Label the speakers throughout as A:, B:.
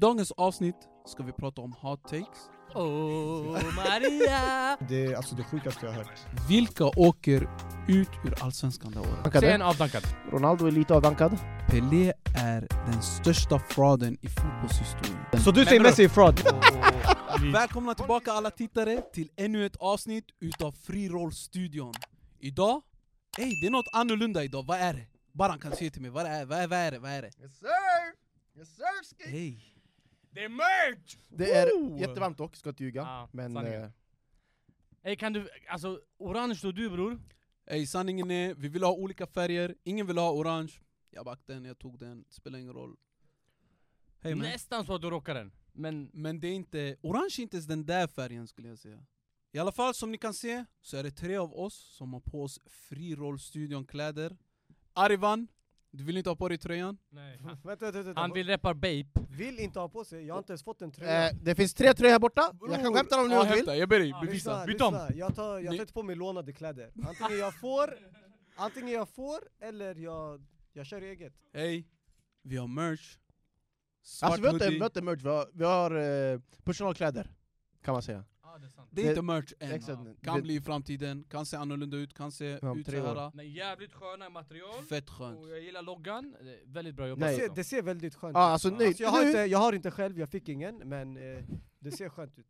A: dagens avsnitt ska vi prata om hot takes.
B: Oh Maria!
C: Det är alltså det sjukaste jag har hört.
A: Vilka åker ut ur Allsvenskan det året?
B: Sen avdankad.
D: Ronaldo är lite avdankad.
A: Pelé är den största frauden i fotbollshistorien.
C: Så du säger Messi är fraud?
A: Välkomna tillbaka alla tittare till ännu ett avsnitt utav Frirollstudion. Idag, ey det är något annorlunda idag, vad är det? Baran kan säga till mig, vad är, vad är, vad är det? Vad är det?
D: Yes sir! Yes sir! Ski.
A: Ey.
B: Det är merch!
D: Det är
B: Woo!
D: jättevarmt dock, ska inte ljuga.
B: Ja,
D: men
B: sanningen.
D: eh,
B: Ey kan du, alltså orange då du bror?
A: Ey sanningen är, vi vill ha olika färger, ingen vill ha orange. Jag backade den, jag tog den, spelar ingen roll. Hej man.
B: Nästan så att du rockar den. Men
A: Men det är inte, orange är inte ens den där färgen skulle jag säga. I alla fall som ni kan se så är det tre av oss som har på oss frirollstudion kläder. Arivan, du vill inte ha på dig tröjan?
B: Nej.
E: Vänta, vänta, vänta.
B: Han vill rappa Bape.
E: Vill inte ha på sig, jag har inte ens fått en tröja.
D: eh, det finns tre tröjor här borta, jag kan
E: Bror.
D: hämta dem nu om du vill.
A: jag ber dig
B: Ja,
E: Lyssna,
B: Byt om.
E: lyssna. Jag tar, jag
A: Ni-
E: tar inte på mig lånade kläder. Antingen jag får, antingen jag får eller jag, jag kör eget.
A: Hej, vi har merch. Svart
D: Alltså vi har inte, vi
A: hoodie.
D: har inte merch, vi har, vi har eh, personalkläder. Kan man säga.
B: Ja det är sant.
A: Det är inte merch än.
D: Exakt.
A: Kan
D: Det-
A: bli i framtiden, kan se annorlunda ut, kan se
D: Ja, om
A: ut
D: tre år.
A: såhär.
B: Men jävligt sköna material.
A: Fett skönt.
B: Och jag gillar loggan. Det är Väldigt bra jobbat.
D: Nej.
E: Det ser, det ser väldigt skönt
D: Ja,
E: ut.
D: alltså,
B: Ja.
D: nej,
E: Alltså, jag, har
D: nu-
E: inte, jag har inte själv, jag fick ingen, men eh, det ser skönt ut.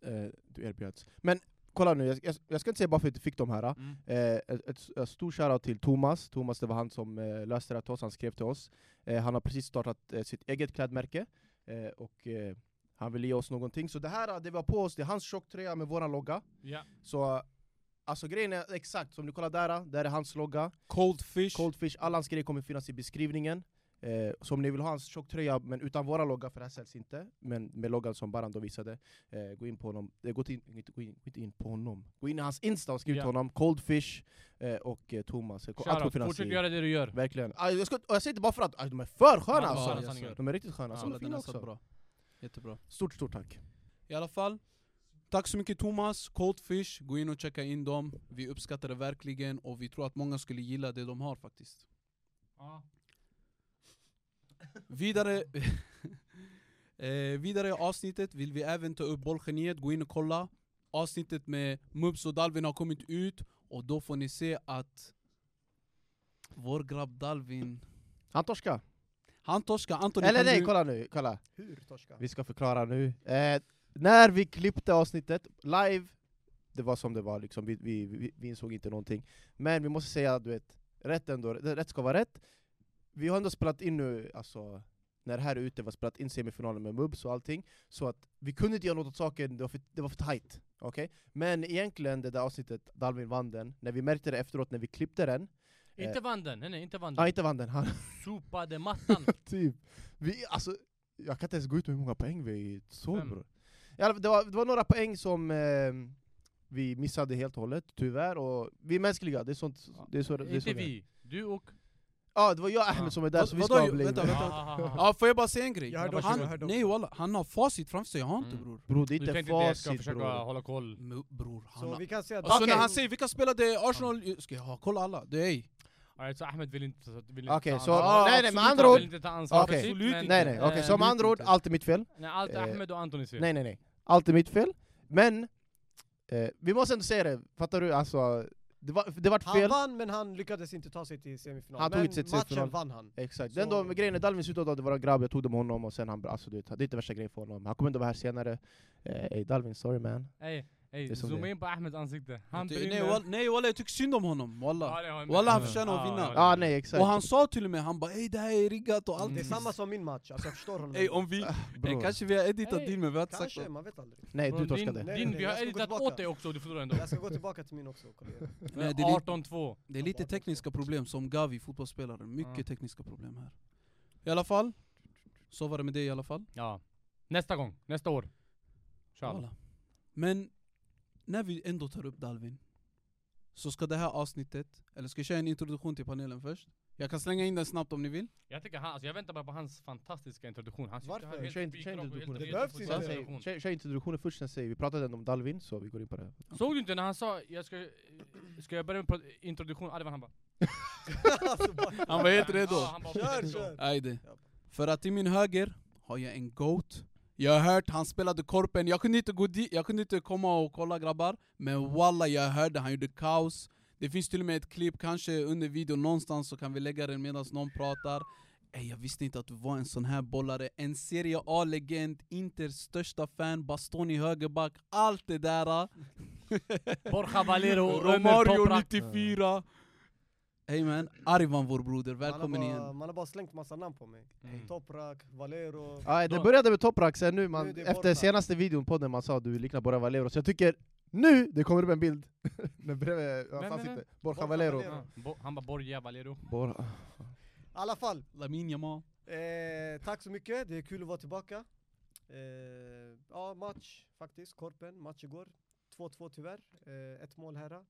D: eh, du erbjöds. Men kolla nu, jag, jag, jag ska inte säga bara för att du fick de här.
B: Mm.
D: Eh, ett, ett, ett stort shoutout till Thomas. Thomas det var han som eh, löste det här till oss, han skrev till oss. Eh, han har precis startat eh, sitt eget klädmärke. Eh, och eh, han vill ge oss någonting. Så det här, eh, det vi har på oss, det är hans tjocktröja med våran logga.
B: Ja.
D: Så eh, alltså grejen är exakt, som ni kollar där, eh, där är hans logga.
A: Cold fish.
D: Coldfish, alla hans grejer kommer finnas i beskrivningen. Eh, så om ni vill ha hans tjocktröja, men utan våra logga, för det här säljs inte, men med loggan som Baran då visade, eh, gå in på honom. Eh, gå, till, inte- gå, in, gå inte in på honom. Gå in i hans Insta och skriv
B: Ja.
D: till honom, Coldfish eh, och eh, Thomas. Eh, ko- Allt kommer
B: Shoutout.
D: finnas
B: Fortsätt
D: i.
B: göra det du gör.
D: Verkligen. Ah, jag, ska, och jag säger inte bara för att ah, de är för sköna
B: Ja,
D: alltså.
B: sanningen, sanningen.
D: De är riktigt sköna.
B: Ja,
D: så de är
A: den
D: fina
A: har satt
D: också.
A: bra. Jättebra.
D: Stort, stort tack.
A: I alla fall, tack så mycket Thomas, Coldfish, gå in och checka in dem. Vi uppskattar det verkligen och vi tror att många skulle gilla det de har faktiskt.
B: Ja.
A: Vidare, eh, vidare i avsnittet vill vi även ta upp Bollgeniet, gå in och kolla. Avsnittet med Mubs och Dalvin har kommit ut och då får ni se att vår grabb Dalvin,
D: Han torskar.
A: han torskar. Anton,
D: Eller
A: kan
D: nej,
A: du-
D: kolla nu. Kolla.
E: Hur torska?
D: Vi ska förklara nu. Eh, när vi klippte avsnittet live, det var som det var, liksom. vi, vi, vi, vi insåg inte någonting. Men vi måste säga, du vet, rätt, ändå, rätt ska vara rätt. Vi har ändå spelat in nu, alltså, när det här är ute, vi har spelat in semifinalen med Mubs och allting, så att vi kunde inte göra något åt saken, det var för, det var för tight. Okej? Men egentligen, det där avsnittet, Dalvin vann den, när vi märkte det efteråt, när vi klippte den,
B: Inte vann den. Nej, nej inte vann
D: ja
B: den.
D: inte vann den, han
B: Sopade mattan.
D: typ. Vi, alltså, jag kan inte ens gå ut med hur många poäng vi såg
B: Fem.
D: bror. I alla fall, Det, var- det var några poäng som eh, vi missade helt och hållet, tyvärr. Och vi är mänskliga, det är sånt... Det är så, det är så
B: Inte
D: det är.
B: vi. Du och...
D: Ja, det var jag och Ahmed
B: Ja.
D: som är där,
A: Vad-
D: så vi
A: vadå,
D: ska
A: ju-
D: bli...
A: vänta, vänta.
B: Ah, ah, ah, ah.
A: Ja, får jag bara säga en grej?
E: Jag hörde
B: också,
A: han,
E: jag hörde
A: nej walla, han har facit framför sig, jag har inte
B: Mm.
A: bror.
D: Bror det
B: Du kan
D: är
B: inte
D: inte
B: det, jag ska
D: facit
B: försöka
D: bror.
B: hålla koll.
A: M- Bror, han
E: Så
A: har
E: vi kan säga att
A: Och så Alltså, när
D: Okej.
A: han säger vilka spelade Arsenal, ska jag ha koll alla? Det är ej.
B: Alright, så Ahmed vill inte, vill inte
D: Okej,
B: ta
D: så...
B: ansvar.
A: Ja,
D: nej, nej,
A: absolut,
D: med
B: Han
D: andra
B: vill
D: ord...
B: inte ta ansvar
D: Okej.
B: för
A: Absolut
B: sitt, men,
A: inte.
D: Nej, nej, okej.
B: eh,
D: så med
A: absolut
D: andra ord,
A: inte.
D: allt är mitt fel.
B: nej, allt är
D: eh,
B: Ahmed och Antonis fel.
D: Nej, nej, nej. Allt är mitt fel. Men, eh, vi måste ändå säga det, fattar du? Alltså, det var, det var
E: Han
D: fel.
E: vann men han lyckades inte ta sig till semifinal.
D: Han tog
E: men
D: inte sig till semifinal.
E: matchen vann han.
D: Exakt,
E: Så-
D: den då, grejen är Dalvins utåt, det var en grabb, jag tog dem honom och sen han, alltså du vet, det är inte värsta grejen för honom. Han kommer inte vara här senare. Eh, ey Dalvin, sorry man.
B: Ey,
D: Det är
B: ey,
D: som
B: zooma
D: det är.
B: in på Ahmeds ansikte. Han
A: Nej walla, nej, walla jag tycker synd om honom, walla. Wallah,
B: Walla
A: han förtjänar att vinna.
D: Ja nej exakt.
A: Och han sa till och med, han bara ey det här är riggat och allt.
E: Det är
B: Mm.
E: samma som min match, alltså jag förstår honom.
A: Ey om vi,
D: Bror.
A: ey, eh, kanske vi har editat
B: Ey,
A: din men vi har inte sagt
E: Kanske,
A: något.
E: man vet aldrig.
D: Nej du torskade.
B: Din,
E: Nej,
B: din,
E: nej,
B: vi
E: jag
B: har
E: ska gå
B: editat
E: tillbaka.
B: åt dig också och du förlorar ändå.
E: Jag ska gå tillbaka till min också och kolla igen.
A: Nej, det, är lite,
B: 18-2.
A: det är lite tekniska problem som Gavi, fotbollsspelaren. Mycket
B: Ja.
A: tekniska problem här. I alla fall, så var det med det i alla fall.
B: Ja. Nästa gång, nästa år. Tja.
A: Walla. Men när vi ändå tar upp Dalvin, så ska det här avsnittet, eller ska jag köra en introduktion till panelen först? Jag kan slänga in den snabbt om ni vill.
B: Jag tycker han, alltså jag väntar bara på hans fantastiska introduktion. Han sitter
E: Varför?
B: här helt
D: Kör inte-
B: spikrak
D: kör
B: och helt
D: introduktionen.
E: Det
B: fet
E: behövs
B: på sin
E: inte.
D: Sen
E: Sen
D: säger-
B: introduktion.
D: Kör, kör introduktionen först, sen säger vi, vi pratade ändå om Dalvin så vi går in på det.
B: Såg du inte när han sa, jag ska, ska jag börja med pro- introduktion? Arvan han bara...
E: Alltså, bara-
A: Han var helt redo.
B: Ja, han bara, let's
E: Kör,
B: go.
E: kör!
A: Ajde.
E: Japp.
A: För att till min höger har jag en goat. Jag har hört han spelade korpen, jag kunde inte gå dit, jag kunde inte komma och kolla grabbar. Men walla jag hörde han gjorde kaos. Det finns till och med ett klipp, kanske under videon någonstans så kan vi lägga den medan någon pratar. Ey, jag visste inte att du var en sån här bollare. En Serie A-legend, Inters största fan, Bastoni högerback, allt det där.
B: Borja Valero, Ömer
A: Romario
B: Toprak.
A: 94. Hey man, Arvan vår broder, välkommen
E: man har bara,
A: igen.
E: Man har bara slängt massa namn på mig. Eh,
B: Mm.
E: Toprak, Valero.
D: Ja, det
B: Då-
D: började med Toprak, sen nu, man,
E: Nu är det
D: efter
E: Borja.
D: senaste videon på den man sa att du liknar Borja Valero, så jag tycker nu det kommer upp en bild med bredvid hans
B: vem,
D: ansikte,
B: vem?
D: Borja
E: Borja
D: Valero.
E: Valero.
B: Ja, Bo- Han bara Borja Valero.
D: Borja.
E: I alla fall,
A: Lamin Jamal.
E: eh, tack så mycket. Det är kul att vara tillbaka. Eh, ja, match faktiskt. Korpen, match igår. 2-2 tyvärr. Eh, ett mål här.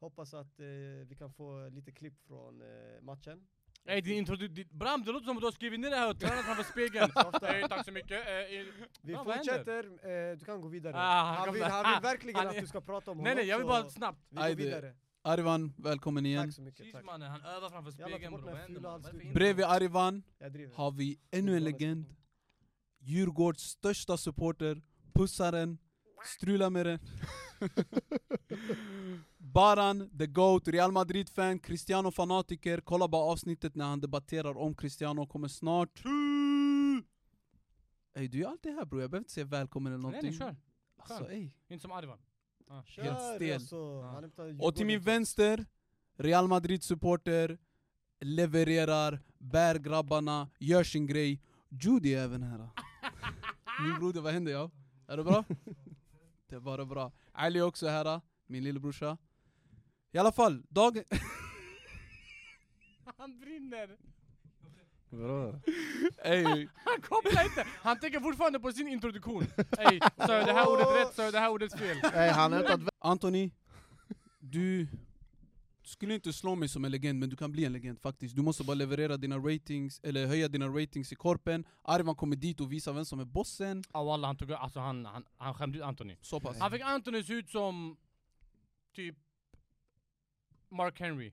E: Hoppas att eh, vi kan få lite klipp från eh, matchen.
B: Ey din introdu- din- Bram det låter som att du har skrivit ner det här och tränat framför spegeln.
E: Så ofta.
B: Ey tack så mycket. Eh, i-
E: Vi
B: Ja, vad
E: fortsätter, eh, du kan gå vidare.
B: Ah, han
E: han,
B: kan
E: vill,
B: bara-
E: han vill
B: ah,
E: verkligen
B: han
E: att
B: är-
E: du ska prata om
B: Nej nej jag vill
E: så
B: bara snabbt.
E: Vi går
A: Aj, det-
E: vidare.
A: Arvan, välkommen igen.
E: Tack så mycket.
B: Precis
E: Tack.
B: mannen, han övar framför
E: Jävlar, ta
B: spegeln
E: bort
B: bror.
E: den här
B: Vad händer,
E: fula
B: man? Vad är det för
E: halsduken.
A: Bredvid Arvan
E: Jag driver.
A: har vi ännu en legend. Djurgårds största supporter, pussar den, strula med den. Baran, the GOAT, Real Madrid-fan, Cristiano-fanatiker. Kolla bara avsnittet när han debatterar om Cristiano, kommer snart. Ey, du är alltid här bror, jag behöver inte säga välkommen eller
B: in- Nej nej
A: någonting.
B: kör.
A: Alltså, ey.
B: Inte som Arvan.
E: Kör,
A: Helt stel.
E: Alltså.
B: Ja.
E: Han hämtar
A: Och till
E: Djurgården.
A: min vänster, Real Madrid-supporter, levererar, bär grabbarna, gör sin grej. Judy är även här. Min broder, vad händer jag? Är det bra? Det är bara bra. Ali är också här, min lillebrorsa. I alla fall, dag...
B: Han brinner.
A: Ey,
B: Han kopplar inte. Han tänker fortfarande på sin introduktion. Ey, sa jag det här ordet rätt? Sa jag det här ordet fel?
D: Nej, han har hämtat
A: Anthony, du... Du skulle inte slå mig som en legend, men du kan bli en legend faktiskt. Du måste bara leverera dina ratings, eller höja dina ratings i korpen. Arvan kommer dit och visar vem som är bossen.
B: Ja walla han tog alltså han, han, han skämde ut Anthony.
A: Så pass.
B: Han fick Anthony se ut som typ Mark Henry.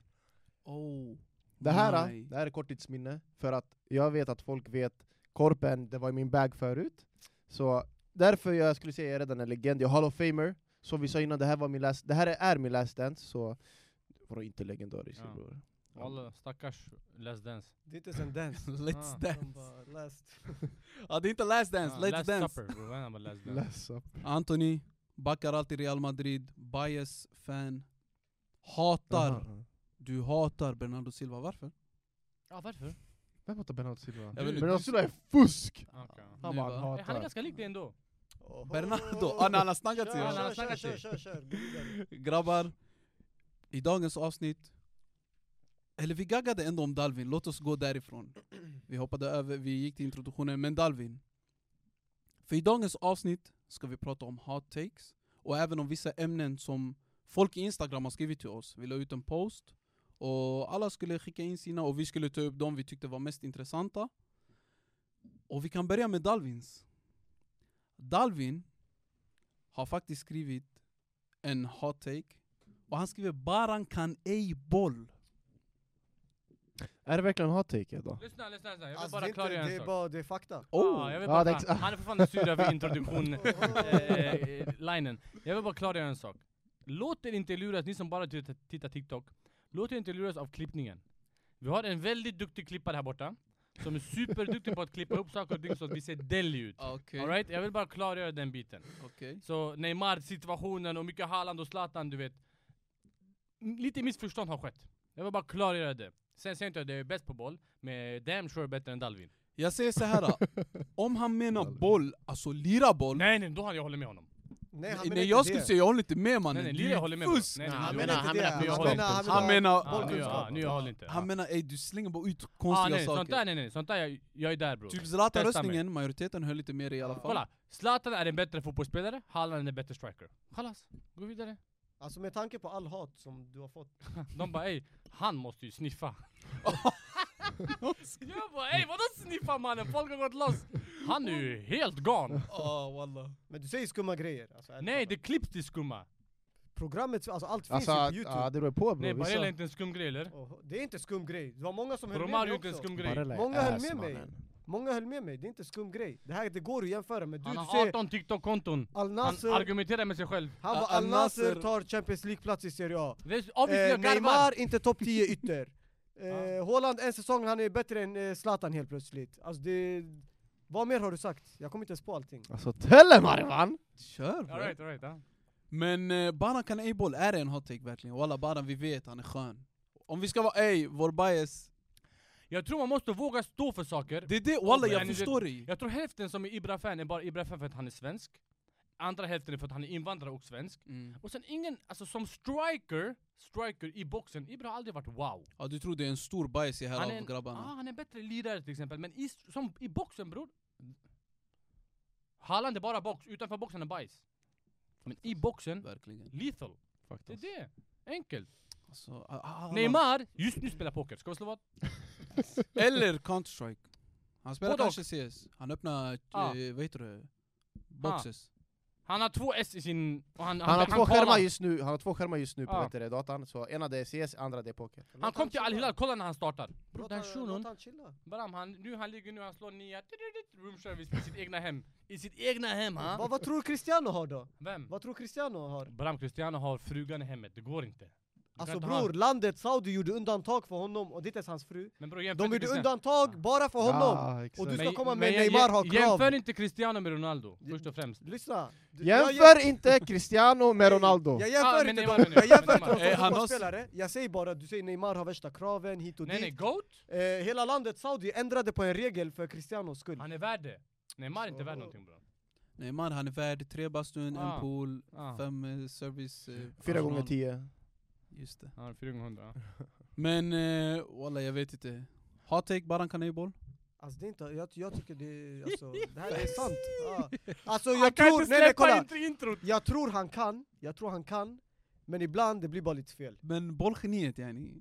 A: Oh.
D: Det här,
A: Nej.
D: det här är korttidsminne, för att jag vet att folk vet Korpen, det var i min bag förut. Så därför jag skulle säga jag är redan en legend, jag är Hall of Famer. Som vi sa innan, det här, var min last, det här är min last dance, så var inte legendarisk
B: Ja.
D: bror.
B: Walla stackars Let's Dance.
E: Det är inte ens en dance.
A: Let's
B: Ah.
E: De
A: dance.
E: bara, last.
A: Ja, det är inte last dance,
B: Ah,
A: let's
B: last
A: dance.
B: Supper, bro. Vad är det med Let's Dance?
D: Last supper.
A: Anthony backar alltid Real Madrid, bias fan. Hatar,
D: Aha.
A: du hatar Bernardo Silva, varför?
B: Ja varför?
D: Vem hatar Bernardo Silva?
A: Jag vet inte.
D: Bernardo Silva är fusk!
B: Okay.
D: Han
A: Nu
D: bara
A: va?
B: Eh, Han är
D: hatar.
B: ganska lik dig ändå.
E: Oho.
A: Bernardo? Ah, när han har snackat till
E: Kör,
A: er.
B: han har
E: kör, kör,
B: snackat
E: kör,
B: till.
E: kör, kör. Gå vidare.
A: Grabbar, i dagens avsnitt eller vi gaggade ändå om Dalvin, låt oss gå därifrån. Vi hoppade över, vi gick till introduktionen, men Dalvin. För i dagens avsnitt ska vi prata om hot takes och även om vissa ämnen som folk i Instagram har skrivit till oss. Vi la ut en post och alla skulle skicka in sina och vi skulle ta upp de vi tyckte var mest intressanta. Och vi kan börja med Dalvins. Dalvin har faktiskt skrivit en hot take och han skriver Baran kan ej boll.
D: Är det verkligen hot take då?
B: Lyssna, lyssna, lyssna. Jag vill
E: Alltså, det, är
B: bara
E: inte,
B: klargöra
E: det,
B: en
E: är
B: sak.
E: bara, det är fakta.
A: Oh!
B: Ah, jag vill
D: Ja,
B: bara,
D: det är exa-
B: han är fortfarande sur över introduktion eh,
E: Oho.
B: eh, linen. Jag vill bara klargöra en sak. Låt er inte luras, ni som bara tittar tittar TikTok. Låt er inte luras av klippningen. Vi har en väldigt duktig klippare här borta. Som är superduktig på att klippa ihop saker och ting så att vi ser deli ut.
A: Ah, Okej,
B: All right? Jag vill bara klargöra den biten.
A: okej.
B: Så Neymar-situationen och mycket Haaland och Zlatan, du vet. M- Lite missförstånd har skett. Jag vill bara klargöra det. Sen säger inte jag att det är bäst på boll, men damn sure bättre än Dalvin.
A: Jag säger så här. om han menar boll, alltså lira boll.
B: Nej nej, då har jag håller med honom.
E: Nej, han
A: Nej,
E: menar inte
A: jag skulle
E: det.
A: säga jag håller inte med
B: Nej
A: mannen.
B: nej,
A: Du
B: lira jag
A: är
B: håller med honom.
A: fusk.
B: Nej, nej,
E: Nej,
B: jag
E: han menar
B: håller-
E: inte
F: han
E: det.
F: menar-
E: Han
F: jag
E: menar-
F: håller inte.
A: Han menar,
B: Ah, nu, ah, nu jag håller inte.
A: han
B: Ah.
A: menar ey, du slänger bara ut
B: Ah,
A: konstiga
B: nej, sånt där,
A: saker.
B: nej nej, sånt där, jag, jag är där bror.
A: Typ
B: Testa mig.
A: Zlatan-röstningen, majoriteten höll inte med dig i alla fall.
B: Kolla, Zlatan är en bättre fotbollsspelare, Haaland är en bättre striker. Kallas, gå vidare.
E: Alltså med tanke på all hat som du har fått.
B: De bara ey, han måste ju sniffa. jag bara ey, vadå sniffa mannen? Folk har gått loss. Han är ju helt gone.
A: Ah, wallah.
E: Men du säger skumma grejer. Alltså, ärligt
B: Nej,
E: talat.
B: det klipps till skumma.
E: Programmet, alltså allt finns
D: Alltså,
E: ju
D: ja,
E: på youtube.
D: det beror på
B: Nej,
D: bror.
B: Barella är
D: Vissa-
B: inte en skum grej eller?
E: Oho. Det är inte skum grej. Det var många som höll med
B: Romario är inte
E: mig
B: en
E: också.
B: skum grej.
D: Barella är
E: Många höll
D: ass,
E: med mig.
D: mannen.
E: Många höll med mig, det är inte skum grej. Det här det går att jämföra med. Du,
B: Han
E: du
B: har
E: ser Alltså-
B: 18 TikTok-konton.
E: Al
B: Han
E: Nasser, han,
B: argumenterar med sig själv.
E: bara
A: Al
E: Al Nasser
A: Nasser-
E: tar Champions League-plats i Serie A.
B: Det är obviously
E: Eh,
B: jag garvar.
E: Neymar, inte topp 10 ytter. Eh, Haaland, en säsong, han är bättre än eh, Zlatan helt plötsligt. Alltså det... Vad mer har du sagt? Jag kommer inte ens på allting.
D: Alltså Telemarvan!
A: Kör bro.
B: All right, all right, ja.
A: Men eh, Baran kan A-boll, är det en hot take verkligen? Walla Baran, vi vet han är skön. Om vi ska vara ey, vår bias.
B: Jag tror man måste våga stå för saker.
A: Det är det, walla
B: Ja,
A: jag
B: ni vet-
A: förstår dig.
B: Jag tror hälften som är Ibra-fan är bara Ibra-fan för att han är svensk. Andra hälften är för att han är invandrare och svensk.
A: Mm.
B: Och sen ingen, alltså som striker, striker i boxen, Ibra har aldrig varit wow.
A: Ja, du tror det är en stor bias i
B: Han
A: här av
B: är en, ah,
A: grabbarna.
B: han är bättre lirare till exempel, men i, som, i boxen bror. Haaland är bara box, utanför boxen är bajs. Men i boxen,
A: Verkligen.
B: lethal. Det är det. Enkelt.
A: Alltså, ah, ah,
B: Neymar, just nu spelar poker. Ska vi slå vad?
A: Eller Counter-Strike. Han spelar
B: Både och.
A: kanske CS. Han öppnar,
B: Ah.
A: eh, vad heter det? Boxes.
B: Han har två S i sin... och han,
D: Han har två
B: kollar.
D: skärmar just nu, han har två skärmar just nu på
B: Ja.
D: vet du det, datan, så ena det är CS, andra det är poker.
B: Han kom till
E: chilla.
B: Al-Hilal, kolla när han startar. Bror
E: Låt
B: den
E: han-
B: shunon,
E: Låt han chilla.
B: Bram, han, nu han ligger nu, han slår nia, roomservice i sitt egna hem. I sitt egna hem ha?
E: Vad, vad tror Cristiano har då?
B: Vem?
E: Vad tror Cristiano har?
B: Bram Cristiano har frugan i hemmet, det går inte. Du kan
E: Alltså
B: inte ha-
E: bror, landet Saudi gjorde undantag för honom och det är inte ens hans fru.
B: Men bror, jämför
E: De
B: inte
E: gjorde
B: Cristiano.
E: undantag bara för honom. Och du ska komma med Neymar har krav.
B: Jämför inte Cristiano med Ronaldo, först och främst.
E: Lyssna. Du- jag
D: Jämför
E: jäm-
D: inte Cristiano med Ronaldo!
E: Jag
B: Ah,
E: jämför
B: men
E: inte
B: Neymar
E: dem.
B: menar
E: Jag
B: jag.
E: jämför inte
B: Neymar.
E: dem
A: Eh,
E: som
A: han har-
E: fotbollsspelare. Jag säger bara att du säger Neymar har värsta kraven hit och
B: Nej nej,
E: dit.
B: GOAT,
E: Eh, hela landet Saudi ändrade på en regel för Cristianos skull.
B: han är värd det. Neymar är inte värd
E: Så-
B: någonting bror.
A: Neymar han är värd tre bastun, en
B: Ah.
A: pool,
B: Ah.
A: fem eh, service. Eh,
D: Fyra
A: personal.
D: gånger tio.
A: Just det.
B: Ja, 400. ja.
A: Men eh, walla jag vet inte. Hot take, Baran kan A-boll.
E: Alltså det är inte, jag, jag tycker det är, alltså, det här är sant. Ja. Alltså
B: Han
E: jag
B: kan
E: tror,
B: inte
E: nej nej
B: släppa
E: kolla.
B: inte introt!
E: Jag tror han kan, jag tror han kan. Men ibland det blir bara lite fel.
A: Men bollgeniet yani.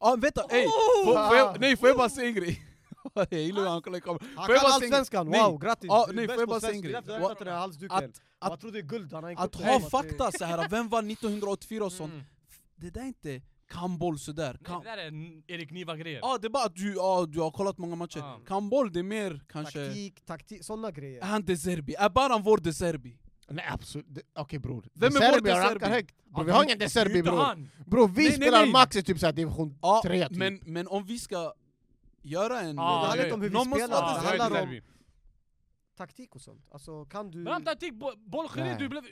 A: Ja ah, vänta,
B: Oh!
A: ey! Får, får jag, nej får jag bara säga en grej? jag gillar hur han kollar i kameran.
E: Han
A: Får jag
E: kan
A: bara säga en grej?
E: allsvenskan,
A: Nej.
E: wow grattis!
A: Ja,
E: Du är
A: nej,
E: bäst
A: får jag
E: på
A: bara säga en
E: svensk.
A: grej?
E: Därför
A: Wa-
E: jag tog den här halsduken.
A: Att,
E: Och
A: att,
E: Jag trodde det är guld, han har inte
A: att
E: upp
A: ha
E: den.
A: fakta så här. vem var 1984 och sånt?
B: typ. Mm.
A: Det där är inte kan boll sådär.
B: Nej,
A: Kan,
B: Det där är n- Erik Niva-grejer.
A: Ja, ah, det är bara att du, ah, du har kollat många matcher.
B: Ja.
A: Kan boll, det är mer kanske...
E: Taktik, taktik, sådana grejer.
A: Är han de Serbi? Är Baran vår de Serbi?
D: Nej absolut, Det- okej bror.
A: Vem är
D: De Serbi
A: vår De
D: rankar
A: Serbi?
D: högt. Bror, vi
B: Att
D: har
B: han-
D: ingen
B: Det
D: De
B: är ju
D: Serbi
B: inte
D: bror.
B: han.
D: Bror vi
A: Nej, nej,
D: spelar
A: nej.
D: max i typ såhär division
A: Ja,
D: 3 typ.
A: men, men om vi ska göra en...
B: Ah, jag
E: det handlar
B: vet.
E: inte om hur vi
A: Någon måste
E: spelar,
A: vara
B: Ja,
E: det
A: De
B: jag är
E: handlar
B: inte
E: om
B: Serbi.
E: taktik och sånt. Alltså kan du...
B: Bram taktik, bo- bollgeni,
D: Nej.
B: du blev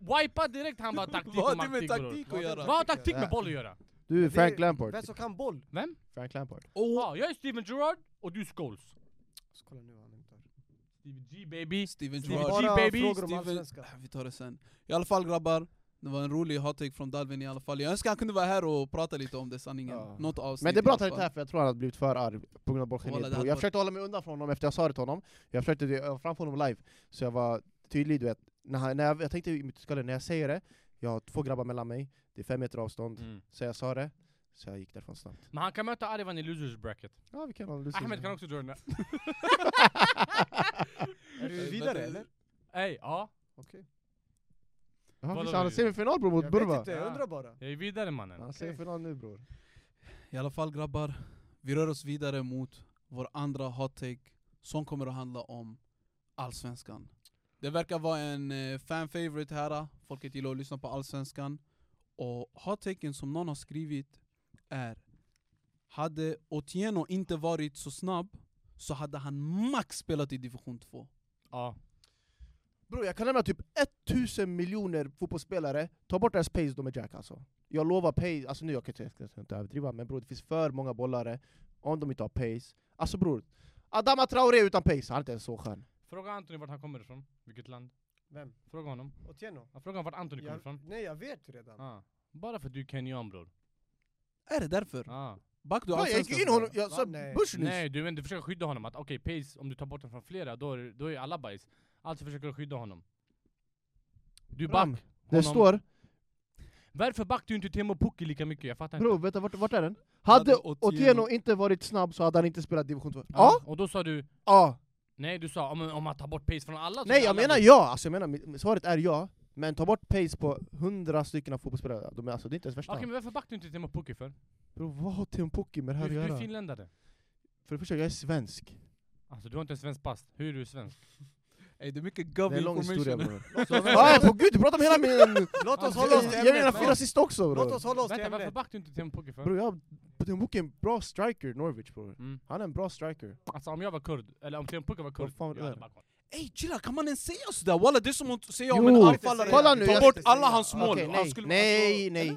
B: wipad direkt. Han bara taktik
A: Vad
B: och
A: har det med
B: maktik bror.
A: taktik att göra?
B: Vad har taktik med
D: Nej.
B: boll att göra?
D: Du är
E: Det-
D: Frank Lampard.
E: Vem som kan boll?
B: Vem?
D: Frank Lampard.
A: Och
B: Ja, Ah, jag är Steven Gerrard och du är Scholes.
E: Så kolla nu vad han inte har.
B: Stevie G baby.
A: Steven
B: Steven
A: Gerrard.
B: G.
E: Bara
B: baby,
E: frågor om
A: Steven- Ah,
E: allsvenskan.
A: Vi tar det sen. I alla fall grabbar, det var en rolig hot-take från Dalvin i alla fall. Jag önskar han kunde vara här och prata lite om det, sanningen.
D: Ja.
A: Något avsnitt
D: Men det
A: i
D: är bra
A: alla
D: att han inte är
A: fall.
D: här för jag tror han hade blivit för arg på grund
A: Walla, det
D: av bollgeniet bror.
A: hade
D: Jag
A: varit-
D: försökte hålla mig undan från honom efter jag sa det till honom. Jag försökte jag var framför honom live, så jag var tydlig du vet. När, han, när jag, jag tänkte i mitt skalle, när jag säger det, jag har två grabbar mellan mig, det är fem meter avstånd.
B: Mm.
D: Så jag sa det, så jag gick därifrån snabbt.
B: Men han kan möta Arvan i losers bracket.
D: Ja vi kan ha Lucius.
B: Ahmed kan också joina.
E: Är du vidare eller?
B: Ey, ja.
E: Okej.
D: Ja,
B: Vadå,
D: visst, han har
B: Lucius?
D: semifinal bror mot
E: Jag vet
D: Burva.
E: inte, jag
B: Ja.
E: undrar bara.
B: Jag är vidare mannen.
D: Han har semifinal nu bror.
A: I alla fall grabbar, vi rör oss vidare mot vår andra hot-take som kommer att handla om Allsvenskan. Det verkar vara en eh, fan-favorite här, folket gillar att lyssna på Allsvenskan. Och hot-taken som någon har skrivit är Hade Otieno inte varit så snabb så hade han max spelat i division 2.
B: Ja.
D: Bror jag kan nämna typ 1000 miljoner fotbollsspelare, ta bort deras pace, de är jack alltså. Jag lovar pace, alltså nu jag kan inte- jag ska inte överdriva, men bror det finns för många bollare om de inte har pace. Alltså bror, Adama Traoré utan pace, han är inte ens så skön.
B: Fråga Anthony vart han kommer ifrån. Vilket land.
E: Vem?
B: Fråga honom.
E: Otieno?
B: Ja, Fråga honom vart Anthony kommer
E: Jag-
B: ifrån.
E: Nej jag vet redan.
B: Ja. Bara för att du är kenyan bror.
A: Är det därför?
B: Ja.
A: Back du
D: Bror, jag gick in honom,
A: Allsvenskan?
D: jag sa
E: Va? Nej.
D: Bush nyss.
B: Nej, du, men du försöker skydda honom. Att okej, Pace, om du tar bort den från flera, då är, då är alla bajs. Alltså försöker du skydda honom. Du back.
D: Bram,
B: Honom.
D: Det står,
B: Varför back du inte Temo Pukki lika mycket? Jag fattar
D: bror
B: inte.
D: vänta vart, vart är den?
A: Hade
D: Hade
A: Otieno-
D: Otieno inte varit snabb så hade han inte spelat division 2.
B: Ja. Alltså,
D: Ja?
B: Och då sa du,
D: Ja.
B: nej du sa om, om man tar bort Pace från alla så
D: Nej
B: blir
D: jag
B: alla
D: menar
B: bajs.
D: ja, alltså jag menar, mitt- svaret är ja. Men ta bort pace på 100 stycken av fotbollsspelare, de är, alltså, det är inte ens värsta.
B: Okej, men varför back du inte Temo Pukki för?
D: Bror vad har Teon Pukki med det här
B: Du,
D: att
B: du är
D: göra?
B: finländare.
D: För det första, jag är svensk.
B: Alltså du har inte ens svensk pass, hur är du svensk?
A: Ey, det är mycket
D: Det är
A: gov
D: en lång historia
A: information.
D: bror.
E: Låt oss hålla
D: Nej
E: oss-
D: på gud, du pratar om hela min...
E: Låt oss
B: Alltså,
E: hålla oss till
D: Jag är mina
E: ämnet.
D: fyra sist också
E: Låt
D: bror.
E: oss hålla oss till
B: Vänta, varför
E: ämnet.
B: backade du inte till en poker för?
D: Bror jag har en bra striker, Norwich bror.
B: Mm.
D: Han är en bra striker.
B: Alltså om jag var kurd, eller om Teemu Pukka var kurd,
D: fan var det
B: jag hade
D: där?
B: bara kollat.
A: Ey chilla, kan man ens säga sådär? Walla det är som att säga om
D: Jo,
A: en
D: kolla
A: anfallare,
D: nu,
A: ta
D: jag-
A: bort alla hans
D: Okej,
A: mål. Han
D: nej,
A: skulle-
D: nej,
A: alltså,
D: nej.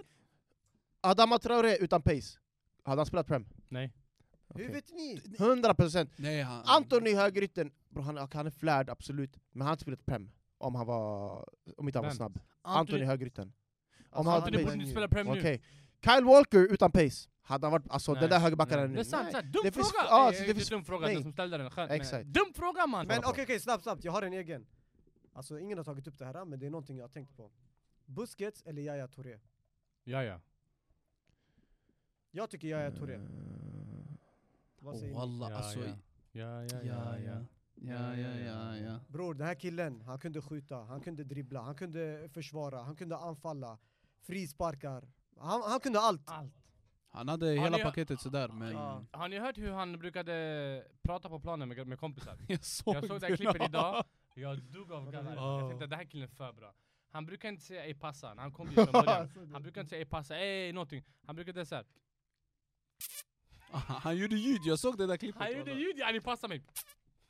D: Adama Traoré utan pace. Hade han spelat Prem?
B: Nej.
E: Hur vet ni?
D: 100 procent.
A: Nej, han,
D: Anthony högerytten, bro, han, han är flärd absolut, men han hade spelat Prem om han var, om inte han var
B: Vem?
D: snabb.
A: Anthony-
D: Anthony högerytten. Om
E: Alltså,
D: han
B: Anthony
D: hade
B: borde
D: pace.
B: inte spela Prem nu.
D: Okej. Kyle Walker utan pace. Hade han varit, alltså
B: Nej,
D: den där högerbacken
B: nej.
D: är nu.
B: Det är sant,
D: Nej.
B: sant. dum
D: Det finns-
B: fråga!
D: ja,
B: Nej,
D: alltså, det
B: inte
D: finns-
B: dum fråga,
D: nej.
B: den som ställde den. Skär,
D: Exakt.
B: Dum fråga man!
E: Men
D: på.
E: okej, okej, snabbt, snabbt. Jag har en egen. Alltså ingen har tagit upp det här, men det är någonting jag har tänkt på. Busquets eller Yahya Touré?
B: Ja, ja.
E: Jag tycker
D: Eh.
E: Yahya Touré. Vad säger
A: Oh,
E: ni?
A: Walla,
B: Ja,
A: alltså.
B: ja. Ja, ja, ja, ja.
A: Ja, ja, ja, ja.
E: Bror, den här killen, han kunde skjuta, han kunde dribbla, han kunde försvara, han kunde anfalla, frisparkar. Han, han kunde allt.
B: Allt.
A: Han hade
B: Ja,
A: hela
B: det-
A: paketet sådär, men...
E: Ja.
B: Har ni hört hur han brukade prata på planen med, med kompisar?
A: Jag såg,
B: Jag såg det här klippet idag, jag dog av garv. Jag
A: Ja.
B: tänkte den här killen är för bra. Han brukar inte säga ey passa, när han kom dit från början. Han brukar inte säga ey passa, ey någonting. Han brukade säga
A: Han gjorde ljud, jag såg det där klippet.
B: han gjorde
A: walla.
B: ljud yani passa mig.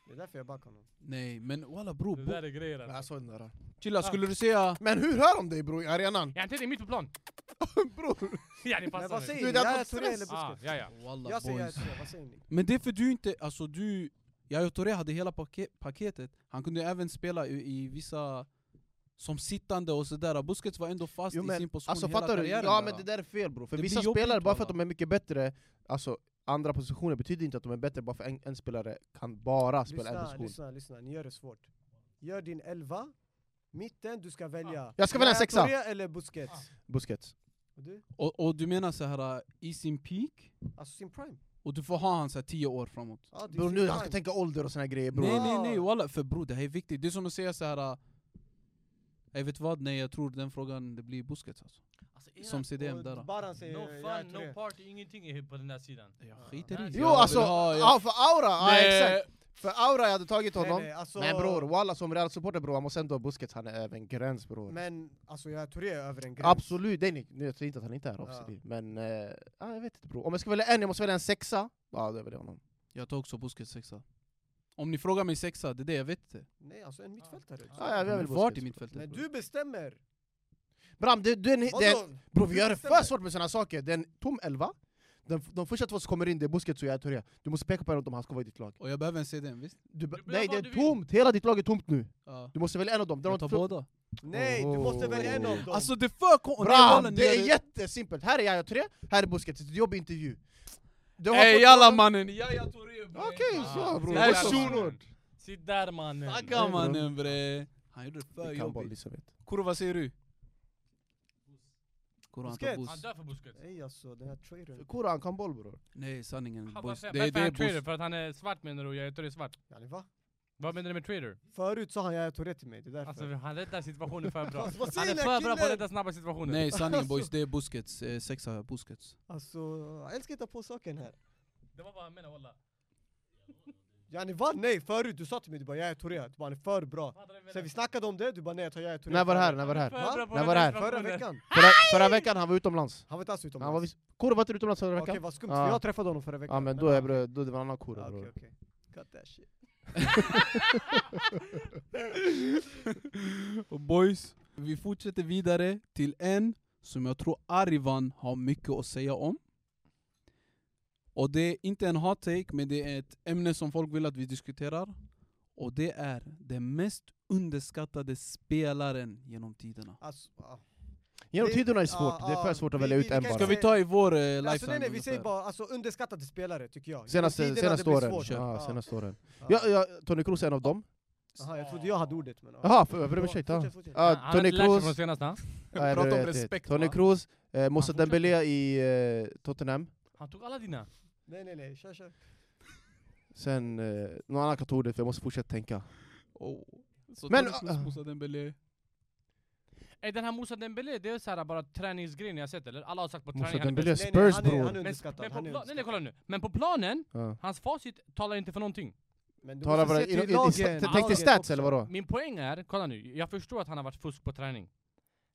E: Det är därför jag backar honom.
A: Nej, men walla bror.
B: Det
A: bo-
B: där är grejer alltså.
D: Jag såg den där.
A: Chilla, skulle du säga...
D: Men hur hör de dig bror i arenan?
B: Jag tänkte mitt på plan.
D: bror!
B: Yani
E: Men
B: passa
E: vad
B: mig.
E: säger ni?
D: Du, det hade
E: Yahya
D: fått
E: Touré eller
D: stress.
B: Ah,
E: Busquets?
B: ja, ja.
A: Walla
E: Jag säger Yahya
A: boys.
E: Touré, vad säger ni?
A: Men det är för du inte... Alltså du... Yahya Touré hade hela pake- paketet. Han kunde även spela i, i vissa... Som sittande och sådär. Busquets var ändå fast
D: Jo,
A: i
D: men,
A: sin position
D: Alltså
A: hela
D: fattar du?
A: karriären.
D: Ja
A: där.
D: men det där är fel bror, för
A: Det blir
D: vissa
A: jobbigt,
D: spelare, bara för att
A: walla.
D: de är mycket bättre, alltså andra positioner betyder inte att de är bättre, bara för en, en spelare kan bara spela en
E: Lyssna,
D: position.
E: lyssna, lyssna. Ni gör det svårt. Gör din elva, mitten, du ska välja.
D: Ah. Jag ska välja en
E: Yahya
D: sexa.
E: Touré eller Busquets?
B: Ah.
D: Busquets.
E: Och du?
A: Och, och du menar så här uh, i sin peak?
E: Alltså sin prime.
A: Och du får ha han så här 10 år framåt.
E: Ja, det är
D: Bror
E: sin
D: nu, han ska
E: prime.
D: tänka ålder och såna här grejer bror.
A: Nej nej nej
E: Bra.
A: walla, för bror det här är viktigt. Det är som att säga så här. äh, Jag vet vad, nej jag tror den frågan det blir Busquets alltså.
B: Alltså, era-
A: Som CDM
E: Och
A: där. uh. då.
E: Baran säger
B: No
E: Yahya
B: fun,
E: Touré.
B: no party, ingenting är på den där sidan.
A: Jag skiter i det.
D: Jo
A: Jag
D: alltså,
A: vill ha- jag-
D: ja, för Aura, ja,
A: Nej.
D: exakt. För Aura jag hade tagit honom.
E: Nej, nej, alltså,
D: Men bror, walla som Real-supporter bror, man måste ändå ha Busquets, han är över en gräns bror.
E: Men alltså Yahya Touré är över en gräns.
D: Absolut, det är, ni- nu, jag säger inte att han inte är offside, men eh, ja, jag vet inte bror. Om jag ska välja en, jag måste välja en sexa, ja då väljer jag honom.
A: Jag tar också Busquets sexa. Om ni frågar mig sexa, det är det jag vet inte.
E: Nej, alltså en mittfältare.
D: Ja, jag
A: Men
D: vill
A: Vart i
D: Busquets.
A: mittfältet?
E: Men
A: bror?
E: du bestämmer!
D: Bram, det, det, är en- det, är-
E: Vadå?
D: Bro, vi gör det
E: Stämmer.
D: för svårt med såna saker. Det är en tom elva. Den, de första två som kommer in, det är Busquets och Yahya Touré. Du måste peka på en av dem, han ska vara i ditt lag.
A: Och jag behöver en CDM, visst?
D: Du, be-
B: behöver
D: nej, det
B: vad
D: är
B: du vill.
D: tomt! Hela ditt lag är tomt nu.
A: Ja.
D: Du måste välja en av dem. Det är
A: Jag
D: de
A: tar
D: två-
A: båda.
E: Nej, du måste välja en av dem!
A: Alltså det är för kon- Nej, walla,
D: Bram!
A: ni
D: Det
A: gör
D: är jättesimpelt. Här är Yahya Touré, här är Busquets. Ett jobb i intervju. Du har
A: Ey
D: fått-
A: jalla mannen, Yahya Touré bre!
D: Okej,
B: Ah.
D: så bror.
A: Det här är
D: Vad
A: shunon.
D: fan?
B: Sitt där mannen.
A: Tacka
D: Nej, bro.
A: mannen bre! Han gjorde det för
D: Vi kan bara
A: jobbigt.
D: lyssna vet.
A: Kuro vad säger du? Kuro han tar
E: Busquets.
B: Han
A: Bus.
B: dör för Busquets.
E: Nej alltså, den här trailern.
D: Kura, han kan boll bror.
A: Nej sanningen,
B: Han
A: Bus.
B: bara,
A: Det är
B: varför
A: det
B: är han trader?
A: Bus.
B: För att han är svart menar du? Jag tror det är svart.
E: Yani, va?
B: Vad menar du med trader?
E: Förut sa han Yahya Touré till mig, det är därför.
B: Alltså han räddar situationen för bra.
E: Alltså, vad
B: Han är
E: säger den
B: för
E: här
B: bra på att
E: killen?
B: rädda snabba situationer.
A: Nej sanningen boys, det är Busquets. Eh, sexa Busquets.
E: Alltså, jag älskar att ta på saken här.
B: Det var vad han menade walla.
E: Yani va? Nej, förut du sa till mig du bara Yahya Touré, du bara han är för bra. Sen vi snackade om det, du bara nej jag tar Yahya Touré.
D: När var det här? När var det här?
E: Va?
B: För bra på
D: När
B: att rädda
D: var det här?
E: Förra
B: situationer.
E: veckan.
D: Förra, förra veckan han var utomlands.
E: Han var inte alls
D: Han var
E: utomlands.
D: visst... Kura, var inte du utomlands förra
E: Okej,
D: veckan?
E: vad skumt,
D: Ja.
E: för jag träffade honom förra veckan.
D: Ja men då är det, då är det var en annan Kura
E: Ja, Okej,
D: bror.
E: okej. Cut that shit.
A: Och boys, vi fortsätter vidare till en som jag tror Arivan har mycket att säga om. Och det är inte en hot take, men det är ett ämne som folk vill att vi diskuterar. Och det är den mest underskattade spelaren genom tiderna.
E: Alltså, ja.
D: Genom
E: Det-
D: tiderna är det
E: ja,
D: svårt, det är för
E: ja.
D: svårt att
E: Vi-
D: välja
E: vi-
D: ut
E: vi
D: en
E: kan
D: bara.
A: Ska vi ta i vår eh, lifetime?
E: Alltså, nej, nej, vi säger
A: ungefär?
E: bara alltså, underskattade spelare tycker jag. Genom
D: Senaste,
E: tiderna, det
D: senaste,
E: blir
D: åren.
E: svårt.
D: Ja,
E: Ja.
D: senaste åren.
E: Ja.
D: Ja, ja, Tony Kroos är en av dem.
E: Aha, jag trodde jag hade ordet men... ja.
D: Jaha, för- jag ber om
E: Ja,
D: ursäkt, ja.
E: fortsätt, fortsätt.
D: Ja,
B: Han har
D: Tony
B: inte lärt sig
D: Kroos,
B: från senast ha?
D: ja, jag
A: Prata
D: vet
A: om
D: inte.
A: respekt,
D: Tony
A: va?
D: Kroos, eh, Moussa
B: fortsätter.
D: Dembélé i eh, Tottenham.
B: Han tog alla dina.
E: Nej nej nej, kör kör.
D: Sen, eh, någon annan kan ta ordet för jag måste fortsätta tänka.
A: Oh. Så
D: Men,
A: men,
D: ah.
A: Dembélé.
B: Ey den här Moussa Dembélé, det är så här bara träningsgrejen jag har sett eller? Alla har sagt på
D: Moussa
B: träning. han är
D: Dembélé,
E: Nej, nej,
D: Spurs
E: han är, han är
D: bror.
B: Men,
E: underskattad.
B: men på
E: han är
B: pla- nej, nej,
E: underskattad.
B: kolla nu. Men på planen,
D: Ja.
B: hans facit talar inte för någonting.
E: Men du
D: Tala
E: måste
D: bara,
E: se
D: i, i,
E: till
D: i,
E: lagen.
D: sta- tänk dig
E: laget
D: stats
E: också.
D: eller vadå?
B: Min poäng är, kolla nu, jag förstår att han har varit fusk på träning.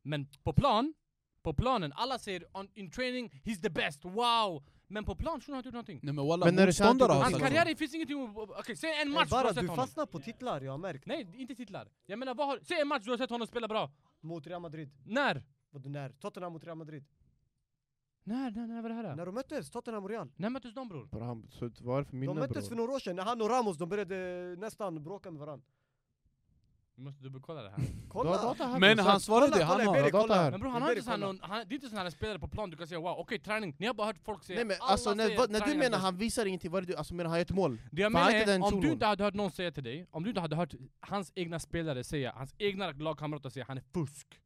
B: Men på plan, på planen, alla säger on, in training, he's the best, wow! Men på plan, shunon har inte gjort någonting.
A: Nej men walla,
D: Men när det känns
A: motståndare
D: inte-
A: har
B: Hans
A: sagt
D: alltså.
B: karriär, det finns ingenting att- Okej, säg en
E: Eh,
B: match du har
E: Bara
B: sett
E: du
B: honom.
E: fastnar på titlar, jag har märkt.
B: Nej, inte titlar. Jag menar, vad har, säg en match du har sett honom spela bra.
E: Mot Real Madrid.
B: När?
E: Vadå när? Tottenham mot Real Madrid.
B: När, när, när var det här?
E: När de möttes, Tottenham och Real.
B: När möttes de bror?
D: Bror, han- så Vad är det för
E: De
D: minne
E: möttes för
D: bror?
E: några år sedan när han och Ramos de började nästan bråka med varandra.
B: Vi måste dubbelkolla det här.
D: Du har
E: Kolla!
D: data här,
A: Men
D: bror.
A: han svarade,
E: Alltså, kolla,
A: han
E: kolla,
A: har...
E: Iberi,
D: data här.
E: kolla!
B: Men bror, han har
E: Iberi,
B: inte sån
E: kolla.
B: någon, han, det är inte sån här spelare på plan du kan säga wow, okej träning. Ni har bara hört folk säga,
D: Nej men
B: alla
D: alltså när,
B: säger
D: vad- när du
B: träning är
D: menar
B: bäst.
D: han visar ingenting, vad är det du, alltså menar han gör ett mål?
B: Det jag
D: Fan,
B: menar
D: inte den
B: är, om du
D: shunon.
B: inte hade hört någon säga till dig, om du inte hade hört hans egna spelare säga, hans egna lagkamrater säga han är fusk.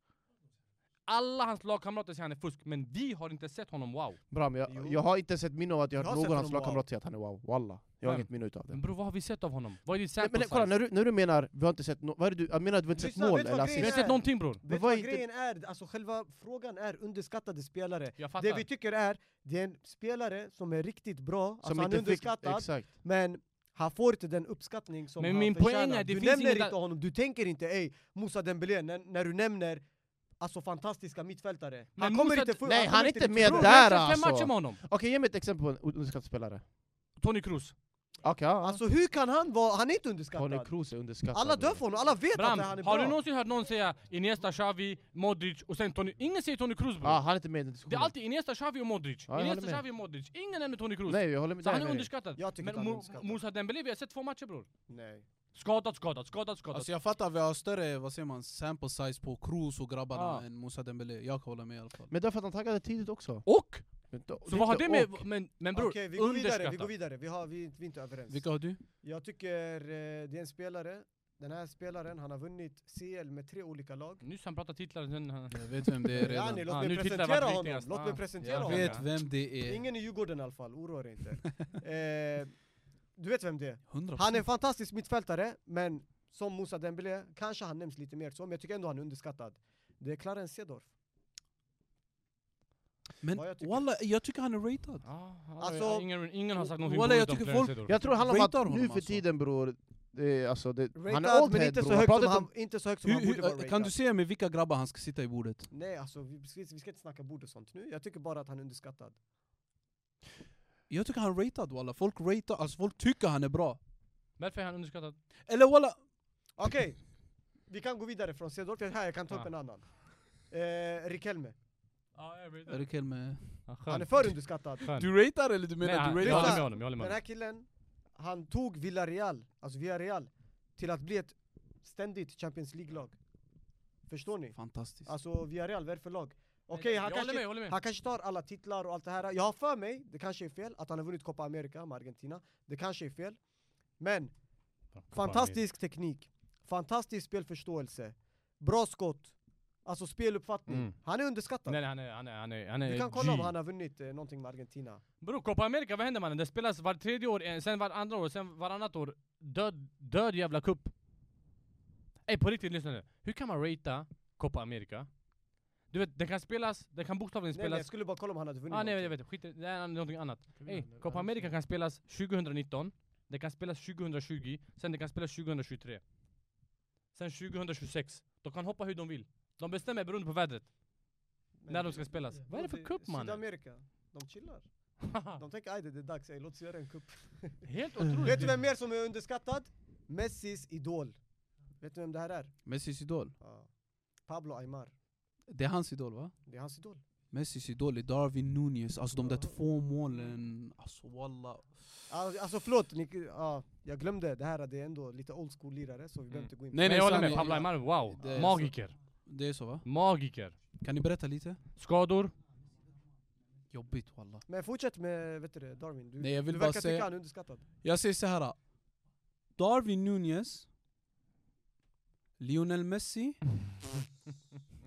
B: Alla hans lagkamrater säger han är fusk, men vi har inte sett honom wow.
D: Bram,
E: Jo.
D: jag, jag har inte sett minne av att jag
E: Jag
D: hört
E: har sett
D: någon av hans
E: honom, wow.
D: lagkamrater säga att han är wow, walla. Jag har
B: Vem?
D: inget minne utav
E: Mm.
D: det.
B: Men bror vad har vi sett av honom? Vad är ditt
D: Nej,
B: sample
D: men
B: size?
D: kolla, när du, när du menar vi har inte sett no- vad är det du, jag menar att vi har inte sett
E: Lyssna,
D: mål
E: vet du
D: eller
E: vad
B: Vi har
D: assist?
B: inte sett någonting bror.
E: Vet du
D: vad
E: vad
D: är inte-
E: grejen är? Alltså själva frågan är underskattade spelare.
B: Jag fattar.
E: Det vi tycker är, det är en spelare som är riktigt bra, alltså
D: Som
E: han är
D: inte fick,
E: underskattad,
D: exakt.
E: men han får inte den uppskattning som
B: Men
E: han
B: min
E: förtjänar.
B: poäng är, det
E: du
B: finns ingen
E: nämner inte
B: där-
E: honom, du tänker inte ey, Moussa Dembélé när, när du nämner alltså fantastiska mittfältare. Han
B: Men
E: kommer
B: Moussa-
E: inte få...
D: Nej,
E: kommer
D: han är inte med
E: få-
B: Bror,
D: där.
B: jag har sett fem
D: alltså.
B: matcher med honom.
D: Okej, ge mig ett exempel på en o- underskattad spelare.
B: Tony Kroos.
D: Okej, ja.
E: Alltså hur kan han vara... Han är inte
D: Tony
E: underskattad.
D: Kroos är underskattad.
E: Alla dör för honom, alla vet
B: Bram,
E: att han är
B: har
E: bra.
B: du någonsin hört någon säga Iniesta, Xavi, Modric och sen Tony... Ingen säger Tony Kroos bror.
D: Ja, han är inte med i
B: Det
D: den
B: är
D: diskussionen.
B: alltid Iniesta, Xavi och Modric.
D: Ah. Ja, jag
B: Iniesta,
D: håller med.
B: Xavi och Modric. Ingen nämner Tony Kroos.
D: Nej, jag håller med
B: så
D: dig.
B: han är underskattad.
E: Jag tycker
B: Men
E: att han är
B: Mo-
E: underskattad.
B: Moussa Dembélé, vi har sett två matcher bror.
E: Nej.
B: Skadat, skadat, skadat, skadat.
A: Alltså jag fattar, vi har större, vad säger man, sample size på Kroos och grabbarna
B: Ja.
A: än Moussa Dembélé. Jag kan hålla med i alla fall.
D: Men därför att han taggade tidigt också.
B: och?
D: Men då-
B: Så vad har
D: inte
B: det med...
D: och.
B: Men, men bror,
E: Okej, vi går vidare, vi
B: underskattad.
E: går vidare. Vi, har, vi, vi är inte överens.
A: Vilka har du?
E: Jag tycker eh, det är en spelare, den här spelaren, han har vunnit CL med tre olika lag.
B: Nyss han pratade titlar, sen... han-
A: Jag vet vem Mm. det är
E: Yani,
A: redan.
E: låt
B: Ah,
E: mig
B: nu tittar jag
E: presentera
B: vart
E: honom.
B: viktigast.
E: Låt mig
B: Ah,
E: presentera
B: jag
A: Jag
E: honom.
A: vet vem det är.
E: Ingen i Djurgården i alla fall, oroa dig inte. eh, du vet vem det är?
A: 100%.
E: Han är en fantastisk mittfältare, men som Moussa Dembélé kanske han nämns lite mer så, men jag tycker ändå han är underskattad. Det är Clarence Seedorf.
A: Men
E: vad jag tycker.
A: walla, jag tycker han är rated.
B: Ah, alla-
E: Alltså-
B: ingen, ingen har sagt någonting
A: Walla, jag
B: dåligt om
A: tycker
B: Clarence
A: folk-
B: Seedorf.
D: Jag tror det handlar om
A: Ratar
D: att nu
A: honom
D: för
A: alltså.
D: tiden bror, det är, alltså, det,
E: Rated,
D: han är old
E: men
D: head,
E: inte
D: bror.
E: så,
D: Han
E: högt som
D: pratar
E: han,
D: om-
E: inte så högt som
A: Hur,
E: han borde vara
A: hur,
E: rated.
A: kan du säga med vilka grabbar han ska sitta i bordet?
E: Nej, alltså vi, vi vi ska inte snacka bord och sånt nu. Jag tycker bara att han är underskattad.
A: Jag tycker han är rated walla. Folk ratar, alltså folk tycker han är bra.
B: Varför är han underskattad?
A: Eller walla,
E: Okej, vi kan gå vidare från Seedorf. Jag- Här, jag kan ta upp
B: Ja.
E: en annan. Eh, Rikelme.
B: Ah, jag vet
A: är det kul med...
E: Han är för underskattad.
A: Du ratar eller du
B: Nej,
A: menar
B: han-
A: du
B: jag
E: ratar?
B: håller
A: ratar?
B: med honom, jag håller med
E: Den
B: honom.
E: här killen, han tog Villarreal, alltså Villarreal, till att bli ett ständigt Champions League-lag. Förstår ni?
A: Fantastiskt.
E: Alltså Villarreal, vad är det för lag? Okej,
B: jag håller
E: han,
B: med,
E: kanske,
B: jag håller med.
E: han kanske tar alla titlar och allt det här. Jag har för mig, det kanske är fel, att han har vunnit Copa America med Argentina. Det kanske är fel. Men Fantastisk teknik, fantastisk spelförståelse, bra skott, alltså speluppfattning.
B: Mm.
E: Han är underskattad.
B: Nej, nej, han är, han är, han är, han är
E: du kan kolla om
B: G.
E: han har vunnit eh, någonting med Argentina.
B: Bro, Copa America, vad händer mannen? Det spelas var tredje år, eh, sen var andra år, sen varannat år. Död, död jävla kupp. Ey på riktigt, lyssna nu. Hur kan man ratea Copa America? Du vet, den kan spelas, den kan bokstavligen
E: Nej, nej, jag
B: spelas...
E: skulle bara kolla om han hade vunnit
B: ah, nej, jag
E: någonting.
B: vet, skit i- det är någonting annat. Ey,
D: vi-
B: Copa America kan spelas 2019, den kan spelas 2020, sen den kan spelas 2023. Sen 2026. De kan hoppa hur de vill. De bestämmer beroende på vädret.
E: Men-
B: när de ska spelas. Vad är det för
E: Bro,
B: kupp, mannen?
E: eh,
B: Ah.
E: Sydamerika, de chillar. De tänker aj det det är dags, ey, låt oss göra en kupp.
B: Helt otroligt.
E: vet du vem mer som är underskattad? Messis idol. Vet du vem det här är?
A: Messis idol.
E: Ja. Pablo Aymar.
A: Det är hans idol va?
E: Det är hans idol.
A: Messis idol är Darwin Nunez. Alltså de där två målen. Alltså walla.
E: Alltså, alltså förlåt, ni, ja, jag glömde. Det här det är ändå lite old school-lirare så vi behöver inte gå in på
A: Nej,
B: Men jag håller
A: sanning.
B: med, Pablo Aymar, wow.
A: Det är
B: Magiker.
A: Det är så va?
B: Magiker.
A: Kan ni berätta lite?
B: Skador.
A: Jobbigt walla.
E: Men fortsätt med vet du det, Darwin, du,
A: Nej, jag vill
E: du
A: bara
E: verkar
A: säga-
E: tycka han är underskattad.
A: Jag säger så här. Darwin Nunez. Lionel Messi.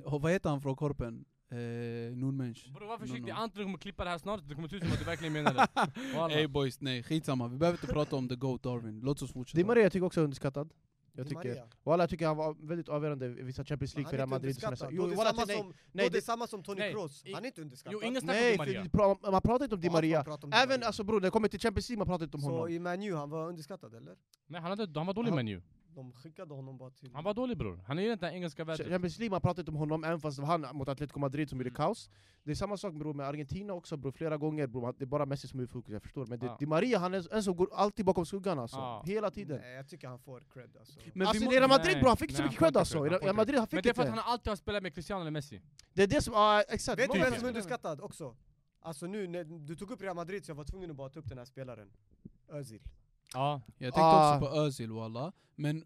A: Och vad heter han från Korpen? Eh, Nunmensch.
B: Bror var försiktig,
A: No, no.
B: Anton kommer klippa det här snart, det kommer se ut som att du verkligen menar det. Walla.
A: Ey boys, nej skitsamma. Vi behöver inte prata om the GOAT Darwin. Låt oss fortsätta.
D: Di Maria tycker jag också är underskattad. Jag
E: Di
D: tycker,
E: Maria.
D: walla, jag tycker han var väldigt avgörande i vissa Champions League
E: Han
D: för
E: är
D: Real
E: inte
D: Madrid. och sådana
E: underskattad.
D: saker.
E: Jo,
D: Jo,
E: det är
D: walla,
E: samma
D: nej,
E: som-
D: nej,
E: då det är
D: det,
E: samma som Tony
B: nej,
E: Kroos,
B: i-
E: han är inte underskattad.
B: Jo, ingen snack om
D: nej
B: Di
D: för,
B: Maria.
D: vi pra- man pratar inte om Di
E: Ja, man
D: Maria.
E: pratar om Di
D: Även
E: Maria.
D: alltså bror, när det kommer till Champions League man pratar inte om
E: Så
D: honom.
E: i Man U, han var underskattad eller?
B: Nej, han, hade, han var dålig i
D: Han-
B: Man U.
E: De skickade honom bara till...
B: Han var dålig bror. Han är ju inte den engelska världen.
D: Champions League, man pratar inte om honom, även fast det var han mot Atletico Madrid som gjorde
B: Mm.
D: kaos. Det är samma sak bror, med Argentina också bror, flera gånger bror, det är bara Messi som är i fokus, jag förstår. Men det,
B: Ja.
D: Di Maria, han är en som går alltid bakom skuggan alltså.
B: Ja.
D: Hela tiden.
E: Nej, jag tycker han får cred alltså.
A: Men
D: alltså
A: vi
D: i
A: må-
D: Real Madrid
B: Nej,
D: bror, han fick inte så
B: nej,
D: mycket
B: han
D: cred
B: får inte
D: alltså.
B: cred,
D: I
B: han får
D: Real
B: inte
D: Madrid, han
B: Men
D: fick
B: det är för att
D: inte.
B: han alltid har spelat med Cristiano eller Messi.
D: Det är det som, ja exakt. Typ.
E: Vet du
D: Många
E: vem
D: som-
E: som är underskattad också? Alltså nu när du tog upp Real Madrid så jag var tvungen att bara ta upp den här spelaren. Özil.
B: Ja.
A: Jag tänkte
D: Ah.
A: också på Özil walla. Men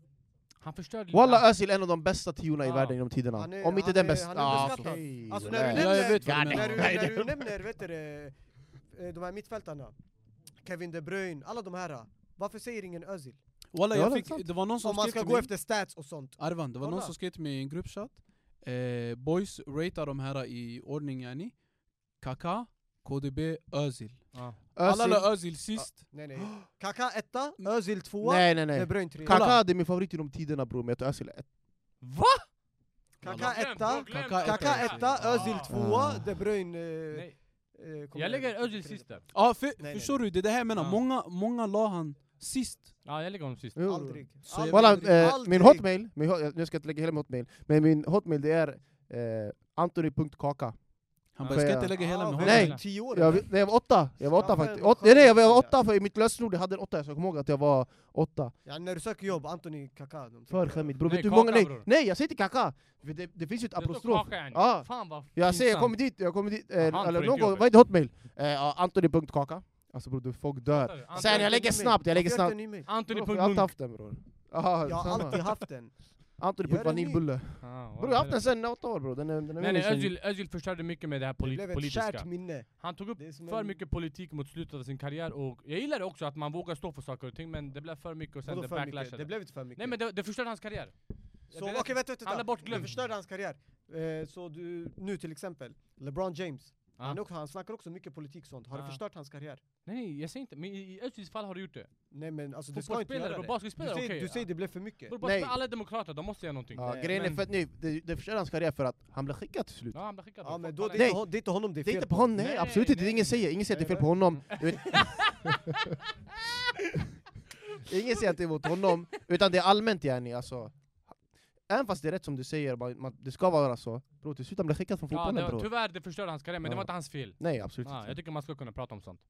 B: Han förstörde
D: Walla Özil är en av de bästa tiorna i
B: Ja.
D: världen genom tiderna.
E: Han är-
D: Om inte
E: han
D: den
E: är-
D: bästa.
E: han är
D: Ah,
E: underskattad.
D: okej.
E: Alltså
D: Nej.
E: när du
A: Ja, jag
E: nämner,
A: vet vad du
E: när,
A: menar.
E: du,
A: Nej,
E: när du nämner vet du, det, eh, de här mittfältarna, Kevin De Bruyne, alla de här. Varför säger ingen Özil?
A: walla
D: Ja,
A: jag
D: det är
A: fick,
D: sant.
A: det var någon som
E: Om man
A: skrev
E: ska
A: till
E: gå
A: mig.
E: efter stats och sånt.
A: Arvan, det var någon
E: Kolla.
A: som skrev till mig i en gruppchatt. Eh, boys, ratea de här i ordning yani. Kaka, KDB, Özil.
B: Ja.
A: Alla
D: Özil-
A: la Özil sist.
E: Nej nej. Kaka etta, Özil tvåa,
D: Mm. Nej nej
E: De
D: nej.
E: Bruyne trea.
A: Kolla.
D: Kaka det är min favorit genom tiderna bror, men jag tror Özil är ett.
B: Va?
E: Kaka
B: Glöm,
E: etta,
B: glöm
A: Kaka
B: Özil.
E: Kaka etta,
B: Ja.
D: Ah.
E: Özil tvåa, De Bruyne... eh,
B: Nej,
E: eh, kommer-
B: Jag lägger Özil sist där.
A: Ja, för,
E: nej,
A: förstår du? Det är det här jag menar.
B: Ja.
A: Många, många la han sist.
B: Ja, jag lägger honom sist.
D: Jo.
E: Aldrig.
A: Så jag-
D: Walla,
E: Aldrig,
D: eh,
E: aldrig.
D: min hotmail, min, ho- jag ska inte lägga hela min hotmail, men min hotmail det är eh, antoni.kaka.
A: Han
B: Ja.
A: bara, jag ska inte
D: Ja.
A: lägga hela
E: Ah,
A: min hand.
E: vad
D: Nej.
E: är det, Tio år?
D: Jag,
E: eller?
D: nej, jag var åtta, jag var åtta
E: Skaffa
D: faktiskt.
E: en
D: Åt, nej, nej, jag
E: skön
D: var
E: sida.
D: åtta, för i mitt lösenord jag hade en åtta, så jag kommer ihåg att jag var åtta.
E: Ja, när du söker jobb, Anthony Kaka. de
D: För
E: tycker-
D: skämmigt bror,
B: Nej,
D: vet du hur många...
B: kaka,
D: Nej,
B: bror.
D: nej jag säger inte kaka! För Det, det finns ju ett
B: Det står
D: apostrof.
B: Kaka här nu.
D: Ja.
B: Fan vad
D: Jag säger, jag
B: pinsamt.
D: kommer dit, jag kommer dit. Eh,
B: Ja, han får
D: eller
B: inte
D: någon gång,
B: jobbet.
D: vad heter hotmail? Eh, ja, antoni.kaka. Alltså bror, du- folk dör.
B: Anthony-
D: Sen jag lägger
E: Anthony-
D: snabbt, jag lägger
E: Varför har
D: snabbt.
E: inte en ny mail?
B: Anthony
D: Bror,
B: punkt
D: Jag har alltid
B: Munk.
D: haft den bror. Aha,
E: Jag har
D: samma.
E: alltid haft den.
D: Antoni
E: Gör
D: punkt
E: en ny.
D: Vaniljbulle.
B: Ja,
D: Bror jag har haft den sen åtta år bror. Den är, den är
B: Nej, nej,
D: min tjej.
B: Özil, Özil förstörde mycket med det här
E: Det
B: poli-
E: blev ett
B: politiska.
E: kärt minne.
B: Han tog upp
E: Det är som
B: för
E: en-
B: mycket politik mot slutet av sin karriär och jag gillar också att man vågar stå för saker och ting men det blev för mycket och sen
E: Vadå
B: det
E: för mycket?
B: backlashade.
E: Det blev inte för mycket.
B: Nej men det, det förstörde hans karriär.
E: så,
B: det-
E: okej, vänta, vänta. Mm.
B: alla
E: vänta.
B: bortglömd.
E: Det förstörde hans karriär. Eh, så du, nu till exempel, LeBron James.
B: Ja.
E: Han, också, han snackar också mycket politik sånt. Har
B: Ah.
E: det förstört hans karriär?
B: Nej, nej jag säger inte, men i, i Özils fall har du gjort det.
E: Nej men alltså du ska inte
B: Fotbollsspelare,
E: göra
B: bror,
E: det. Du
B: basketspelare,
E: säger,
B: okej.
E: du säger det blev för mycket.
B: Bror, bara
D: Nej.
B: spela- alla är demokrater, de måste göra någonting.
D: Ja,
E: Nej,
D: grejen är
B: eh, men-
D: för att nu, det, det förstör hans karriär för att han blev skickad till slut.
B: Ja, han blir skickad.
E: Ja
B: Fuck,
E: men då,
B: han
E: det
B: är-
E: är
D: Nej.
E: inte, hon- det är inte honom det är
D: Det är
E: fel
D: inte på honom, nej,
B: Nej,
D: absolut inte,
B: nej.
D: ingen säger, ingen säger att det är fel på honom. Du vet- ingen säger att det är mot honom, utan det är allmänt yani alltså. Även fast det är rätt som du säger, man, man, det ska vara så. Bror till slut han blev skickad från
B: ja,
D: fotbollen
B: det var,
D: bror.
B: Tyvärr det förstörde hans karriär men det
D: Ja.
B: var inte hans fel.
D: Nej absolut
B: Ja, jag
D: inte.
B: tycker man ska kunna prata om sånt.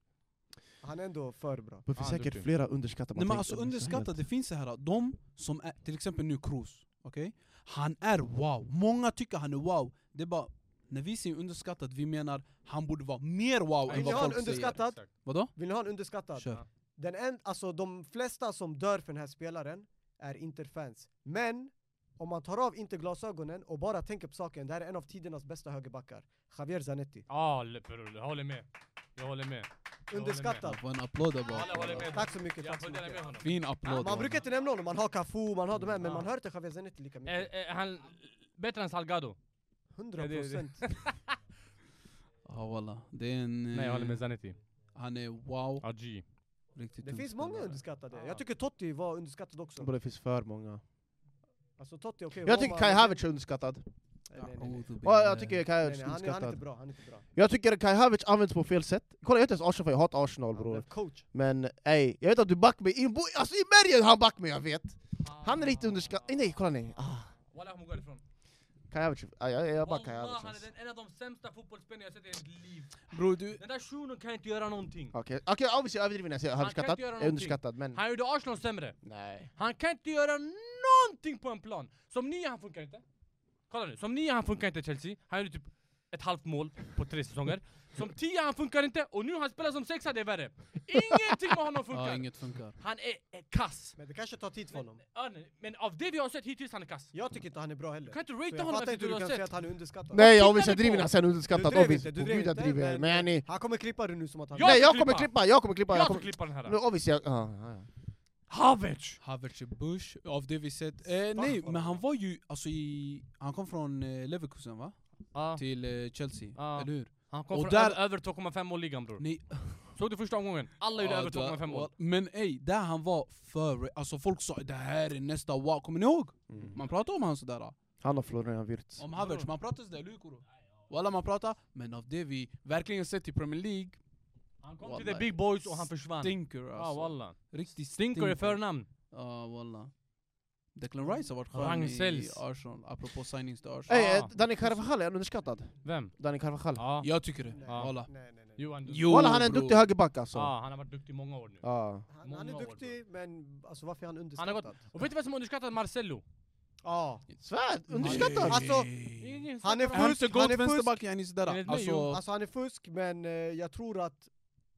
E: Han är ändå för bra.
D: Det finns
B: Ja,
D: säkert
B: duktig.
D: flera underskattade
A: Nej men
D: tänker
A: alltså
D: på, så här
A: underskattat,
D: helt.
A: det finns så här de som är, till exempel nu Kroos, okej? Han är wow, många tycker han är wow. Det är bara, när vi säger underskattat, vi menar han borde vara mer wow än
E: ni har
A: vad
E: en
A: folk säger.
E: underskattad?
B: Exakt.
A: Vadå?
E: Vill ni ha en underskattad?
A: Kör.
E: Den en, alltså de flesta som dör för den här spelaren är Inter-fans. Men om man tar av inte glasögonen och bara tänker på saken, det här är en av tidernas bästa högerbackar. Javier Zanetti.
B: Ja, le- bror, jag håller med. Jag håller med. Jag håller
E: Underskattad.
A: Få en applåd där
B: Alla håller
A: bara.
B: med.
E: Tack så
B: Jag
E: mycket, tack så
B: håller med
E: mycket.
B: honom.
A: Fin applåd.
E: Man brukar inte nämna honom, man har Cafu, man har de här, men
B: Ja.
E: man hör inte Javier Zanetti lika
B: Eh,
E: mycket.
B: eh, han, bättre än Salgado.
E: 100
B: Eh, det- det-
E: procent.
A: Ja walla, det är en...
B: Nej, jag håller
A: eh,
B: med Zanetti.
A: Han är wow,
B: Ja, G.
A: riktigt
E: Det
A: duktig
E: finns många
A: spelare.
E: underskattade.
B: Ja.
E: Jag tycker Totti var underskattad också.
D: Bror det finns för många.
E: Alltså Totti, okej.
D: Jag tycker
E: Roma-
D: Kai Havertz är underskattad.
E: Nej, nej, nej, nej.
A: A'udhu
D: Ja, jag
A: billah.
D: tycker Kai
E: Nej,
D: Havertz
E: nej,
D: är
E: han, är- han är inte
D: underskattad.
E: bra, han är inte bra.
D: Jag tycker Kai Havertz används på fel sätt. Kolla jag är inte ens Arsenal för jag hatar Arsenal
E: Han
D: bror.
E: blev coach.
D: Men ey, jag vet att du back mig, in, bo- alltså i bergen han back mig jag vet! Han är lite underskattad, nej kolla nej! Ah,
B: Walla, hon går ifrån.
D: Kai Havertz, ah, jag, jag backar Kai
B: Wallah,
D: Havertz
B: han är
D: alltså.
B: den, en av de sämsta fotbollsspelarna jag sett i mitt liv.
A: Bror du,
B: Den där shunon kan inte göra någonting.
D: Okej, okay. okay, obviously jag överdriver när jag säger
B: Han kan inte
D: överskattat,
B: göra
D: jag är
B: någonting.
D: underskattad men...
B: Han gjorde Arsenal sämre.
D: Mm. Nej.
B: Han kan inte göra någonting på en plan. Som nia han funkar inte. Kolla nu, som nia han funkar inte i Chelsea. Han gjorde typ ett halvt mål på tre säsonger. Som tia han funkar inte och nu han spelar som sexa, det är värre. Ingenting med honom
A: ja,
B: funkar.
A: inget funkar.
B: Han är, är kass.
E: Men det kanske tar tid för honom.
B: Ja, nej, Men av det vi har sett hittills, han är kass.
E: Jag tycker inte han är bra heller.
B: Du kan inte
E: Så
B: ratea
E: jag
B: honom efter
E: fattar inte
B: du
E: hur du
B: har
E: kan säga att
B: sett.
E: han är underskattad.
D: Nej
B: Tittar
D: jag
B: ni
D: obviously jag driver
B: på?
D: när jag säger underskattat,
E: Du drev
D: obviously.
E: inte, du
D: På
E: drev
D: gud jag
E: inte,
D: driver,
E: men-
D: men yani...
E: Han kommer klippa det nu som att han...
B: Jag
D: Nej
B: ska
D: jag kommer
B: klippa.
D: klippa, jag kommer klippa!
B: Jag
D: Jag
B: ska
D: kommer...
B: klippa den
D: Nu
B: här.
D: obviously jag... Ah, ah, ja.
B: Havertz!
A: Havertz Bush, av det vi sett. Eh, nej, men han var ju, alltså i, han kom från eh, Leverkusen va?
B: Ja,
A: Till eh, Chelsea,
B: Ja.
A: eller hur?
B: han kom
A: Och
B: från
A: där-
B: över- över 2,5 mål ligan bror.
A: Nej,
B: Såg du första omgången? Alla gjorde
A: Ja,
B: över
A: det var-
B: 2,5 mål.
A: Men ey, där han var före, alltså folk sa det här är nästa wow, kommer ni ihåg? Man pratar om han sådär.
D: Han och Florian Wirtz.
A: Mm. Om Havertz, man pratar sådär, Lukoro. Walla man pratar, men av det vi verkligen sett i Premier League,
B: Han kom till
A: Wallahi.
B: the big boys och han försvann.
A: stinker
B: Ja
A: alltså.
B: walla.
A: Riktigt
B: Stinker
A: stinker.
B: i förnamn.
A: Ja walla. Declan Rice har varit skön i
B: Rangsäljs.
A: Arsenal, apropå signings till Arsenal.
D: Ey,
B: Ah.
D: eh, Dani Carvajal, är han underskattad?
B: Vem?
D: Dani Carvajal.
B: Ja.
A: Jag tycker det,
B: Ja.
A: walla.
E: Nej, nej, nej.
B: Johan Dustin.
A: Jo,
D: Walla, han är en
A: bror.
D: duktig högerback alltså.
B: Ja, han har varit duktig i många år nu.
D: Ja.
E: Han, han är
B: Många år,
E: duktig, men alltså, varför är han
B: Han har
E: underskattad?
B: gått- Och vet du vem som underskattat Marcello?
E: Ja.
D: Svärd,
A: Nej.
D: underskattad!
E: Alltså,
B: Ingen
E: Han är
B: snackar
A: Är han inte
B: om-
E: Fusk, han
A: god
E: är fusk.
A: vänsterback yani sådär?
B: Enligt mig, jo.
A: Alltså,
E: Alltså han är fusk, men eh, jag tror att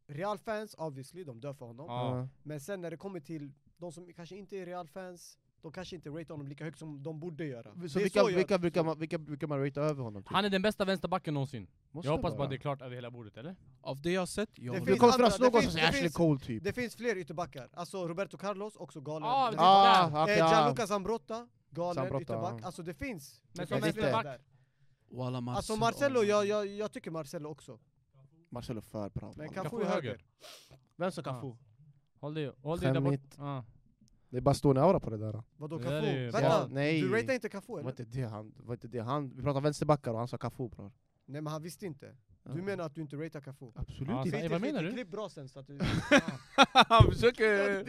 E: Real-fans, obviously, de dör för honom.
B: Ja.
E: Men sen när det kommer till de som kanske inte är Real-fans, de kanske inte ratear honom lika högt som de borde göra. Det
D: Så
E: är
D: vilka,
E: jag-
D: vilka, brukar man, vilka brukar man ratea över honom? Typ?
B: Han är den bästa vänsterbacken någonsin.
D: Måste
B: Jag hoppas
D: vara.
B: bara det är klart över hela bordet, eller?
A: av det jag har sett, jag
E: Det
D: Det
A: håller
E: finns
A: med.
D: kommer finnas
E: andra- det
D: någon som
E: finns-
D: säger
E: det
D: Ashley
E: finns-
D: Cole typ.
E: Det finns fler ytterbackar. Alltså Roberto Carlos, också galen.
B: Ah,
E: Eh,
B: det-
D: Ah, okej, ja.
E: Gianluca Zambrotta, galen
D: Zambrotta,
E: ytterback.
D: ja.
E: Alltså det finns.
B: Men
D: som
E: finns
D: vänsterback.
E: där.
A: Walla Marcelo.
E: Alltså Marcelo, jag, jag, jag tycker Marcelo också.
D: Marcelo är för bra.
E: Men
D: man.
E: Cafu
B: Cafu
E: är höger.
B: höger.
D: Vem som
B: Cafu? Håll dig, håll dig där
D: Skämmigt.
B: bort. Ja.
D: Det är bara stående aura på det där.
E: Vadå
B: Det där är
E: Cafu?
B: ju-
E: Vänta,
D: Ja, nej.
E: du ratear inte Cafu
D: Det var
E: eller?
D: inte det han, det var inte det han, vi pratar vänsterbackar och han sa Cafu bror.
E: Nej men han visste inte.
D: Ja.
E: Du menar att du inte ratear Cafu?
D: Absolut
B: Ja,
D: inte.
B: så- vad menar du?
E: Klipp bra sen så att du...
A: Han försöker...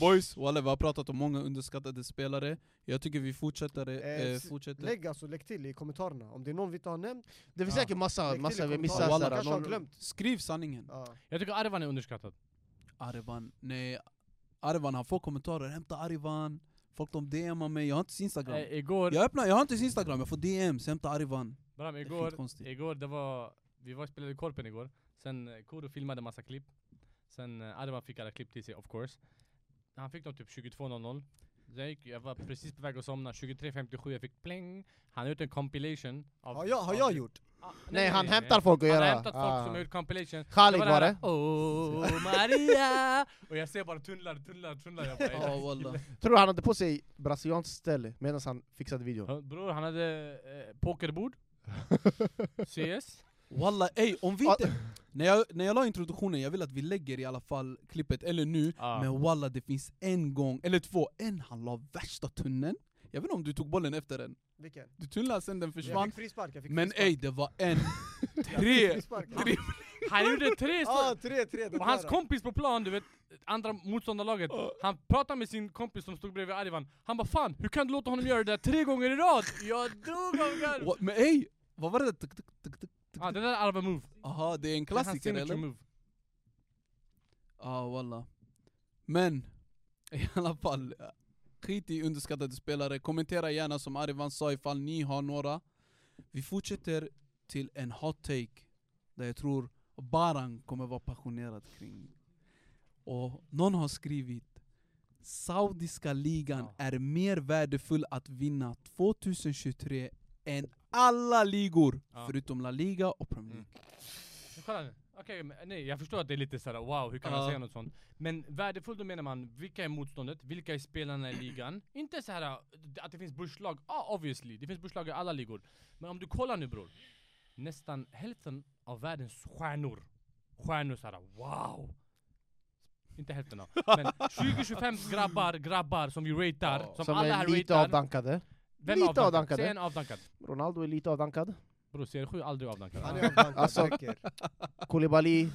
A: Boys, walla vi har pratat om många underskattade spelare. Jag tycker vi fortsätter.
E: Eh,
A: Eh,
E: s-
A: fortsätter.
E: Lägg alltså, lägg till i kommentarerna om det är någon vi inte har nämnt.
D: Det finns
B: Ja.
D: säkert massa,
E: Lägg
D: massa
E: till i
D: vi missar.
E: kommentarerna.
A: sådär,
E: kanske har
D: såhär, någon-
E: glömt.
A: Skriv sanningen.
E: Ja.
B: Jag tycker Arvan är underskattad.
A: Arvan, nej. Arvan, han får kommentarer. Hämta Arvan. Folk de DMar mig. Jag har inte ens Instagram.
B: Eh, igår,
A: Jag öppnar, jag har inte ens Instagram. Jag får DMs. Hämta Arvan.
B: Bram,
A: Det är
B: igår,
A: fint konstigt.
B: Igår, det var, vi var spelade i Korpen igår, sen eh, Koro filmade massa klipp, sen eh, Arman fick alla klipp till sig of course. Han fick dem typ 22.00, Så jag, gick, jag var precis på väg att somna, 23.57 jag fick pling, han har gjort en compilation av...
E: Har jag, har jag gjort?
B: Ah,
D: Nej han hämtar folk att
B: Han
D: göra.
B: har hämtat folk
D: Ah.
B: som har gjort compilation.
D: Khalid var
B: det
D: det.
B: här, Åh Maria! Och jag ser bara tunnlar, tunnlar, tunnlar. Jag bara,
A: Ja,
B: "Ey,
A: walla.
D: Tror du han hade på sig brasilianskt ställe medan han fixade videon?
B: han- Bror han hade eh, pokerbord, CS,
A: Walla, ey, om vi inte...
E: Ah.
A: När jag, när jag la introduktionen, jag vill att vi lägger i alla fall klippet, eller nu.
B: ah,
A: Men walla, det finns en gång, eller två. En, han la värsta tunneln. Jag vet inte om du tog bollen efter den.
E: Vilken?
A: Du tunnlade sen den
E: Jag
A: försvann.
E: fick frispark, jag fick
A: Men
E: frispark.
A: ey, det var en,
E: Jag fick
A: tre,
E: frispark.
A: tre.
B: han gjorde tre stycken!
E: Ja, tre, tre. det
B: Ah, Och hans
E: där.
B: kompis på plan, du vet, andra motståndarlaget, han pratade med sin kompis som stod bredvid Arvan. Han bara 'Fan, hur kan du låta honom göra det där tre gånger i rad?' Jag dog av garv!
A: Wa- Men ey, vad var det? Tuk, tuk, tuk, tuk.
B: Ah, det där är Arvan move.
A: Aha, det är en
B: Det är hans
A: klassiker
B: signature
A: eller?
B: move.
A: Ja, ah, walla. Men, i alla fall. eh, Skit i underskattade spelare. Kommentera gärna som Arivan sa ifall ni har några. Vi fortsätter till en hot take. Där jag tror Baran kommer vara passionerad kring. Och någon har skrivit Saudiska ligan
B: Ja.
A: är mer värdefull att vinna 2023 än alla ligor
B: Ja. Mm.
A: förutom La Liga och Premier League.
B: Men Kolla nu. Okej, men nej, jag förstår att det är lite såhär 'Wow, hur kan
A: Ja.
B: han säga något sånt?' Men värdefull då menar man, vilka är motståndet? Vilka är spelarna i ligan? Inte så här att det finns börslag, ja ah, obviously, det finns börslag i alla ligor. Men om du kollar nu bror, nästan hälften av världens stjärnor, stjärnor såhär 'Wow' Inte hälften av, men 20-25 grabbar, grabbar som vi ratear, som,
D: Som
B: alla
D: är
B: här
D: lite
B: ratear.
D: avdankade.
B: Vem
D: lite
B: är avdankad?
D: avdankade.
B: Säg en avdankad.
D: Ronaldo är lite avdankad.
B: Bror, CR7 är aldrig avdankad.
E: Han är avdankad,
D: Alltså,
E: säker.
D: Koulibaly.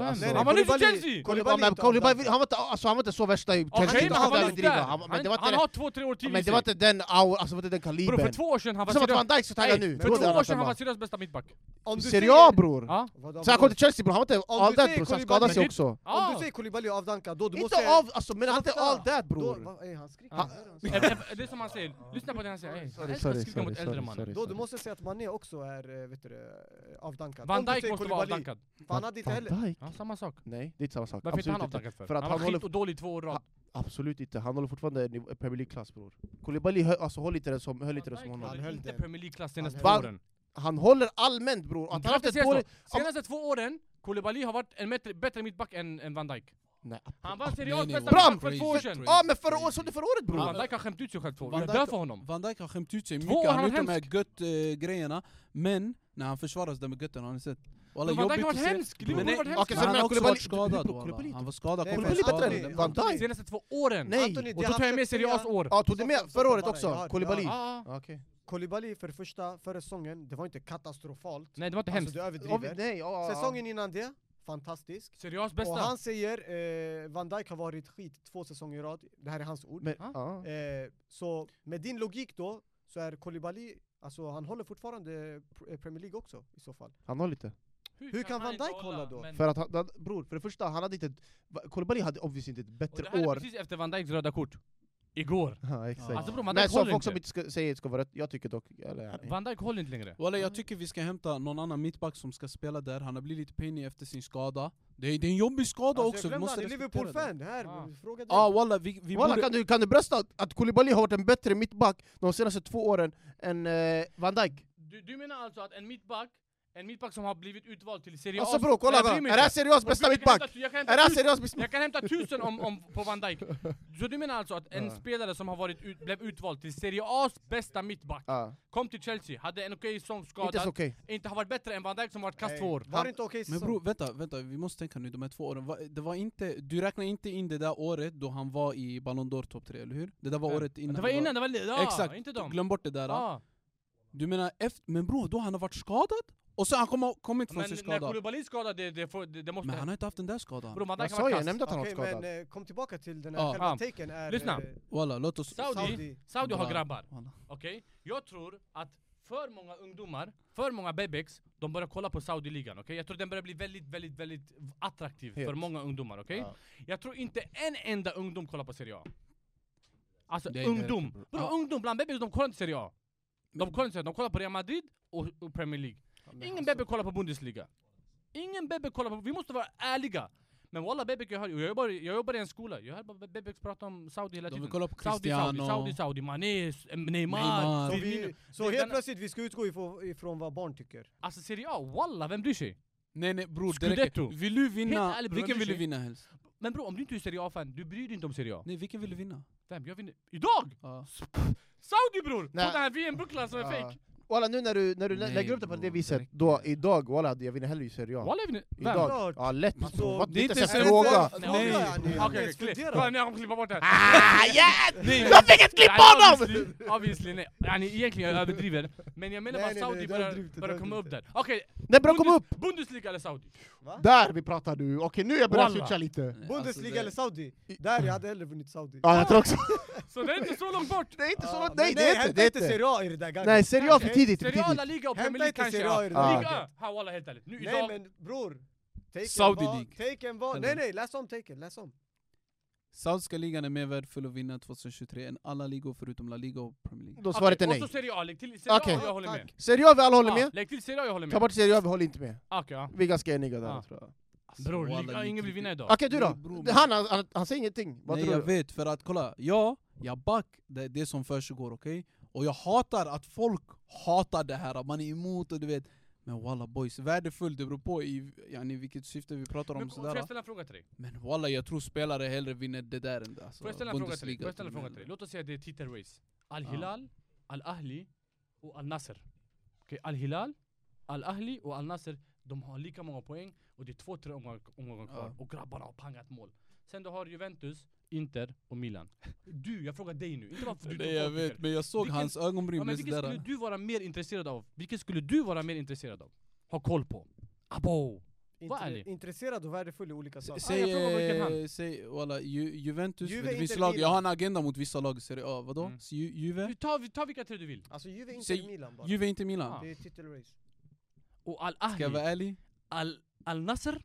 D: Alltså,
E: nej,
B: Han var ny för
E: Koulibaly-
B: Chelsea!
E: Koulibaly
D: men
E: är inte
D: Koulibaly,
E: avdankad.
D: han var inte, alltså, han var inte så värsta i
B: Okej,
D: Chelsea,
B: men
D: man
B: han
D: ska
B: var
D: inte
B: inte där!
D: överdriva. Han-
B: Han,
D: Men det var
B: han
D: inte
B: har två, tre år till i
D: men det
B: sig.
D: var inte den aura, alltså det var inte den
B: Bror för
D: kalibern.
B: två år sedan han var
D: Som att
B: seriös,
D: van Dijk så
B: Ey,
D: taggar nu.
B: för
D: Trodde
B: två
D: han
B: år
D: att
B: sedan han
D: han
B: var
D: var-
B: seriös bästa mittback.
E: Om du
D: Serie
E: säger-
D: A bror!
B: Ja.
E: Vadå,
D: Så han kom till Chelsea bror, han var inte
E: Om
D: all
E: du
D: that
E: säger
D: bror, så han
E: Koulibaly-
D: skadade sig
B: Men det-
D: också.
E: Om
B: Ah.
E: du säger Koulibaly är avdankad, då du
D: Inte
E: måste säga...
D: av, alltså men han var inte all that
E: Då,
D: bror.
E: va, ey, han skriker.
B: Ah.
E: Vad är det han
B: Eh,
E: säger?
B: eh, Det är som han säger, lyssna på det han säger. Ey, han
D: Sorry,
B: älskar att
D: sorry,
B: skrika
D: sorry,
B: mot äldre
D: sorry,
B: mannen.
D: sorry,
E: Då du
D: sorry.
E: måste säga att Mané också är eh, vet du, det, eh, avdankad.
B: Van
E: Om du
B: Dijk
E: säger
B: måste vara
E: Koulibaly,
B: avdankad.
E: för Han hade inte heller...
D: Van Dijk?
B: Ja, samma sak.
D: Nej, det är inte samma sak.
B: Varför är inte han
D: Absolut inte.
B: avdankad för?
D: För att
B: Han var
D: han håller-
B: skit och dålig i två år i rad.
D: Absolut inte, han håller fortfarande niv- Premier League-klass bror. Koulibaly hö- alltså, höll inte det som, höll inte det som honom.
E: Han
B: Han
E: höll
B: höll inte
E: den.
B: Premier League-klass senaste två
D: höll
B: åren.
D: Han håller allmänt bror. Att
B: Inte
D: han haft
B: haft
D: ett dåligt...
B: Senaste två åren, Koulibaly har varit en metre- bättre mittback än än van Dijk.
D: Nej.
B: Han vann Serie
A: Nej,
B: A's
A: nej,
B: bästa
A: Bram!
B: mittback för två år sedan.
A: Crazy.
D: Ja men förra året, såg du förra året bror?
B: Van Dijk har skämt ut sig själv två år.
A: Van
B: Jag
A: Dijk-
B: dör för honom.
A: Van Dijk har skämt ut sig
B: Två
A: mycket,
B: år,
A: han har
B: han
A: gjort de
B: är
A: här gött-grejerna. men när han försvaras där med götten, har ni sett? Walla
B: Men Van Dijk
A: jobbigt
B: har
A: att
B: varit
A: se.
B: hemsk!
A: Men
B: Liverpool har varit
A: nej,
B: hemsk!
D: Okej,
A: Men
D: sen
A: han
D: har
A: har också varit
D: Koulibaly-
A: skadad.
D: Koulibaly-
A: walla.
D: Koulibaly-
A: Han var skadad.
E: Nej,
A: kom
E: men
A: från
D: Koulibaly bättre
A: skada.
E: Anthony-
D: än Van Dijk!
B: Senaste två åren!
D: Nej.
E: Anthony,
B: Och
E: det
B: då tar
E: han
B: jag med
E: sett
B: Serie A's
E: säga-
B: år!
D: Ja, tog du med
E: Stopp,
D: förra
E: stopp
D: året
E: bara, jag
D: också?
E: hör-
D: Kolibali?
E: jag
B: Ah, ah.
D: Ja, okej.
E: Kolibali för det första, förra säsongen, det var inte katastrofalt.
B: Nej det var inte
E: Alltså
B: hemskt.
E: du
D: Om vi-
E: överdriver.
D: Nej, ja, ja, ja.
E: Säsongen innan det, fantastisk.
B: Serie A's
E: Och
B: bästa!
E: han säger, eh, Van Dijk har varit skit två säsonger i rad, det här är hans ord.
D: Men,
B: Ah.
D: ja.
E: Eh, så med din logik då, så är Kolibali, alltså han håller fortfarande pr- eh, Premier League också i så fall.
D: Han har lite.
E: hur kan Van
B: inte
E: Dijk hålla då?
B: Men-
D: För att han, han- bror, för det första, han hade inte... Va- Kolibali hade obviously inte ett
B: Och det
D: bättre
B: här är
D: år.
B: precis efter Van Dijks röda kort. Igår.
D: Ja, exakt.
A: Ja.
B: Alltså bror, Van
D: Nej,
B: Dijk
D: så
B: håller
D: folk som
B: inte.
D: inte ska, säger ska vara rätt, jag tycker dock... Eller, nej.
B: Van Dijk håller inte längre.
A: Walla jag tycker vi ska hämta någon annan mittback som ska spela där, han har blivit lite pinig efter sin skada. Det är, det är en jobbig skada
E: Alltså,
A: också,
E: jag
A: vi
E: glömde,
A: måste
E: han är
A: respektera det.
E: Liverpool-fan, det här,
B: Ah.
E: fråga dig.
A: Ja ah, walla, vi, vi
D: Walla,
A: borde...
D: kan, du, kan du brösta att- att Kolibali har varit en bättre mittback de senaste två åren än eh, Van Dijk?
B: Du, du menar alltså att en mittback, en mittback som har blivit utvald till Serie A...
D: Alltså bror, kolla!
B: Jag
D: kolla.
B: bryr mig
D: Är det här
B: inte.
D: seriöst bästa
B: Jag kan
D: mittback?
B: hämta- jag kan hämta
D: Är det här
B: tus-
D: seriöst bästa
B: Jag kan hämta tusen om, om, på Van Dijk. Så du menar alltså att en spelare som har varit ut, blev utvald till Serie A's bästa mittback,
D: Ja,
B: kom till Chelsea, hade en okej säsong,
D: Inte ens
B: skadad,
D: okej.
B: inte har varit bättre än Van Dijk som varit kast två år.
E: Var det inte okej
A: Men
E: säsong?
A: bro, vänta, vänta, vi måste tänka nu, de här två åren, va, det var inte, du räknar inte in det där året då han var i Ballon d'Or topp 3, eller hur? Det där var
B: Ja.
A: året innan
B: Det var
A: han
B: innan, det var... Ja,
A: Exakt,
B: inte dem.
A: glöm bort det där.
B: Ja.
A: Du menar efter, men bro, då han har varit skadad? Och sen han kommer kommit från
B: Men
A: sin
B: när
A: skada.
B: Koulibaly skadade, det, det, får- det, det måste...
A: Men han har inte haft den där skadan.
B: Bror, Van
D: Jag
B: Dijk har
D: sa
B: varit
D: ju,
B: kass.
D: jag nämnde att han
E: Okej,
D: var skadad.
E: men eh, kom tillbaka till den
A: Ja.
E: här själva
B: Ja.
E: taken är...
B: Lyssna.
E: eh,
A: Walla, låt oss...
B: Saudi,
E: Saudi.
B: Saudi, har
A: Bra.
B: grabbar,
A: Walla.
B: okej? Jag tror att för många ungdomar, för många bebeks, de börjar kolla på Saudi-ligan, okej? Jag tror den börjar bli väldigt, väldigt, väldigt attraktiv
D: Helt.
B: för många ungdomar, okej?
D: Ja.
B: Jag tror inte en enda ungdom kollar på Serie A. Alltså
A: Det är
B: ungdom!
A: märkligt, bro.
B: Bro,
A: Ja.
B: ungdom bland bebis, de kollar inte Serie A. De
A: Men-
B: kollar inte Serie A, de kollar på Real Madrid och, och Premier League. Ingen bebbe kollar på Bundesliga. Ingen bebbe kollar på... Vi måste vara ärliga! Men walla bebek jag hör, jag jobbar, jag jobbar i en skola, jag hör bara bebek prata om Saudi hela
A: De
B: tiden.
A: vill kolla på
B: Saudi, Saudi,
A: Cristiano.
B: Saudi, Saudi, Mané, S- eh, Neymar,
A: Neymar.
E: Så,
B: Firmino.
E: vi, så
B: Det-
E: helt
B: den-
E: plötsligt, vi ska utgå ifrån, ifrån vad barn tycker.
B: Alltså Serie A, walla, vem bryr sig?
A: Nej nej bror, det
B: Scudetto.
A: räcker. Vill du vinna?
B: Helt ärligt, bror,
A: vilken
B: vem
A: vill du
B: bryr
A: vinna
B: sig?
A: helst?
B: Men bro, om du inte är Serie A-fan, du bryr dig inte om Serie A.
A: Nej, vilken vill du vinna?
B: Vem? Jag vinner. Idag!
A: Ja.
B: Saudi bror!
D: Nej.
B: På den här VM-bucklan som är
D: Ja.
B: fake!
D: Walla, nu när du, när du lä-
A: Nej,
D: lägger upp det på det
A: bror,
D: viset,
A: direkt.
D: då idag, walla, jag vinner hellre i Serie A.
B: Walla jag vinner. Vem?
D: Idag.
E: Klart.
D: Ja, lätt.
E: Alltså,
D: Alltså,
A: det är inte
D: ens
A: ens en
D: fråga.
A: fråga.
E: Nej. Fråga är ni,
B: Okej,
E: jag
B: okej,
E: ens
B: klipp.
E: funderar.
B: Kolla, ni kommer klippa bort det här.
D: Ah, yes!
B: Nej,
D: Jag fick ett klipp
B: Nej,
D: av honom!
B: obviously, Obviously, nej. Yani, egentligen jag överdriver, men jag menar
E: Nej,
B: bara
E: nej, nej,
B: Saudi
E: du
B: börjar,
E: överdriver inte,
B: börjar
E: du
B: komma upp
E: överdriver
B: där. Okej,
D: Nej bra, kom
B: Bundes-
D: upp!
B: Bundesliga eller Saudi?
D: Där vi pratar nu, okej nu jag börjar
B: Walla.
D: switcha lite.
E: Bundesliga
A: Eh, alltså, det-
E: eller Saudi? Där, jag hade hellre vunnit Saudi.
D: Ja, jag tror också...
B: Så det är inte så långt bort!
D: Det är inte så
E: Ja,
D: långt,
E: men
D: nej det är inte,
E: hämta
D: det är inte.
E: Serie A i det där ganget.
D: Nej, Serie A för
E: Okej.
D: tidigt, för
B: Serie A, La
D: tidigt.
B: Liga och
E: Hämta
B: Premier League
E: inte
B: kanske?
E: Serie A
B: ja.
E: i det
D: där
B: Liga
E: laget.
B: A! Ha, walla helt ärligt. Nu
E: Nej
B: idag,
E: men bror, taken
A: Saudi
E: var,
A: League.
E: taken var, nej
A: Eller?
E: nej läs om taken, läs om.
A: Saudiska ligan är mer värd för att vinna 2023 än alla ligor förutom La Liga och Premier League.
D: Då
B: Okej,
D: svaret är
B: och
D: nej.
B: så Serie A, lägg till Serie
D: Okej.
B: A, jag håller med.
D: Serie A vi alla håller
B: Ja,
D: med,
B: Lägg till Serie A, jag håller
D: ta
B: med.
D: bort Serie A vi håller inte med.
B: Okej, ja.
D: Vi är ganska eniga
B: Ja.
D: där tror jag.
B: Bror,
A: Walla,
B: Liga,
A: lite-
B: ingen vill vinna idag.
D: Okej du
A: Nej,
D: då?
A: bror,
D: Det-
A: men-
D: Han, han, han säger ingenting, vad
A: Nej
D: tror
A: jag
D: du?
A: vet, för att kolla, jag, jag back det, det som försiggår okej? Och jag hatar att folk hatar det här, att man är emot och du vet Men walla boys, värdefullt, det beror på i yani, vilket syfte vi pratar om
B: Men, får
A: sådär
B: jag ställa en fråga till dig?
A: Men walla jag tror spelare hellre vinner det där än det alltså,
B: Får jag ställa en fråga till dig?
A: Bundesliga
B: Får jag ställa en
A: till och
B: fråga
A: med.
B: till dig? Låt oss säga att det är titelrace. Al-Hilal, Al-Ahli och Al-Nasser. Okej, Al-Hilal, Al-Ahli och Al-Nasser, de har lika många poäng och det är två, tre omgångar, omgångar kvar
A: Ja.
B: och grabbarna har pangat mål. Sen du har Juventus, Inter och Milan. Du, jag frågar dig nu, inte varför du
A: Nej jag vet, men jag såg
B: Vilken-
A: hans ögonbryn
B: Ja, men
A: bli
B: vilken skulle
A: sådär
B: du vara mer intresserad av? Vilken skulle du vara mer intresserad av? Ha koll på? Abo! Vad är
E: Intre-
B: det?
E: Intresserad och värdefull i olika saker.
A: Säg,
B: jag frågar vilken
A: eh,
B: hand.
A: säg walla, Ju, Juventus,
E: Juve,
A: Juve, vissa
E: Inter,
A: lag, jag
E: Milan.
A: har en agenda mot vissa lag i Serie A, vadå?
B: Mm.
A: Så Ju, Juve?
B: Ta, ta vilka tre du vill.
E: Alltså Juve, Inter,
A: Säg-
E: Milan bara.
A: Juve, inte Milan?
B: Ja.
E: Det är titelrace.
B: Och
A: Ska jag vara
B: Al-Ahli,
A: ärlig?
B: Al- Al-Nasser,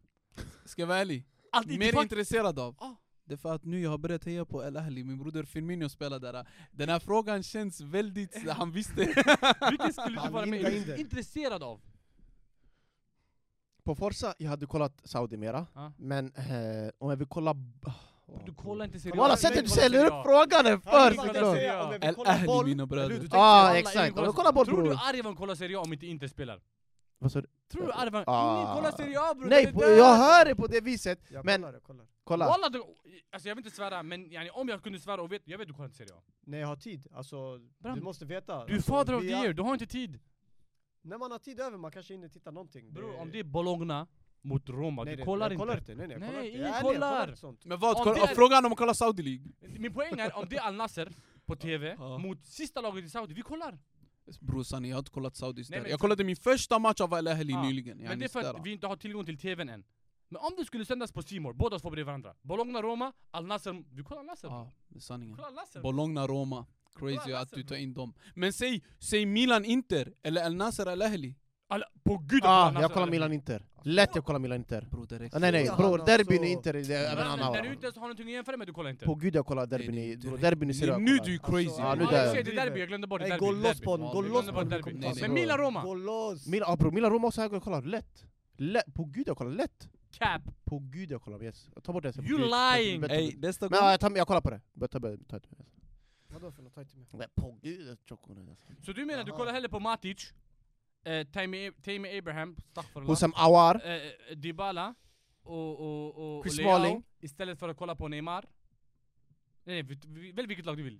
A: Ska jag vara ärlig?
B: Al-Ittifaq.
A: mer intresserad av.
B: Ja.
A: Det är för att nu jag har börjat heja på El Ahli, min broder Firmino spelar där. Den här frågan känns väldigt...
B: Eh.
A: Han visste.
B: Vilken skulle du
E: Han
B: vara
E: lindar in
B: mer
E: det.
B: intresserad av?
D: På Forza, jag hade kollat Saudi mera,
B: Ja.
D: men eh, om jag vill kolla...
B: Du kollar inte seriöst.
D: Walla
E: Kolla,
D: sättet
E: men
D: du
E: kolla
D: ställer upp frågan är
E: Han
D: för
E: vill bara
D: såklart!
E: säga om jag vill
A: El
E: kolla
A: Ahli
E: boll,
A: mina
E: eller hur?
A: bröder.
E: Du tänker
D: Ja
E: alla
D: exakt,
E: Inter-
D: Ja, men kolla bort
B: Tror du
D: bror!
B: Arvan kollar Serie A om inte Inter spelar?
D: Vad sa du?
B: Tror du Arvan?
D: Ah.
B: Ingen kollar Serie A bror!
D: Nej,
B: det är
D: på-
B: där.
D: jag hör det på det viset,
E: Jag
D: Men-
E: kollar, jag kollar.
D: kolla!
B: Walla, du, alltså jag vill inte svära, men yani, om jag kunde svära och vet, jag vet du kollar inte Serie A.
E: När jag har tid, alltså
B: Bram,
E: du måste veta.
B: Du är
E: alltså,
B: father of the
E: vi är-
B: year, du har inte tid.
E: När man har tid över, man kanske hinner titta någonting.
B: Bror, om det är Bologna mot Roma,
E: Eh. Nej,
B: du
E: nej,
B: kollar
E: jag
B: inte.
E: kollar inte. Nej, nej, jag kollar
B: Nej,
E: inte.
B: ingen
E: Jag är ärlig, jag
B: kollar.
E: inte sånt.
A: Men vad,
B: Om
A: kolla,
B: det är-
A: frågan om de kollar Saudi League?
B: Min poäng är, om det är Al Nasser på TV
A: Ja.
B: mot sista laget i Saudi, vi kollar!
A: Bror sanning, jag har inte kollat Saudis
B: Nej,
A: där.
B: men-
A: Jag kollade min första match av Al Ahly
B: Ja,
A: nyligen.
B: Men det är för att vi inte har tillgång till TVn än. Men om det skulle sändas på C More, båda får bredvid varandra. Bologna, Roma, Al Nasser. Vi kollar Al Nasser.
A: Ja, det är
B: Vi
A: sanningen.
B: kollar Al Nasser.
A: Bologna, Roma. Crazy
B: Kolla,
A: att du
B: Nasser,
A: tar in dem. Men säg, säg Milan, Inter eller Al Nasser, Al Ahly.
B: Al- på gud jag
D: Ah,
B: kollar Al
D: jag
B: Nasser.
D: kollar Milan-Inter. Lätt jag kollar Milan-Inter.
A: Bror det räcker.
D: Ah, nej nej,
E: Ja,
D: bror
E: han
D: derbyn
E: alltså-
D: i Inter, det är en
B: Men
D: annan
B: När du
D: vara.
B: inte ens har någonting att jämföra med, du kollar inte.
D: På gud jag kollar
A: Nej,
D: derbyn
A: nej,
D: i,
A: inte
D: bror,
A: det.
D: derbyn i Syria.
A: Nu
D: kollar
A: du är
D: jag.
A: crazy.
E: Alltså,
D: Ja, nu
B: Ja,
D: där.
B: i och för sig, det är
E: driver.
B: derby, jag glömde bort det.
E: Nej,
B: derby,
E: gå loss
B: derby.
E: på honom,
A: Ja,
E: gå
A: vi
E: loss
A: glömde
E: på
A: bara
E: honom.
B: derby.
E: vi kommer
A: Nej, nej,
E: ta oss
B: Men Milan Roma,
E: igenom. Gå loss!
D: Milan, ah, bror Milan-Roma också, jag kollar lätt. lätt. På gud jag kollar lätt.
B: cap.
D: På gud jag kollar, yes. Jag tar bort det. sen.
B: You
D: Gud, jag-
B: lying.
D: jag- jag-
A: Ey, nästa
D: Men ja,
A: gång.
D: jag, tar, jag kollar på det. Jag tar, jag tar,
E: Vadå för något? Ta inte med.
D: på gud, chokonen alltså.
B: Så du menar, du
E: Jaha.
B: kollar hellre på Matic, eh, Tammy, Tammy Abraham, astaghfirullah,
D: Hosam Awar,
B: eh, eh, Dybala och, och, och, och
D: Chris
B: Leao
D: Smalling.
B: istället för att kolla på Neymar. Nej, nej, vi- vi- välj vilket lag du vill.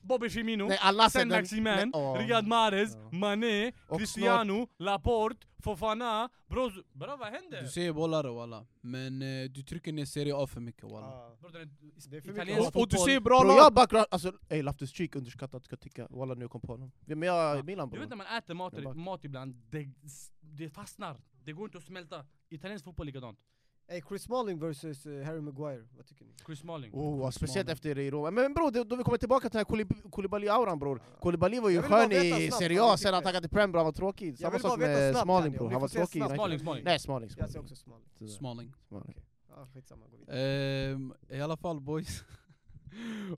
B: Bobby Firmino,
D: nej alltså, alla
B: Sen Maximan, Riyad Mahrez,
D: Ja.
B: Mané,
D: Och
B: Cristiano, Laporte, Fofana, Broz... Bra, vad händer?
A: Du säger bollar walla. Men eh, du trycker ner Serie A för mycket walla.
E: Ah.
B: Bro, den är-
E: Det är för
B: italiensk
E: mycket
A: Och, och du
B: fotboll.
A: säger bra
D: Bror jag
A: lag.
D: background, alltså ey Loftus Cheek underskattat ska jag tycka, walla nu kom på honom. Ja, Men jag är Milan
B: Du vet när
D: bror.
B: man äter mat,
D: Jag bara-
B: mat ibland, det, det fastnar. Det går inte att smälta. Italiensk fotboll likadant.
E: Ey, Chris Smalling versus eh, Harry Maguire, vad tycker ni?
B: Chris Smalling.
D: Oh, speciellt
A: Smalling.
D: efter i Roma. Men bror, det- då vi kommer tillbaka till den här Koulibaly-auran bror. Koulibaly var ju
E: Jag vill bara
D: skön
E: veta
D: i
E: snabbt
D: Serie
E: vad
D: A,
E: ni
D: sen han
E: tycker.
D: taggade till Prem bror, han var tråkig.
E: Jag
D: Samma
E: vill
D: sak
E: bara veta
D: med
E: snabbt,
D: Smalling
E: Daniel,
D: bror,
E: vi
D: han
E: får
D: var
E: se
D: tråkig. i
E: snabbt.
B: Smalling,
D: United.
B: Smalling.
D: Nej Smalling,
E: Jag ser
D: Smalling.
E: också Smalling.
A: Smalling.
D: Smalling.
E: Ah, skitsamma, gå vidare.
A: Ehm, I alla fall boys.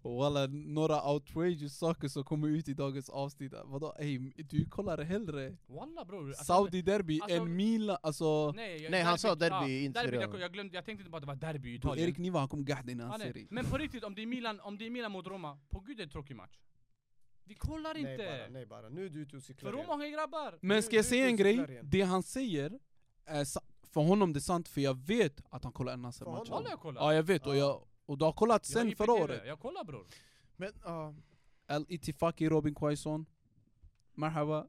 A: Walla, några outrageous saker som kommer ut i dagens avsnitt. Vadå? Ey, du kollar hellre
B: Walla bror. alltså-
A: Saudi derby
B: alltså-
A: än Milan. Alltså,
B: Nej, jag,
D: Nej, han sa derby,
B: ja,
D: inte
B: derby,
D: Real.
B: jag, jag, glömde, jag tänkte inte bara att det var derby i
A: bror,
B: Italien.
A: Erik Niva han kommer gahda innan
B: Ja,
A: han
B: nej.
A: ser det.
B: Men på riktigt, om det är Milan, om det är Milan mot Roma, på gud det är en tråkig match. Vi kollar
E: Nej
B: inte.
E: bara, nej bara. Nu är du ute och cyklar
B: För Roma
E: igen.
B: har inga grabbar.
A: Men
E: Nu-
A: ska jag
E: nu
A: säga en grej?
E: cyklar igen.
A: Det han säger, är sa- för honom det är sant för jag vet att han kollar en Nasser
E: För
A: matcher.
B: Kolla jag kollar.
A: Ja jag vet och, jag, och du har kollat
B: Jag har
A: sen
B: IPTV,
A: förra året.
B: Jag kollar bror.
D: Men ja,
A: El Itifaki Robin Quaison. Marhaba.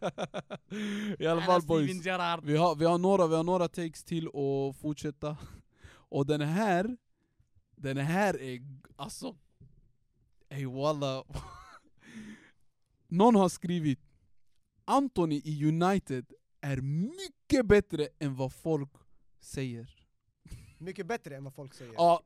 A: I alla fall boys.
B: Steven Gerrard.
A: Vi har, vi, har några, vi har några takes till att fortsätta. Och den här, den här är g- alltså... Ey walla. Någon har skrivit Anthony i United är mycket bättre än vad folk säger.
E: Mycket bättre än vad folk säger.
A: Ja,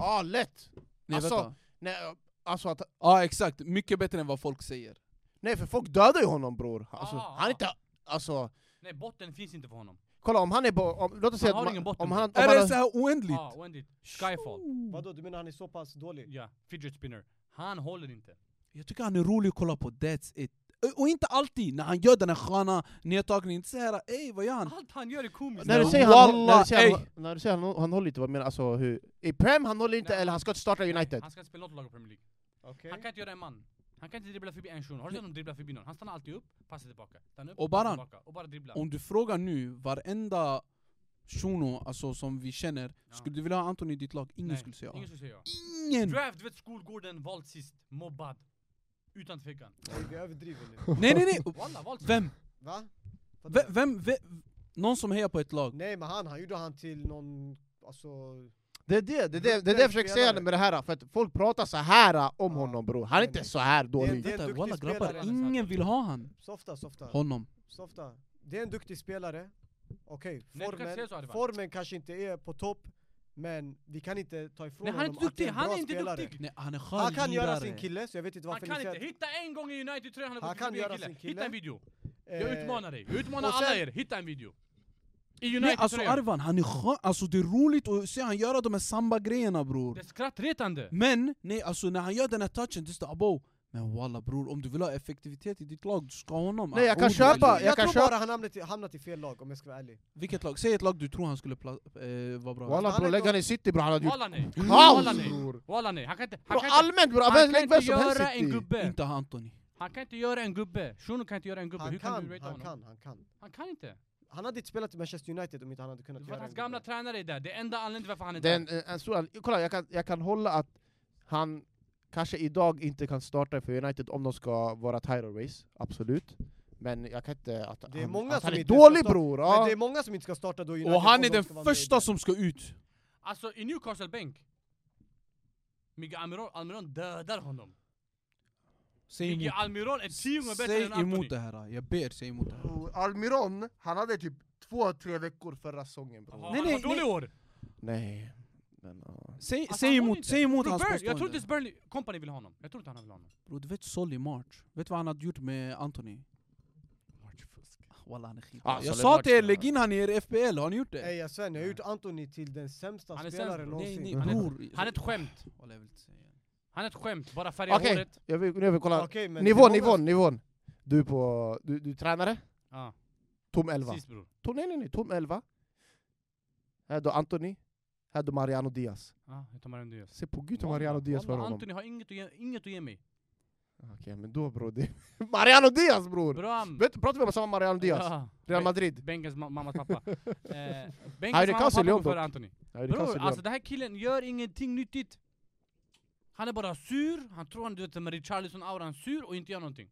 D: ah, lätt!
A: nej
D: Alltså-
A: vänta.
D: Nej, alltså att
A: Ja exakt, mycket bättre än vad folk säger.
D: Nej för folk dödar ju honom bror. Alltså,
B: Ah.
D: han är inte... Alltså,
B: Nej botten finns inte för honom.
D: kolla om han är på... Om, låt oss säga
B: har
D: att
B: ingen
D: man-
B: botten,
D: om
B: bror.
D: han... Om
A: Är det
D: han
A: så här oändligt?
B: Ja, Ah, oändligt. Skyfall.
E: Vadå, du menar han är så pass dålig?
B: Ja, fidget spinner. Han håller inte.
A: Jag tycker han är rolig att kolla på, that's it. Och- Och inte alltid när han gör den här sköna nedtagningen, inte såhär ey vad gör han?
E: Ah.
B: Allt han gör är komiskt.
D: när du
A: Nej,
D: säger han,
A: Wallah,
D: när du säger
A: ey.
D: han, när du säger han, han håller inte, vad menar du? Alltså hur... I Prem han håller inte,
B: Nej.
D: eller han ska inte starta United.
B: Han ska inte spela något lag i Premier League.
E: Okej.
B: Han kan inte göra en man. Han kan inte dribbla förbi en shuno. Har du sett honom dribbla förbi någon? Han stannar alltid upp, passar tillbaka. Stannar upp,
A: Och
B: passar
A: bara-
B: tillbaka. Och bara dribblar.
A: Om du frågar nu varenda shuno alltså, som vi känner,
B: Ja.
A: skulle du vilja ha Anton i ditt lag? Ingen
B: Nej,
A: skulle säga
B: Ingen
A: ingen.
B: skulle säga ja.
A: ingen.
B: Draft, du vet skolgården, vald sist, mobbad. Utan tvekan.
E: Nej, Vi överdriver nu.
A: Nej nej nej!
B: Walla, vald sist.
A: Vem?
E: Va? Vadå?
A: Vem? vem? vem? Någon som hejar på ett lag?
E: Nej men han, han gjorde han till någon, alltså...
D: Det är det, det, är det, det, är det
E: Rutten
D: jag försöker säga
E: spelare.
D: med det här, för att folk pratar så här om
E: Ja.
D: honom bror. Han är
E: Nej,
D: inte
E: nej.
D: så här
E: Det är en
D: dålig.
E: del-
A: Vänta
E: duktig
A: walla
E: spelare. alltså.
A: grabbar, ingen vill ha han.
E: Softa, softa.
A: Honom.
E: Softa. Det är en duktig spelare. Okej,
B: Nej, du kan
E: formen,
B: säga så, Arvan.
E: formen kanske inte är på topp, men vi kan inte ta ifrån
B: Nej han är
E: honom
B: inte duktig,
E: att det
B: han
E: bra
B: är inte
E: spelare.
B: duktig.
A: Nej han är skön
E: Han kan göra
A: lirare.
E: sin kille, så jag vet inte
B: Han
E: varför
B: kan
E: ni
B: inte.
E: säger...
B: Hitta en gång i United-tröjan han har
E: Han
B: gått
E: kan
B: förbi en
E: göra
B: kille.
E: sin
B: Hitta
E: kille.
B: en video.
E: Eh,
B: Jag utmanar dig. Jag utmanar
E: och sen-
B: alla er. Hitta en video. I
A: Nej alltså
B: United-tröjan.
A: Arvan, han är skön, alltså det är roligt att se han göra de här samba-grejerna bror.
B: Det är skrattretande.
A: Men nej alltså när han gör den här touchen, det står abo. Men walla bror, om du vill ha effektivitet i ditt lag, du ska ha honom.
D: Nej, jag kan
A: Aroni,
D: köpa-
A: eller-
E: Jag,
D: jag kan
E: tror
D: köpa-
E: bara han hamnat i, hamnat i fel lag om jag ska vara ärlig.
A: Vilket lag? Säg ett lag du tror han skulle pla- eh, vara bra i.
D: Walla
E: Alltså, Han
D: bror,
E: är
D: lägg
E: då-
D: han i city bror, han hade gjort
B: Walla nej. Walla
D: kaos
B: nej.
D: bror.
B: Walla nej. Han kan inte. Han
D: Bror,
B: kan inte.
D: Allmänt bror,
B: Han
D: använd-
B: kan
D: lägg vem
B: inte
D: som helst
B: göra en
D: city.
B: gubbe.
A: Inte han Anthony.
B: Han kan inte göra en gubbe. Shuno kan inte göra en gubbe. Hur
E: Han
B: kan du
E: kan,
B: rata
E: han
B: honom?
E: kan, han kan.
B: Han kan inte.
E: Han hade inte spelat i Manchester United om inte han hade kunnat
B: För
E: göra
B: att hans
E: en
B: gamla
E: gubbe.
B: tränare är där. Det är enda anledningen till varför han inte är
D: Den, en stor, anledning- kolla, jag kan, jag kan hålla att han kanske idag inte kan starta för United om de ska vara title race, absolut. Men jag kan inte... Att,
E: Det är
D: han,
E: många
D: att han är
E: som inte
D: dålig
E: ska ta-
D: bror!
E: Men
D: Ja.
E: det är många som inte ska starta då United
A: Och han
E: om
A: är
E: de
A: den
E: ska vara med i
A: första
E: den.
A: som ska ut.
B: Alltså i Newcastle-bänk. Miguel Almiron, Almiron dödar honom.
A: Säg
B: Miguel
A: emot,
B: Almiron är tio gånger bättre
A: säg
B: än Anthony.
A: emot det här. Jag ber, säg emot det här.
D: Bror, Almiron, han hade typ två, tre veckor förra säsongen bror.
B: Jaha,
A: Nej,
B: han
A: nej,
B: var dålig i år.
D: Nej. Men, ja.
A: Säg,
B: Alltså,
A: säg
B: han var
A: emot,
B: inte-
A: säg emot
B: Bror,
A: hans
B: Burnley-
A: påstående.
B: Jag tror inte ens Burnley Company vill ha honom. Jag tror inte han vill ha honom.
A: Bro, du vet Solly March? Vet du vad han hade gjort med Anthony? Wallah, han är skit.
D: Ah,
A: jag
D: Solly
A: sa
D: March,
A: till er,
D: ja.
A: lägg in han i er FPL, har ni gjort det?
E: Nej jag svär, ni har gjort Anthony till den sämsta
B: Han är sämst,
E: spelaren
B: bror.
A: nej,
E: någonsin.
A: nej,
D: Han är-
A: bror.
B: Han är ett skämt.
A: Wallah, jag vill inte säga.
B: Han är ett skämt. Bara färga
D: Okej.
B: håret.
D: Jag vill, nu vill jag kolla.
E: Okej, men det är
D: Nivån,
E: många-
D: nivån, nivån. Du är på... Du, du är tränare?
B: Ja,
D: Tom 11.
B: precis bror.
D: Tom, nej, nej, nej. Tom 11. Här då Anthony. Här då Mariano Diaz.
B: Ja, jag tar med den du gör.
D: Se på gud hur Mariano Diaz för
B: Wallah,
D: honom.
B: Anthony har inget att ge, inget att ge mig.
D: Okej, men då bror. Det... Mariano Diaz bror!
B: Bram!
D: Vet, pratar vi om samma Mariano Diaz?
B: Ja.
D: Real Madrid?
B: Bengans ma- mammas pappa. eh,
D: Han
B: Bengans
D: är
B: mamma och pappa
D: Casio
B: går
D: Leon
B: före
D: dock.
B: Anthony.
D: Ja, det kanske
B: Bror,
D: det
B: alltså
D: gör.
B: den här killen gör ingenting nyttigt. Han är bara sur, han tror han du vet med Richarlison-auran, sur och inte gör någonting.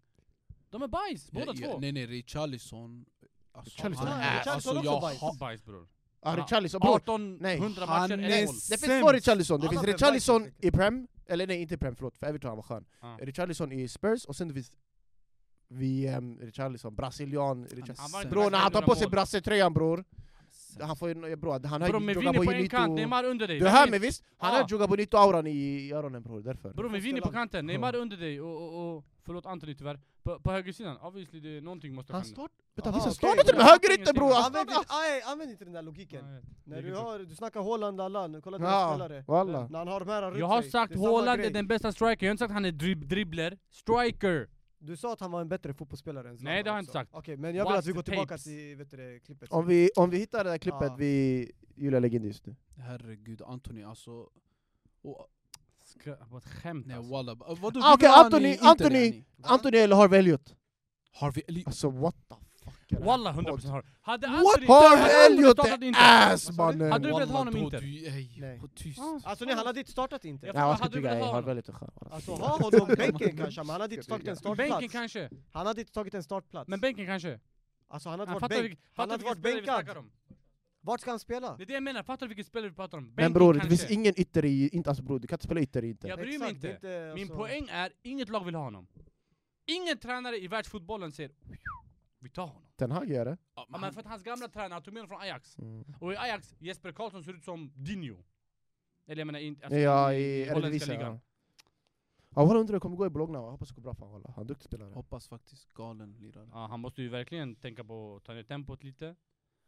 B: De är bajs, båda
A: Ja, ja,
B: två.
A: Nej nej, Richarlison. Alltså,
D: Richarlison
A: han
D: är-
A: är,
E: Richarlison
A: alltså,
E: också
A: jag
E: bajs.
A: har...
B: Bajs bror.
D: Ja, Richarlison, liksom. bror.
B: 1800
A: Han
B: matcher,
A: är
B: ett mål.
D: Det finns
A: Sämst.
D: två Richarlison, det
E: Alla
D: finns
E: blev
D: Richarlison
E: Vikings,
D: i Prem, eller nej inte i Prem, förlåt, för Everton han var skön.
B: Ja.
D: Richarlison i Spurs, och sen det finns VM, Richarlison, brasilian, Richarlison.
B: Han var inte
D: Bror när han tar på sig brassetröjan bror,
A: Sämst.
D: han får ju, bror, han har
B: Bror
D: ju
B: med
D: Juga
B: vinner på en kant,
D: Bonito...
B: Neymar under dig.
D: Du hör mig visst? Han
B: Ja.
D: har Juga Bonito-auran i öronen bror, därför.
B: Bror med vinner på kanten, Neymar
D: Ja.
B: under dig och, och, och förlåt Anthony tyvärr. På, på högersidan, obviously det är någonting måste
D: Han
B: hända.
D: start...
E: Aha,
D: Vänta, visst han startar
E: okej.
D: till och med
B: Jag
D: högerytter bror!
B: fattar
D: Han
E: Använd
D: startar-
E: inte, aj, använd inte den där logiken.
B: Ja, jag vet.
E: När
B: Det
E: du,
B: är
E: har, du snackar Holland, Allan, kolla dina
D: Ja,
E: spelare.
D: Walla.
E: När han har de här runt
B: Jag har
E: sig,
B: sagt
E: det är samma
B: Haaland är
E: grej.
B: den bästa striker, jag har inte sagt han är drib dribbler. Striker!
E: Du sa att han var en bättre fotbollsspelare än Zlatan
B: Nej, det har jag inte
E: också.
B: sagt.
E: Okej, men jag vill
B: Watch
E: att vi
B: the
E: går tillbaka
B: tapes.
E: till vet du, det, klippet.
D: Om vi, om vi hittar det där klippet
E: Ja.
D: vi... Julia lägger in det just nu.
A: Herregud Anthony alltså. Och,
B: Ska, vad ett skämt
A: nej
B: alltså.
A: wallah. Vadå, du
D: Ah, okej,
A: vill ha
D: Anthony,
A: han i Inter,
D: Anthony.
A: yani?
D: Anthony eller Harvey Elliot?
A: Har vi... Eli-
D: Alltså what the fuck är det här?
B: Walla 100% har. Hade Anthony...
D: Harvey Elliot
B: startat
D: är
B: inte-
D: ass
E: Vad sa du?
D: mannen!
B: Hade du velat
A: Wallah,
B: ha honom i
A: då
B: Inter?
A: du- ej,
E: Nej.
A: håll Tyst. Ah,
E: Alltså nej, han hade inte startat inte.
B: Ja.
D: Nej jag ska
B: Hade du
D: tycka
B: velat
D: jag
B: ha
D: har
B: honom?
D: väldigt skön.
E: Alltså ha honom i bänken kanske, men han hade inte tagit en
B: Bänken
E: startplats.
B: kanske?
E: Han hade inte tagit en startplats.
B: Men bänken kanske?
E: Alltså han hade
B: Han
E: varit
B: fattar
E: bänk.
B: vilken-
E: Han
B: fattar
E: hade
B: vilken
E: varit
B: spelare vi snackar
E: bänkad.
B: om.
E: Vart ska han spela?
B: Det är det jag menar, fattar du vilken spelare vi pratar om?
D: Men
B: Bänken
D: bror det
B: kanske.
D: finns ingen ytter i... Inte, alltså bror du kan inte spela ytter i inte.
B: Jag bryr mig
E: Exakt, det är
B: inte. Min
E: alltså-
B: poäng är, inget lag vill ha honom. Ingen tränare i världsfotbollen säger vi tar honom.
D: Den här gör det.
A: Ja,
B: Ja, men för att hans gamla tränare, han tog med honom från Ajax.
D: Mm.
B: Och i Ajax, Jesper Karlsson ser ut som Dinho. Eller jag menar inte...
D: Ja i
B: Alltså, holländska
D: Eredivisie.
B: ligan.
D: Ja Ja, walla undrar hur det kommer gå i Bologna, jag hoppas det går bra för honom. Han är en duktig spelare.
A: Hoppas faktiskt, galen lirare.
B: Ja, han måste ju verkligen tänka på att ta ner tempot lite.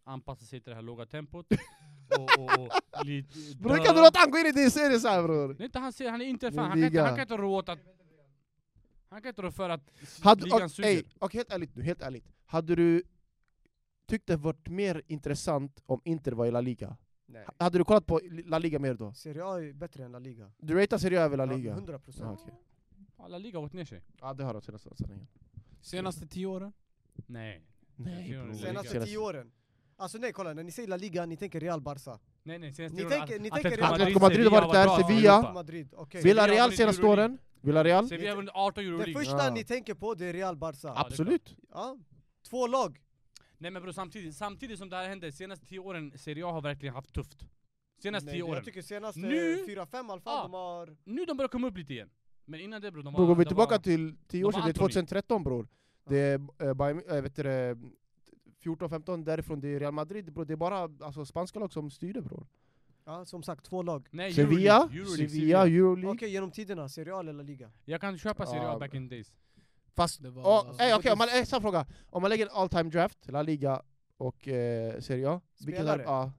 B: Anpassa sig till det här låga tempot. och, och, och lite...
D: Bror kan du låta han gå in i din serie såhär bror?
B: Det är inte han säger, han är inte
D: Det är
B: fan. Han kan inte, han
D: liga.
B: kan inte rå åt att... Han kan inte rå för att
D: Hade,
B: ligan
D: och,
B: suger.
D: ey, och helt ärligt nu, helt ärligt. Hade du tyckt det varit mer intressant om Inter var i La Liga?
E: Nej.
D: H- Hade du kollat på La Liga mer då?
E: Serie A är bättre än La Liga.
D: Du ratear Serie A över La
E: Ja,
D: Liga?
E: 100
D: Ja,
E: procent.
D: okej.
B: Ja, La Liga har gått ner sig.
D: ja det har de senaste sanningen.
A: Senaste tio åren?
B: Nej.
D: Nej
B: bror.
D: bror.
E: Senaste tio åren. Alltså nej, kolla, när ni säger La Liga, ni tänker Real Barca.
B: Nej nej, senaste
E: Ni
B: åren-
E: tänker- ni
B: At-
E: tänker
B: Atletico
E: Real-
D: Atletico Madrid har varit där,
B: bra i
D: Sevilla.
B: Europa.
E: Madrid, okej.
B: Vill-
D: Villarreal senaste åren? Villarreal?
B: Sevilla har vunnit 18 euro
E: Det
B: League.
E: första
D: Ja.
E: ni tänker på, det är Real Barca.
B: Ja.
D: Absolut.
E: Ja. Två lag.
B: Nej men bror samtidigt, samtidigt som det här hände, senaste 10 åren Serie A har verkligen haft tufft. Senaste
E: Nej,
B: 10 åren.
E: Jag tycker senaste
B: Nu-
E: 4-5 i alla fall,
B: Ja.
E: de har...
B: Nu de börjar komma upp lite igen. Men innan det bror, de var...
D: Bror går vi
B: de
D: tillbaka
B: var-
D: till 10
B: de var
D: år sedan, det är
B: Anthony.
D: 2013 bror. Det är eh, Bayern, eh, vet du det, 14-15 därifrån, det är Real Madrid bror. Det är bara alltså, spanska lag som styr det bror.
E: Ja, som sagt, två lag.
B: Nej,
D: Sevilla,
B: Euroleague, Euroleague,
D: Sevilla,
E: Okej,
D: Euroleague.
E: genom tiderna, Serie A eller La Liga?
B: Jag kan köpa Serie A
D: Ja,
B: back in the days.
D: Fast,
A: Det var-
D: oh, ey, okej, om man, ey, snabb fråga. Om man lägger all time draft, La Liga och eh, Serie A, vilken,
E: Spelare.
D: ja,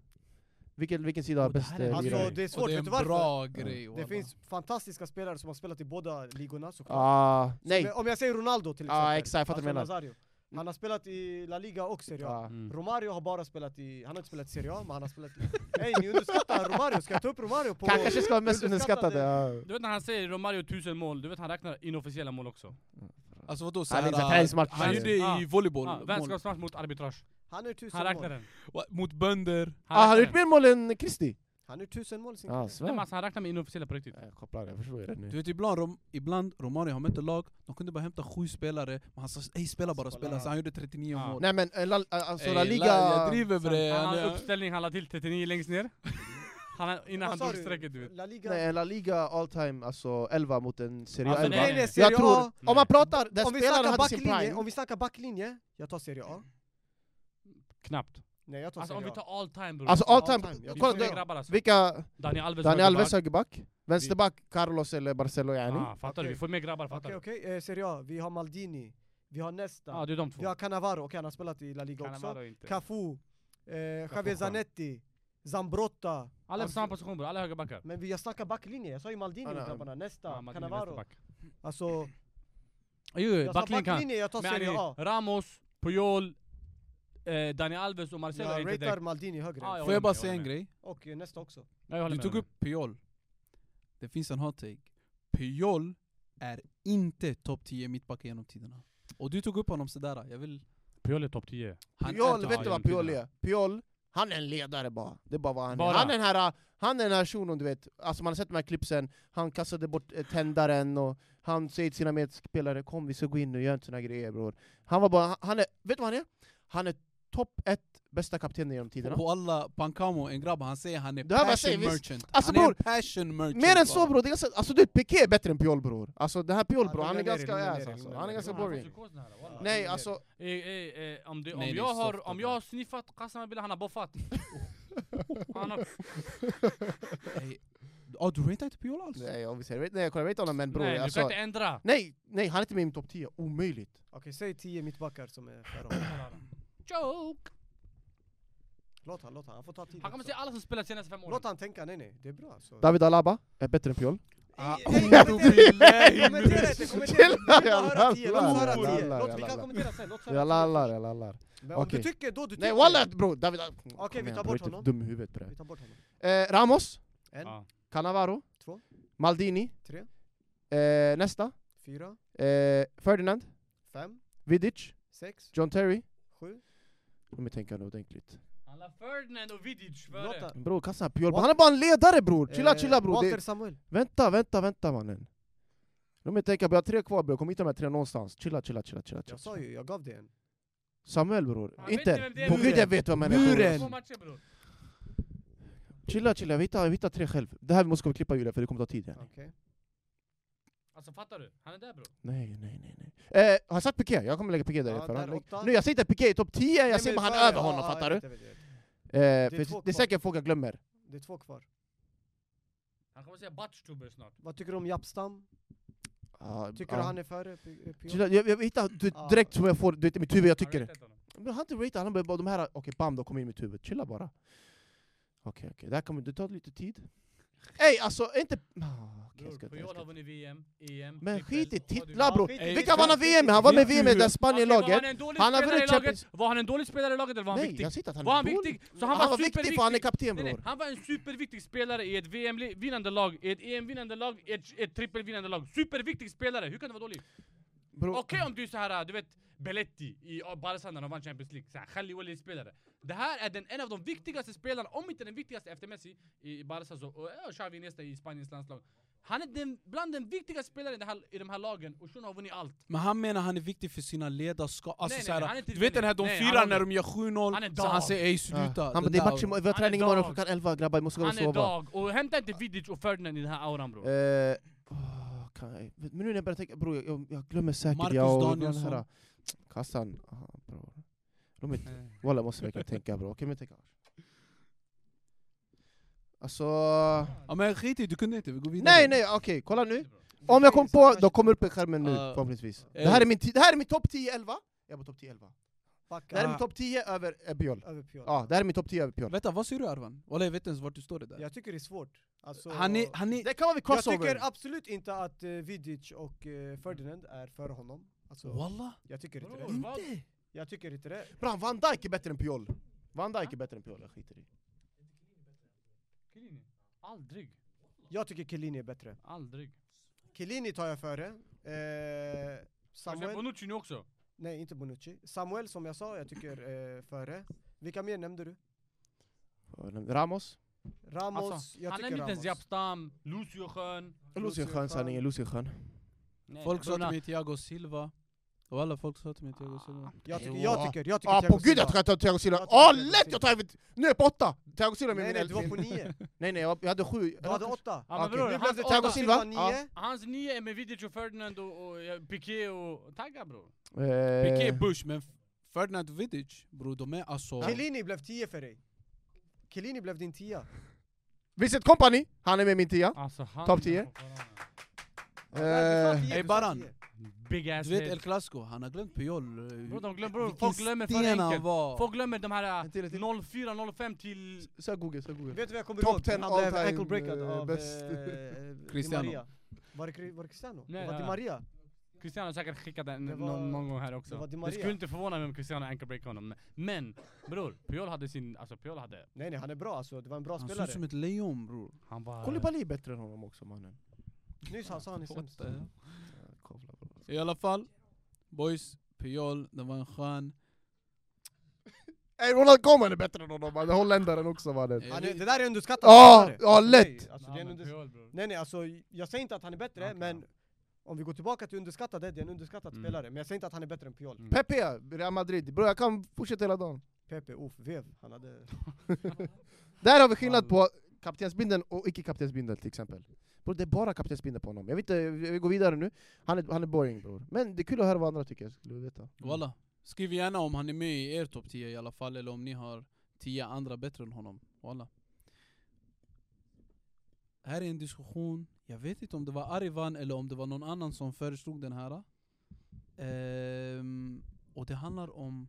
D: vilken, vilken sida har
A: Och det
D: bäst
A: här är
D: eh,
E: Alltså
D: lirare?
E: det är
A: Och
E: svårt,
A: det är
E: vet
A: en
E: du varför?
A: bra grej.
E: Det
A: wallah.
E: finns fantastiska spelare som har spelat i båda ligorna såklart.
D: Ah, nej.
E: Men Om jag säger Ronaldo till exempel. Alltså,
D: Ja, exakt, jag fattar vad du menar.
E: Nazario. Han har spelat i La Liga och Serie A.
D: Ah.
B: Mm.
E: Romario har bara spelat i, han har inte spelat i Serie A men han har spelat i... Nej ni underskattar Romario, ska jag ta upp Romario på...
D: Han kanske ska vara mest
E: underskattade.
D: underskattade. ja.
B: Du vet när han säger Romario 1000 mål, du vet han räknar inofficiella mål också.
A: Alltså vadå
D: Han är
A: såhär...
D: så här träningsmatch.
A: han gjorde det i
B: Ah.
A: volleyboll.
B: Ah,
A: mål.
B: Vänskapsmatch mot arbitrage.
E: Han är tusen
B: Han räknar
E: mål.
B: den.
A: Wa- Mot bönder.
D: Ah, Han har gjort
B: den.
D: mer mål än Kristi.
E: Han är tusen mål i sin
D: Ja,
E: karriär.
B: Nej, men
D: svär.
B: alltså, han räknar med inofficiella på riktigt.
D: Jag kopplar, jag förstår ju det nu.
A: Du vet ibland, Rom, ibland Romario, han mötte lag, de kunde bara hämta sju spelare, men han sa ej spela bara
E: Spela.
A: spela, så han gjorde 39
B: Ja.
A: mål.
D: Nej men, eh, La, alltså La
A: Ey,
D: Liga...
A: Jag driver
B: Sen,
A: bre!
B: han
A: Han,
B: har
A: är-
B: uppställning, han la till 39 längst ner. Han, har- innan
E: Vad
B: han
E: sa
B: drog
E: du?
B: strecket du vet.
E: La Liga.
D: Nej, La Liga all time, alltså 11 mot en Serie A
B: Alltså,
D: 11.
B: nej, nej.
D: Jag
E: Serie
D: tror,
E: A.
D: om man pratar, där
E: Om vi,
D: spelaren
E: snackar
D: hade sin
E: backlinje,
D: prime.
E: om vi snackar backlinje, jag tar Serie A.
B: Knappt.
E: Nej jag tar
B: Alltså om
E: Serie
B: vi
E: A.
B: tar all time bror.
D: Alltså all time,
E: time. Jag
B: Vi
D: kolla,
E: tror
B: tre
E: det.
D: där,
B: grabbar alltså.
D: vilka?
B: Daniel Alves
D: Daniel
B: högerback.
D: Alves högerback, vänsterback Carlos eller Barcelo yani.
B: Ah, fattar du? Vi
E: Okej.
B: får med grabbar, fattar
E: Okej
B: du?
E: okej, eh, Serie A. Vi har Maldini, vi har Nesta,
B: Ja, det är de
E: vi
B: två.
E: har Cannavaro, okej han har spelat i La Liga också.
B: Cannavaro inte.
E: Cafu, eh, Javier
D: skön.
E: Zanetti, Zambrotta.
B: Alla är på
E: Alltså-
B: samma position bror, alla är högerbackar.
E: Men vi, jag snackar backlinje, jag sa ju Maldini
D: Ja, nej.
E: grabbarna, Nesta,
B: Ja, Martinez
E: Cannavaro.
B: vänsterback.
E: Alltså,
B: Jo, jo,
E: jag sa
B: backlinjen kan.
E: backlinje, jag tar
B: Men
E: Serie A.
B: eh, Ramos, Puyol, eh, Daniel Alves och Marcelo är
E: Jag
B: inte
E: ratear
B: direkt...
E: Maldini
B: Ah,
E: högre.
B: ja.
A: Får jag bara
B: med,
A: säga
B: jag
A: en
B: håller
A: grej?
E: Och eh, Nesta också.
B: Ja, jag håller
A: Du
B: med,
A: tog
B: jag
A: upp Puyol. Det finns en hot take. Puyol är inte topp 10 mittbackar genom tiderna. Och du tog upp honom sådär, jag vill...
B: håller med. Puyol är topp 10.
A: Han
D: Puyol,
A: är
D: vet
A: topp
D: du
A: 10.
D: vad Puyol är? Puyol, han är en ledare bara. Det är bara vad han
B: Bara.
D: är. Han är den här, han är den här shunon du vet, alltså man har sett de här klippsen, han kastade bort eh, tändaren och han säger till sina medspelare 'Kom vi ska gå in och göra inte såna här grejer bror' Han var bara, han är, vet du vad han är? Han är topp ett bästa kaptenen genom tiderna.
A: På alla, Pankamo, en grabb, han säger han är
D: Det här var
A: passion
D: säger, visst.
A: merchant.
D: Alltså,
A: han är en
D: bror,
A: passion merchant.
D: Mer än
A: va?
D: så bror, det är ganska, alltså du Piqué är bättre än Puyol bror. Alltså den här Puyol
E: Ja,
D: bror, han är
E: lugna ner er,
D: ganska
E: lugna ner
D: ass
E: er,
D: alltså.
E: lugna
D: Han är
E: ner
D: ganska
E: er.
D: boring. Nej alltså,
B: Eh, eh, eh, om, det, om,
A: Nej, det är
B: jag
A: soft
B: har, om
A: det
B: jag
A: där.
B: har sniffat Qasem Bila, han har boffat. han har,
A: Ey, Ja, du ratear inte Puyol alls?
D: nej om vi säger, nej jag kollar inte honom men bror
B: nej, du
D: alltså.
B: kan inte ändra.
D: Nej, nej han är inte med i min topp 10, omöjligt.
E: Okej, säg 10 mittbackar som är före
B: Joke!
E: Låt han, låt han. Han får ta tid
B: Han kommer
E: också.
B: säga alla som spelat senaste fem åren.
E: Låt han tänka, nej nej, det är bra alltså.
D: David Alaba är bättre än Puyol.
A: Ah,
E: Nej,
A: oh,
E: nej,
A: billahi.
E: Kommentera inte, kommentera inte. Vi vill bara höra tio, låt oss höra tio.
D: Lallar,
E: Låt- Vi kan
D: lallar.
E: kommentera sen, låt oss höra
D: Jag
E: tio.
D: lallar, jag lallar.
E: Men om du
D: Okej.
E: tycker då, du tycker.
D: Nej walla bror, David Alaba.
E: Okej, vi tar
D: bror,
E: bort
D: är typ
E: honom.
D: dum i huvudet bre.
E: Vi tar bort honom.
D: Eh, Ramos,
E: En,
B: Ja.
D: Cannavaro,
E: Två.
D: Maldini,
E: tre,
D: eh, nästa,
E: fyra,
D: eh, Ferdinand,
E: fem,
D: Vidic,
E: sex,
D: John Terry.
E: sju.
D: Låt mig tänka nu ordentligt.
B: Han la Ferdinand och Vidic
E: Låt
B: före.
E: han.
D: Bror kassa Puyol,
E: Wat-
D: han är bara en ledare bror! Chilla
E: Eh,
D: chilla bror,
E: Walter
D: det,
E: Samuel.
D: vänta vänta vänta mannen. Låt mig tänka, vi har tre kvar bror, kom hit de här tre någonstans. Chilla chilla chilla chilla.
E: Jag
D: chilla.
E: sa ju, jag gav dig en.
D: Samuel bror,
B: Han vet inte
D: inte.
B: vem det är.
D: På gud jag vet vem han är. bror.
A: Muren.
B: Två matcher bror.
D: Chilla chilla, vi hittar, vi hittar tre själv. Det här måste vi klippa Julia för det kommer ta tid. Ja.
E: Okej.
B: Alltså fattar du? Han är där bror.
D: Nej, nej, nej. nej. Eh, har jag sagt Piqué? Jag kommer lägga Piqué där.
E: Ja,
D: för
E: där
D: han
E: åtta.
D: nu, jag säger inte Piqué i topp 10,
E: Nej,
D: jag säger
E: men
D: bara han
E: före.
D: över honom,
E: Ja, ja,
D: fattar du?
E: jag
D: Eh,
E: vet, jag vet, jag vet.
D: för
E: två
D: det är
E: kvar.
D: säkert folk jag glömmer.
E: Det är två kvar.
B: Han kommer säga Batchtuber snart.
E: Vad tycker du om Japstam?
D: Ah,
E: Tycker
D: ah.
E: du han är före P- eh, Pio?
D: Chilla, jag, jag hittar du,
E: Ja.
D: direkt som jag får du vet, i mitt huvud, jag
B: Han
D: tycker det.
B: vet inte honom.
D: Men han inte ratear, han bara bara de här, okej bam, de kommer in i mitt huvud. Chilla bara. Okej okej, det här kommer, det tar lite tid. Ey alltså, inte... Ah, okej, jag
B: Bror,
D: ska inte- jag
B: Puyol
D: ska
B: har
D: inte.
B: vunnit VM, EM,
D: Men
B: trippel,
D: skit i
B: och vad du
D: titlar
B: vill.
D: bror!
E: skit
A: i-
D: Vilka vann han
E: skit i-
D: VM? Han var med i
A: skit i
D: VM med det här
B: Okej, var
D: Spanien-laget.
B: han en dålig
D: Han har
B: spelare i
D: vunnit
B: laget?
D: Champions-
B: Var han en dålig spelare i laget eller var han
D: Nej,
B: viktig?
D: jag säger inte att han
B: Var
D: är
B: han
D: dålig.
B: viktig? Så han
D: Han
B: var
D: var viktig för han är
B: superviktig!
D: kapten
B: Nej, nej,
D: bror.
B: han var en superviktig spelare i ett VM-vinnande lag, i ett EM-vinnande lag, i ett, ett trippelvinnande lag. Superviktig spelare, hur kan du vara dålig?
D: Bror,
B: Okej om du är så här, du vet Belletti i Barca när de vann Champions League, så här, Khalli Wali spelare. Det här är den, en av de viktigaste spelarna, om inte den viktigaste efter Messi i Barca så, och ja, Xavi Iniesta i Spaniens landslag. Han är den, bland den viktigaste spelaren i, det här, i de här lagen och Shunon har vunnit allt.
A: Men han menar han är viktig för sina ledarskap. Alltså,
B: Nej, nej,
A: såhär,
B: nej, han är inte
A: du vet den här, de
B: viktig. Nej,
A: firar
B: han
A: när
B: är-
A: de gör
B: han är
A: 7-0, så
B: dam.
A: han säger ej
D: Ah,
A: sluta.
D: Han bara,
A: Den
D: det är
A: där-
D: match, imorgon- vi har
B: Han är
D: träning imorgon
B: dog.
D: klockan 11 grabbar, vi måste gå och
B: Han är
D: sova.
B: dag, och hämta inte Vidic och Ferdinand i den här auran bror.
D: Eh, åh, kan jag, men nu när jag börjar tänka, bror jag- jag, jag glömmer säkert
A: Marcus
D: jag
A: Danielsson.
D: här kassan. Aha, bror. Låt mig, walla jag måste verkligen tänka bror, okej men tänka. Alltså...
A: Ja, men skit i, du kunde inte, vi går vidare.
D: Nej nej okej, kolla nu. Om jag kom på, då kommer upp i skärmen nu
A: Ah.
D: förhoppningsvis.
A: Eh.
D: Det här är min, ti- det här är min topp 10-11. Jag är på topp 10-11. Det här är
E: Backa
D: min topp 10 över eh, Björn.
E: över Pio.
D: Ja, det här är min topp 10 över Björn.
A: Vänta, vad säger du Arvan? Walla jag vet inte ens vart du står det där.
E: Jag tycker det är svårt. Alltså,
A: Han är, han är...
D: Det kan vara vid
E: jag
D: crossover.
E: tycker absolut inte att eh, Vidic och eh, Ferdinand är före honom. Alltså,
A: Walla,
E: jag tycker inte
B: Bror,
E: det.
B: vad-
A: inte!
E: Jag tycker inte det.
D: Bra, Van Dijk är bättre än Pjol. Van Dijk är bättre än Pjol, jag skiter i.
B: Chiellini? Aldrig,
E: Jag tycker Chiellini är bättre.
B: aldrig.
E: Chiellini tar jag före. Eh,
B: Och sen
E: Samuel,
B: Alltså, Bonucci nu också.
E: nej inte Bonucci. Samuel som jag sa, jag tycker eh, före. Vilka mer nämnde du?
D: Eh, Ramos,
E: Ramos,
B: Alltså,
E: jag
B: Han
E: tycker
B: nämnde inte ens
E: Ramos.
B: Japstam, Lucio Schön.
D: Lucio Schön, sanningen, Lucio Schön.
B: Nej,
A: Folk sa till
B: brorna, Ah.
A: mig Thiago Silva. Och alla folk sa till mig Thiago Silva.
E: Jag
D: Jo.
E: tycker, jag tycker, jag tycker
D: Ja, Ah, på
E: Thiago
D: gud
E: Silva.
D: jag ska ta Thiago Silva!
E: Jag tycker
D: Åh,
E: Thiago
D: lätt
E: Silva.
D: jag tar Nu är jag på åtta! Thiago Silva med
E: Nej
D: min
E: nej, du var på
D: elfte.
E: nio.
D: Nej nej, jag jag hade sju.
E: Du hade åtta.
B: Ja, men
D: Okej,
B: bror,
E: Nu
B: hans
E: blev det
B: åtta-
E: Thiago Silva
D: Silva,
E: nio.
B: Hans nio är med Vidic och Ferdinand och, och ja, Piqué och Tagga bror.
A: Piqué
D: Eh,
A: Bush, men Ferdinand Vidic, bror de är alltså...
E: Chiellini blev tio för dig. Chiellini blev din tia.
B: Eh.
D: Vincent Company, han är med min tia.
B: Alltså, han
D: Topp 10?
E: Ja, nej, du sa
D: Eh,
E: tio,
A: Ey,
E: du sa
A: Baran.
E: tio.
B: Big ass
A: Du vet
B: head.
A: El Clasico, han har glömt Puyol. eh,
B: Bror, de glömmer, bror,
A: vilken
B: folk glömmer för
A: sten han
B: enkelt.
A: var.
B: Folk glömmer de här äh,
D: En till, en till.
B: 04-05 till...
D: Sök Google, sök Google.
E: Vet du vad jag kommer
D: Top
E: ihåg?
D: 10
E: Han
D: all
E: blev
D: time,
E: ankle breakad
D: eh,
E: av
D: bäst.
E: eh,
A: Cristiano.
E: Di Maria. Var det, Cri- var det Cristiano?
B: Nej,
E: det var
B: nej,
E: Di
B: nej.
E: Maria.
B: Cristiano har säkert skickat den
E: Det var-
B: någon, någon gång här också.
E: det var Di
B: Det,
E: Maria.
B: skulle inte förvåna mig om Cristiano anchorbreakade honom. men- Men bror, Puyol hade sin... Alltså Puyol hade...
E: Nej nej, han är bra alltså. Det var en bra
A: Han ser
E: spelare.
A: ut som ett lejon bror.
B: Han var...
D: Koulibaly är bättre än honom också mannen.
E: Nyss han sa han är sämst.
A: I alla fall, boys, Puyol, det var en skön...
D: Ey, Ronald Koeman är bättre än honom mannen, holländaren också mannen.
A: Eh,
E: Han är,
A: vi-
E: det där är underskattat
D: Ja,
E: spelare.
D: ja,
E: Alltså, nej,
D: lätt.
E: Alltså,
B: Ja,
E: det är en
B: men
E: unders-
B: Puyol, bror.
E: nej nej, alltså jag säger inte att han är bättre,
B: Okej,
E: men om vi går tillbaka till underskattade, det är en underskattad
B: Mm.
E: spelare. Men jag säger inte att han är bättre än Puyol.
B: Mm.
D: Pepe, Real Madrid. Bror jag kan fortsätta hela dagen.
E: Pepe, uff, vev. Han hade...
D: Där har vi skillnad på kaptensbindeln och icke-kaptensbindeln till exempel. Bror det är bara kaptensbindeln på honom. Jag vet inte, vi går vidare nu. Han är, han är boring bror. Men det är kul att höra vad andra tycker, jag skulle vilja veta.
A: Walla. Skriv gärna om han är med i er topp 10 i alla fall, eller om ni har 10 andra bättre än honom. Walla. Här är en diskussion, jag vet inte om det var Arivan eller om det var någon annan som föreslog den här. Ehm, och det handlar om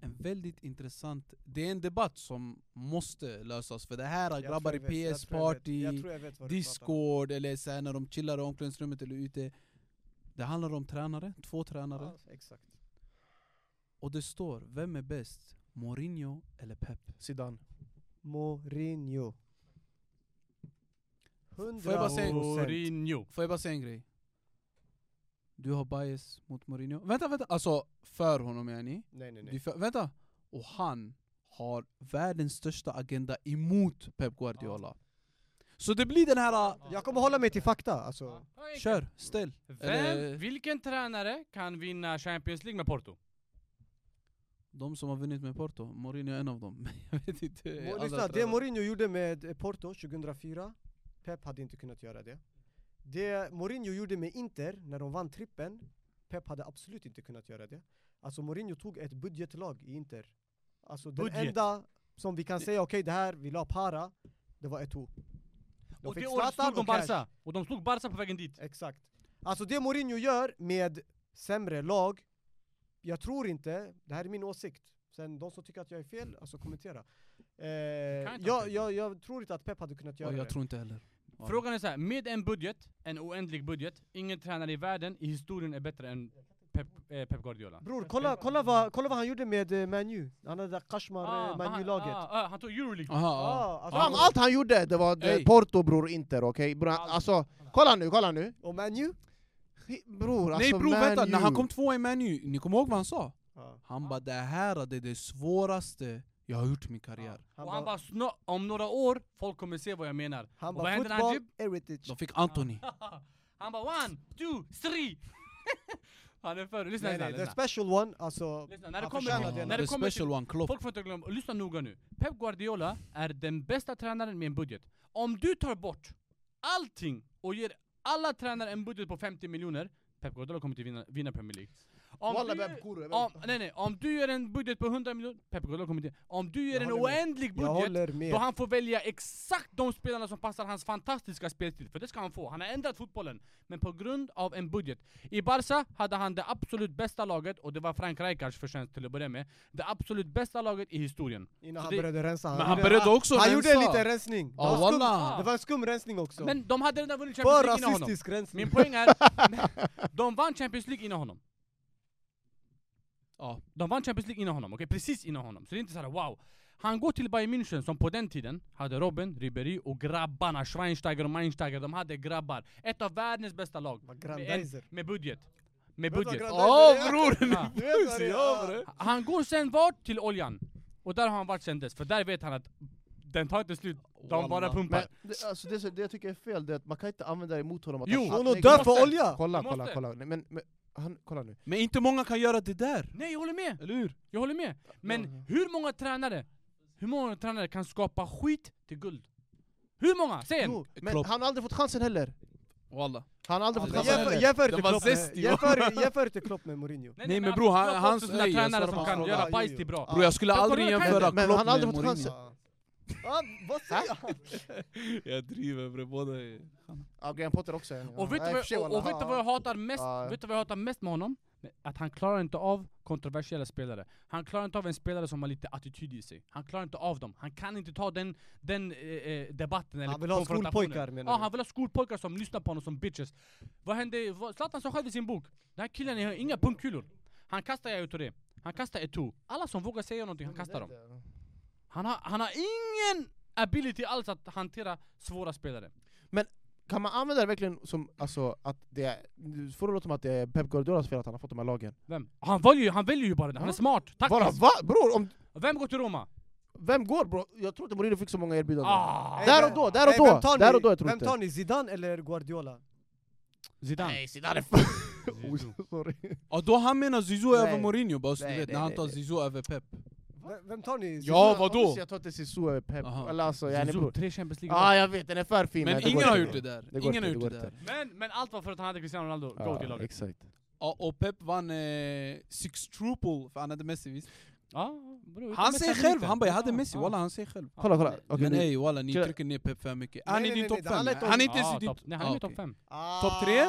A: en väldigt intressant... Det är en debatt som måste lösas, för det här
E: Jag
A: grabbar
E: tror jag vet,
A: i
E: jag
A: PS
E: tror jag vet,
A: Party...
E: jag tror jag vet vad du pratar om.
A: Discord eller så här när de chillar i omklädningsrummet eller ute. Det handlar om tränare, två tränare.
E: Ja, exakt.
A: Och det står, vem är bäst? Mourinho eller Pep?
D: Zidane.
E: Mourinho.
A: Får jag bara säga-
E: procent.
B: Mourinho.
A: Får jag bara säga en grej? Du har bias mot Mourinho. Vänta, vänta! Alltså, för honom yani.
E: Nej, nej,
A: Du är
E: nej.
A: För, vänta! Och han har världens största agenda emot Pep Guardiola. Så det blir den här... äh,
E: Jag kommer hålla mig till fakta. Alltså.
A: Kör, ställ. Eller-
B: Vem, vilken tränare kan vinna Champions League med Porto?
A: De som har vunnit med Porto, Mourinho är en av dem. Jag vet inte.
E: Mo-
A: andra
E: Lyssna, det
A: tränare.
E: Mourinho gjorde med eh, Porto 2004, Pep hade inte kunnat göra det. Det Mourinho gjorde med Inter när de vann trippen, Pep hade absolut inte kunnat göra det. Alltså Mourinho tog ett budgetlag i Inter. Alltså den
B: Budget.
E: enda som vi kan säga, okej det här, vi la para, det var Eto'o.
B: och det året slog de
E: cash.
B: Barca. Och de slog Barca på vägen dit.
E: Exakt. Alltså det Mourinho gör med sämre lag, jag tror inte, det här är min åsikt, sen de som tycker att jag är fel, alltså kommentera. Eh,
B: ha
E: jag,
B: fel.
E: jag, jag tror inte att Pep hade kunnat
A: Ja,
E: göra
A: jag
E: det.
A: tror inte heller. Ja.
B: Frågan är så här, med en budget, en oändlig budget, ingen tränare i världen i historien är bättre än Pep, eh, Pep Guardiola.
E: Bror, kolla, kolla, vad, kolla vad han gjorde med eh, Man U. Han hade Kashmar,
B: Ah,
E: eh,
B: men
E: Man
B: han-
E: U-laget. Ah,
B: ah, ah, han tog Euroleague.
A: Aha, ja.
B: Ah.
E: alltså,
D: Fram, allt han gjorde det var det
A: Ey.
D: Porto bror, Inter okej? Bror, han- Alltså, kolla nu, kolla nu.
E: Och Man U?
D: Hi- Bror alltså
A: Nej bror
D: Man
A: vänta,
D: U.
A: när han kom tvåa i Menu, ni kommer ihåg vad han sa?
B: Ah.
E: Ja.
A: Han bara det här det är det svåraste jag har gjort i min karriär.
E: Han
B: och han
E: bara,
B: bara, snart, om några år, folk kommer se vad jag menar.
E: han
B: och vad
E: bara
B: hände när han
E: football
B: jib-
E: heritage.
A: De fick Anthony.
B: Han bara one, two, three! han är för... Lyssna,
E: Nej,
B: lyssna,
E: nej, the
B: lyssna.
E: special one, alltså.
B: lyssna. När det
E: han
B: kommer
E: förtjänar det.
B: till... När det
A: The
B: kommer till
A: special one, Klopp.
B: folk får inte glömma, och lyssna noga nu. Pep Guardiola är den bästa tränaren med en budget. Om du tar bort allting och ger alla tränare en budget på 50 miljoner, Pep Guardiola kommer inte vinna, vinna Premier League. Om
D: Walla,
B: du-
D: vem kuru, vem?
B: om, nej, nej, om du gör en budget på 100 miljoner, Pep Guardiola kommer inte... Om du gör
E: Jag
B: en
E: håller med.
B: oändlig
E: Jag
B: budget,
E: håller med.
B: då han får välja exakt de spelarna som passar hans fantastiska spelstil, för det ska han få. Han har ändrat fotbollen, men på grund av en budget. I Barca hade han det absolut bästa laget, och det var Frank Rijkaards förtjänst till att börja med. Det absolut bästa laget i historien.
E: Innan
B: Så
E: han
B: det-
E: började rensa.
A: Men han
E: gjorde-
A: började också
E: Han
A: rensa.
E: gjorde en liten rensning. Det
A: Ja,
E: var skum-
A: wallah.
E: Det var en skum rensning också.
B: Men de hade redan vunnit Champions
E: För
B: League innan honom.
E: rasistisk rensning.
B: Min poäng är, de vann Champions League innan honom.
A: Ja.
B: De vann Champions League innan honom, okej? Precis innan honom. Så det är inte såhär wow. Han går till Bayern München som på den tiden hade Robin, Ribéry och grabbarna, Schweinsteiger och Meinsteiger. De hade grabbar. Ett av världens bästa lag.
E: Vad
B: Med, en,
E: Grandizer.
B: med budget. Med
E: Vet du vad
B: budget.
E: Grandizer är?
A: bror!
B: Ja.
E: Du vet vad det är?
B: Han går sen vart? Till Oljan. Och där har han varit sen dess, för där vet han att den tar inte slut. De
A: Wallah.
B: bara pumpar.
D: Men det, alltså det, som- det jag tycker är fel det är att man kan inte använda det emot honom att
B: Jo,
D: han-
E: Shuno
D: nej,
E: dör
D: kolla-
E: för olja!
D: Kolla,
B: Du måste.
D: kolla, kolla, nej, men, men han, kolla nu
A: Men inte många kan göra det där,
B: Nej jag håller med!
A: eller hur?
B: Jag håller med! Men
D: Ja,
B: hur många tränare, hur många tränare kan skapa skit till guld? Hur många? Säg en!
D: jo, men
A: Klopp.
D: han har aldrig fått chansen heller
A: Walla.
D: Han har aldrig fått
A: Aldrig.
D: chansen
E: Jämför,
D: heller
E: jämför,
A: Den
E: inte
A: var
E: Klopp
A: zest,
E: med,
A: jo.
E: jämför, jämför inte Klopp med Mourinho.
A: Nej, men bror, han-
B: jag har
A: hans-
B: också såna
A: nej, jag svarar
B: tränare som
A: på
B: kan
A: hans
B: göra
E: fråga.
B: bajs till bra.
A: Bror jag skulle
B: Men
A: aldrig
B: kolla, kan
A: jämföra
D: inte- men
A: Klopp
D: han har aldrig
A: med
D: fått
A: Mourinho.
E: Ah, vad säger han?
A: Jag driver bre, båda är...
D: Ja, Graham Potter också ja.
B: Och vet du
D: Nej,
B: vad
D: för sig,
B: jag- och- och
D: wallah.
B: vet du vad jag hatar mest?
D: Ja.
B: Vet du vad jag hatar mest med honom? Att han klarar inte av kontroversiella spelare. Han klarar inte av en spelare som har lite attityd i sig. Han klarar inte av dem. Han kan inte ta den, den eh, eh, debatten eller
E: Han vill ha
B: konfrontationen.
E: skolpojkar menar
B: Ja,
E: du?
B: han vill ha skolpojkar som lyssnar på honom som bitches. Vad hände? vad- Zlatan sa själv i sin bok, den här killen har inga pungkulor. Han kastar jag Touré, han kastar Eto'o. Alla som vågar säga någonting, han kastar dem. Han har, han har ingen ability alls att hantera svåra spelare.
D: Kan man använda det verkligen som, alltså att det är, nu får det låta som att det är Pep Guardiolas fel att han har fått de här lagen
B: Vem? Han väljer, ju- han väljer ju bara det, han är
D: Ja.
B: smart,
D: Bara,
B: taktisk.
D: va? Bror, om,
B: Vem går till Roma?
D: vem går bror? Jag tror inte Mourinho fick så många erbjudanden
B: Ah!
D: Där och då, där och
E: Eh,
D: då,
E: vem tar
D: där
E: ni-
D: och då jag tror
E: Vem tar
D: inte
E: ni, Zidane eller Guardiola?
B: Zidane.
D: Zidane är fan... Sorry
A: Ja, då han menar Zizou
D: Nej.
A: över Mourinho bara så du
D: Nej,
A: vet,
D: nej,
A: när han
D: nej,
A: tar
D: nej.
A: Zizou över Pep.
E: Vem- Vem tar ni?
A: Ja,
D: Zidane-
A: vadå?
D: obviously, Jag tror inte Zizou är Pep,
A: Aha.
D: eller alltså jag är
B: Zizou,
D: bror
B: tre Champions League.
D: Ja jag vet, den är för fin
A: Men
D: går
A: ingen har
D: inte.
A: gjort det där.
D: Det går
A: ingen har
D: inte,
A: gjort
D: det
A: det
D: går
A: där.
B: Men, men allt var för att han hade Cristiano Ronaldo,
D: Ja,
B: go till laget.
D: Exakt
A: Ja, och Pep vann eh, six truple för han hade Messi visst.
B: Ja, bro,
A: Han säger själv, han bara jag hade Messi, walla han säger själv.
D: Kolla kolla, okej
A: Men
D: nu
A: ey walla, ni
D: Kör.
A: trycker ner Pep för mycket.
E: Nej,
A: Han är
E: nej,
A: din
E: nej,
A: topp
E: det handlar
A: fem.
E: inte om-
A: Han är inte ens i din...
B: topp, nej, han är
A: Ah,
B: med topp
A: okej.
B: fem.
E: Ah,
A: Topp tre?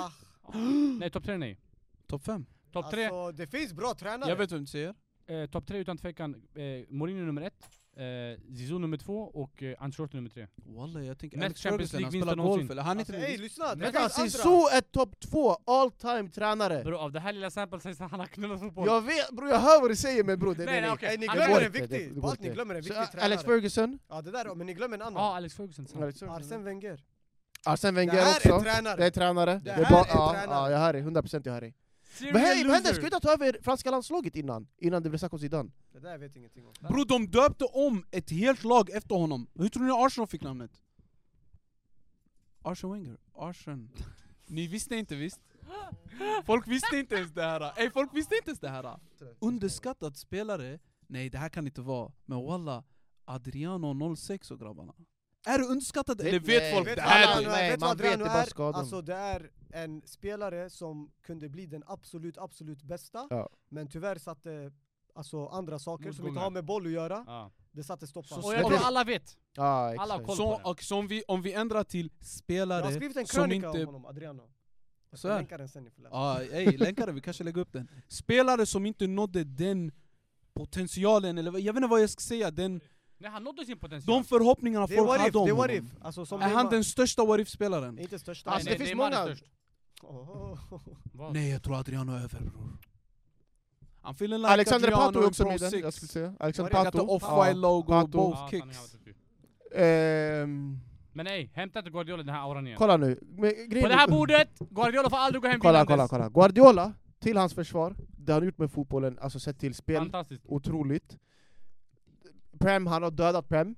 B: Nej, topp tre nej.
A: Topp fem?
B: Topp tre,
E: Alltså, det finns bra tränare.
A: Jag vet vem du säger.
B: eh, topp tre utan tvekan, eh, Mourinho nummer ett, eh, Zizou nummer två och eh, Ancelotti nummer tre.
A: Walla jag tänker
B: Mest
A: Alex
B: Champions
A: Ferguson, han
B: League-vinster
A: spelar golf
B: någonsin.
A: eller? Han är
E: Alltså,
A: inte
E: ey,
A: med.
E: lyssna. Det
D: Vänta,
E: finns andra.
D: Alltså, Zizou är topp två all time tränare!
B: Bro, av det här lilla samplet sägs att han har knullat fotboll.
D: Jag vet bror, jag hör vad du säger men bror
B: Nej,
D: det
B: nej,
D: nej.
B: okej.
E: Ey, ni
B: Han-
D: det går
E: glömmer en
D: inte, det- det
E: viktig,
D: går
E: på allt ni
D: inte.
E: glömmer en
D: Så,
E: viktig
D: Ä- Alex
E: tränare.
D: Ferguson,
E: Ja, det där, men ni glömmer en
B: Ja, ah,
E: annan.
B: Alex Ferguson. sant.
D: Alex
E: Arsene
D: Ferguson.
E: Wenger.
D: Arsene
E: Det
D: Wenger
E: här är
D: också Det
E: tränare.
D: är tränare,
E: Det
D: är
E: här
D: bara-
E: är
D: ja,
E: tränare.
D: Ja, jag hör dig, 100% jag hör dig
B: Serial
D: Men hej, vad hände?
B: loser.
D: Ska vi inte ta över franska landslaget innan? Innan det blev snack om Zidane?
E: Det där vet jag ingenting om.
A: Bro, de döpte om ett helt lag efter honom. Hur tror ni Arsenal fick namnet? Arsene Wenger. Arsene. Ni visste inte visst? Folk visste inte ens det här. Ey, folk visste inte ens det här. Underskattad spelare? Nej, det här kan inte vara. Men walla, Adriano 06 och grabbarna. Är du underskattad eller vet
D: nej,
A: folk
E: Vet
A: det
E: du
D: alla
E: vad
A: här?
D: andra-
A: du?
D: Nej,
E: Adriano är? Vet du vad
D: man vet,
E: Adriano
D: det är bara
E: är?
D: skadan.
E: Alltså det är en spelare som kunde bli den absolut, absolut bästa.
D: Ja.
E: Men tyvärr satte alltså, andra saker som inte
B: Motgångar.
E: har med boll att göra,
B: Ja.
E: det satte stopp för
A: Så
E: honom.
B: Och jag
D: Men-
B: tror alla vet.
D: Ja,
B: Alla
D: exakt.
B: koll på
A: Så,
B: det.
A: och som vi, om vi ändrar till
E: Jag har
A: spelare...
E: skrivit en
A: som
E: krönika
A: inte-
E: om honom, Adriano. Jag
A: Så
E: ska
A: här.
E: länka den sen, ni får läsa.
A: Ah, ey, länka den, vi kanske lägger upp den. Spelare som inte nådde den potentialen, eller vad- jag vet inte vad jag ska säga, den,
B: Nej, han nådde sin potential.
A: de förhoppningarna
E: Det är
A: folk
E: what if,
A: hade
E: det är
A: om
E: what
A: honom.
E: if. Alltså, som
A: Är han
E: Neymar-
A: den största what if-spelaren?
E: Inte största.
D: Alltså,
B: nej,
D: det
B: nej,
D: finns
B: Neymar är
D: många-
B: störst.
E: Ohoho.
B: Vad?
A: Nej, jag tror Adriano är över bror. Han fyller like
D: Alexander
A: Adriano
D: Pato är
A: en
D: också
A: bra
D: med i den,
A: six.
D: jag skulle säga. Alexander
A: Jag kan
D: Pato.
A: ta off-white logo,
D: Pato.
A: both
B: Ja, sanningen
A: kicks.
B: var typ-
D: Ehm,
B: Men nej, hämta inte Guardiola den här auran igen.
D: kolla nu. Men grejen
B: På det
D: är-
B: här bordet, Guardiola får aldrig gå hem
D: Kolla,
B: vinnandes.
D: kolla, kolla. Guardiola, till hans försvar, det han gjort med fotbollen, alltså sett till spel,
B: Fantastiskt.
D: otroligt. Prem, han har dödat Prem.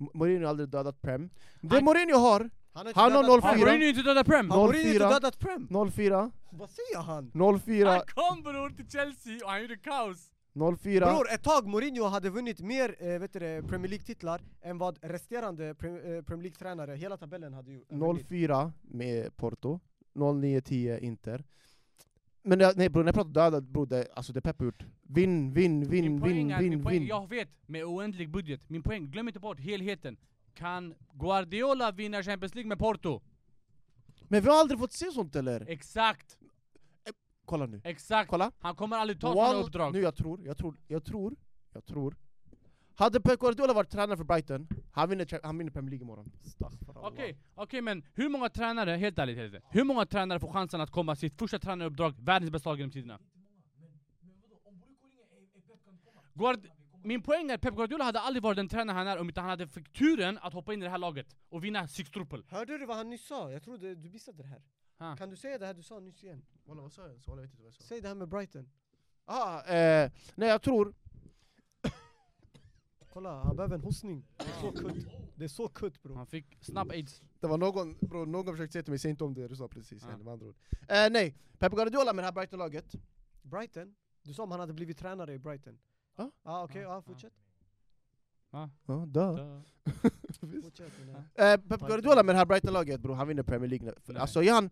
D: M- Mourinho har aldrig dödat Prem. Det
B: Han-
D: Mourinho har,
E: Han har
D: Han har noll-
E: dödat-
B: Han
D: Fyra.
B: Mourinho inte döda Prem!
E: Han borde inte
D: 04.
E: dödat Prem!
D: 04,
E: Vad säger han?
D: 04,
B: Han kom bror till Chelsea och han gjorde kaos!
D: 04.
E: Bror, ett tag Mourinho hade vunnit mer eh, vet du, det, Premier League-titlar än vad resterande pre eh, Premier League-tränare, hela tabellen, hade ju.
D: 04 med Porto, 09-10 Inter. Men jag, nej bror, när jag pratar dödat bror, det, alltså det Pep gjort. Vinn, vinn, vinn,
B: Min poäng
D: vinn,
B: är, min
D: vinn,
B: poäng,
D: vinn.
B: jag vet, med oändlig budget. Min poäng, glöm inte bort helheten. Kan Guardiola vinna Champions League med Porto?
D: Men vi har aldrig fått se sånt eller?
B: Exakt!
D: Kolla nu,
B: Exakt!
D: kolla.
B: Han kommer aldrig ta
D: Wall-
B: sådana uppdrag.
D: Nu jag tror, jag tror, jag tror, jag tror. Hade Pep Guardiola varit tränare för Brighton, han vinner, cha- han vinner Premier League imorgon.
E: Astaghfirullah.
B: Okej, okej men hur många tränare, helt ärligt, helt ärligt hur många tränare får chansen att komma sitt första tränaruppdrag, världens bästa lag genom tiderna? Guard Min poäng är Pep Guardiola hade aldrig varit den tränare han är om inte han hade fick turen att hoppa in i det här laget och vinna six truppel.
E: Hörde du vad han nyss sa? Jag trodde du missade det här.
B: Ha.
E: Kan du säga det här du sa nyss igen?
D: Walla vad sa Ah, jag ens? Walla jag vet inte vad jag
E: Säg det här med Brighton.
D: Ah, eh, nej jag tror...
E: Kolla, han behöver en hostning. Det är så kutt. Det är så kutt bror.
B: Han fick snabb aids.
D: Det var någon, bro, någon försökte säga till mig, säg inte om det du sa precis,
B: Ja.
D: ja. med andra ord. Eh, nej, Pep Guardiola med det här Brighton-laget.
E: Brighton? Du sa om han hade blivit tränare i Brighton?
D: Ja.
E: ah, okej,
B: Ja,
E: ja,
B: ja.
E: fortsätt.
D: Ja, duh.
B: Dö.
E: Fortsätt med det här.
D: Eh, Pep Guardiola med det här Brighton-laget bro, han vinner Premier League. nu.
B: Nej.
D: Alltså är han...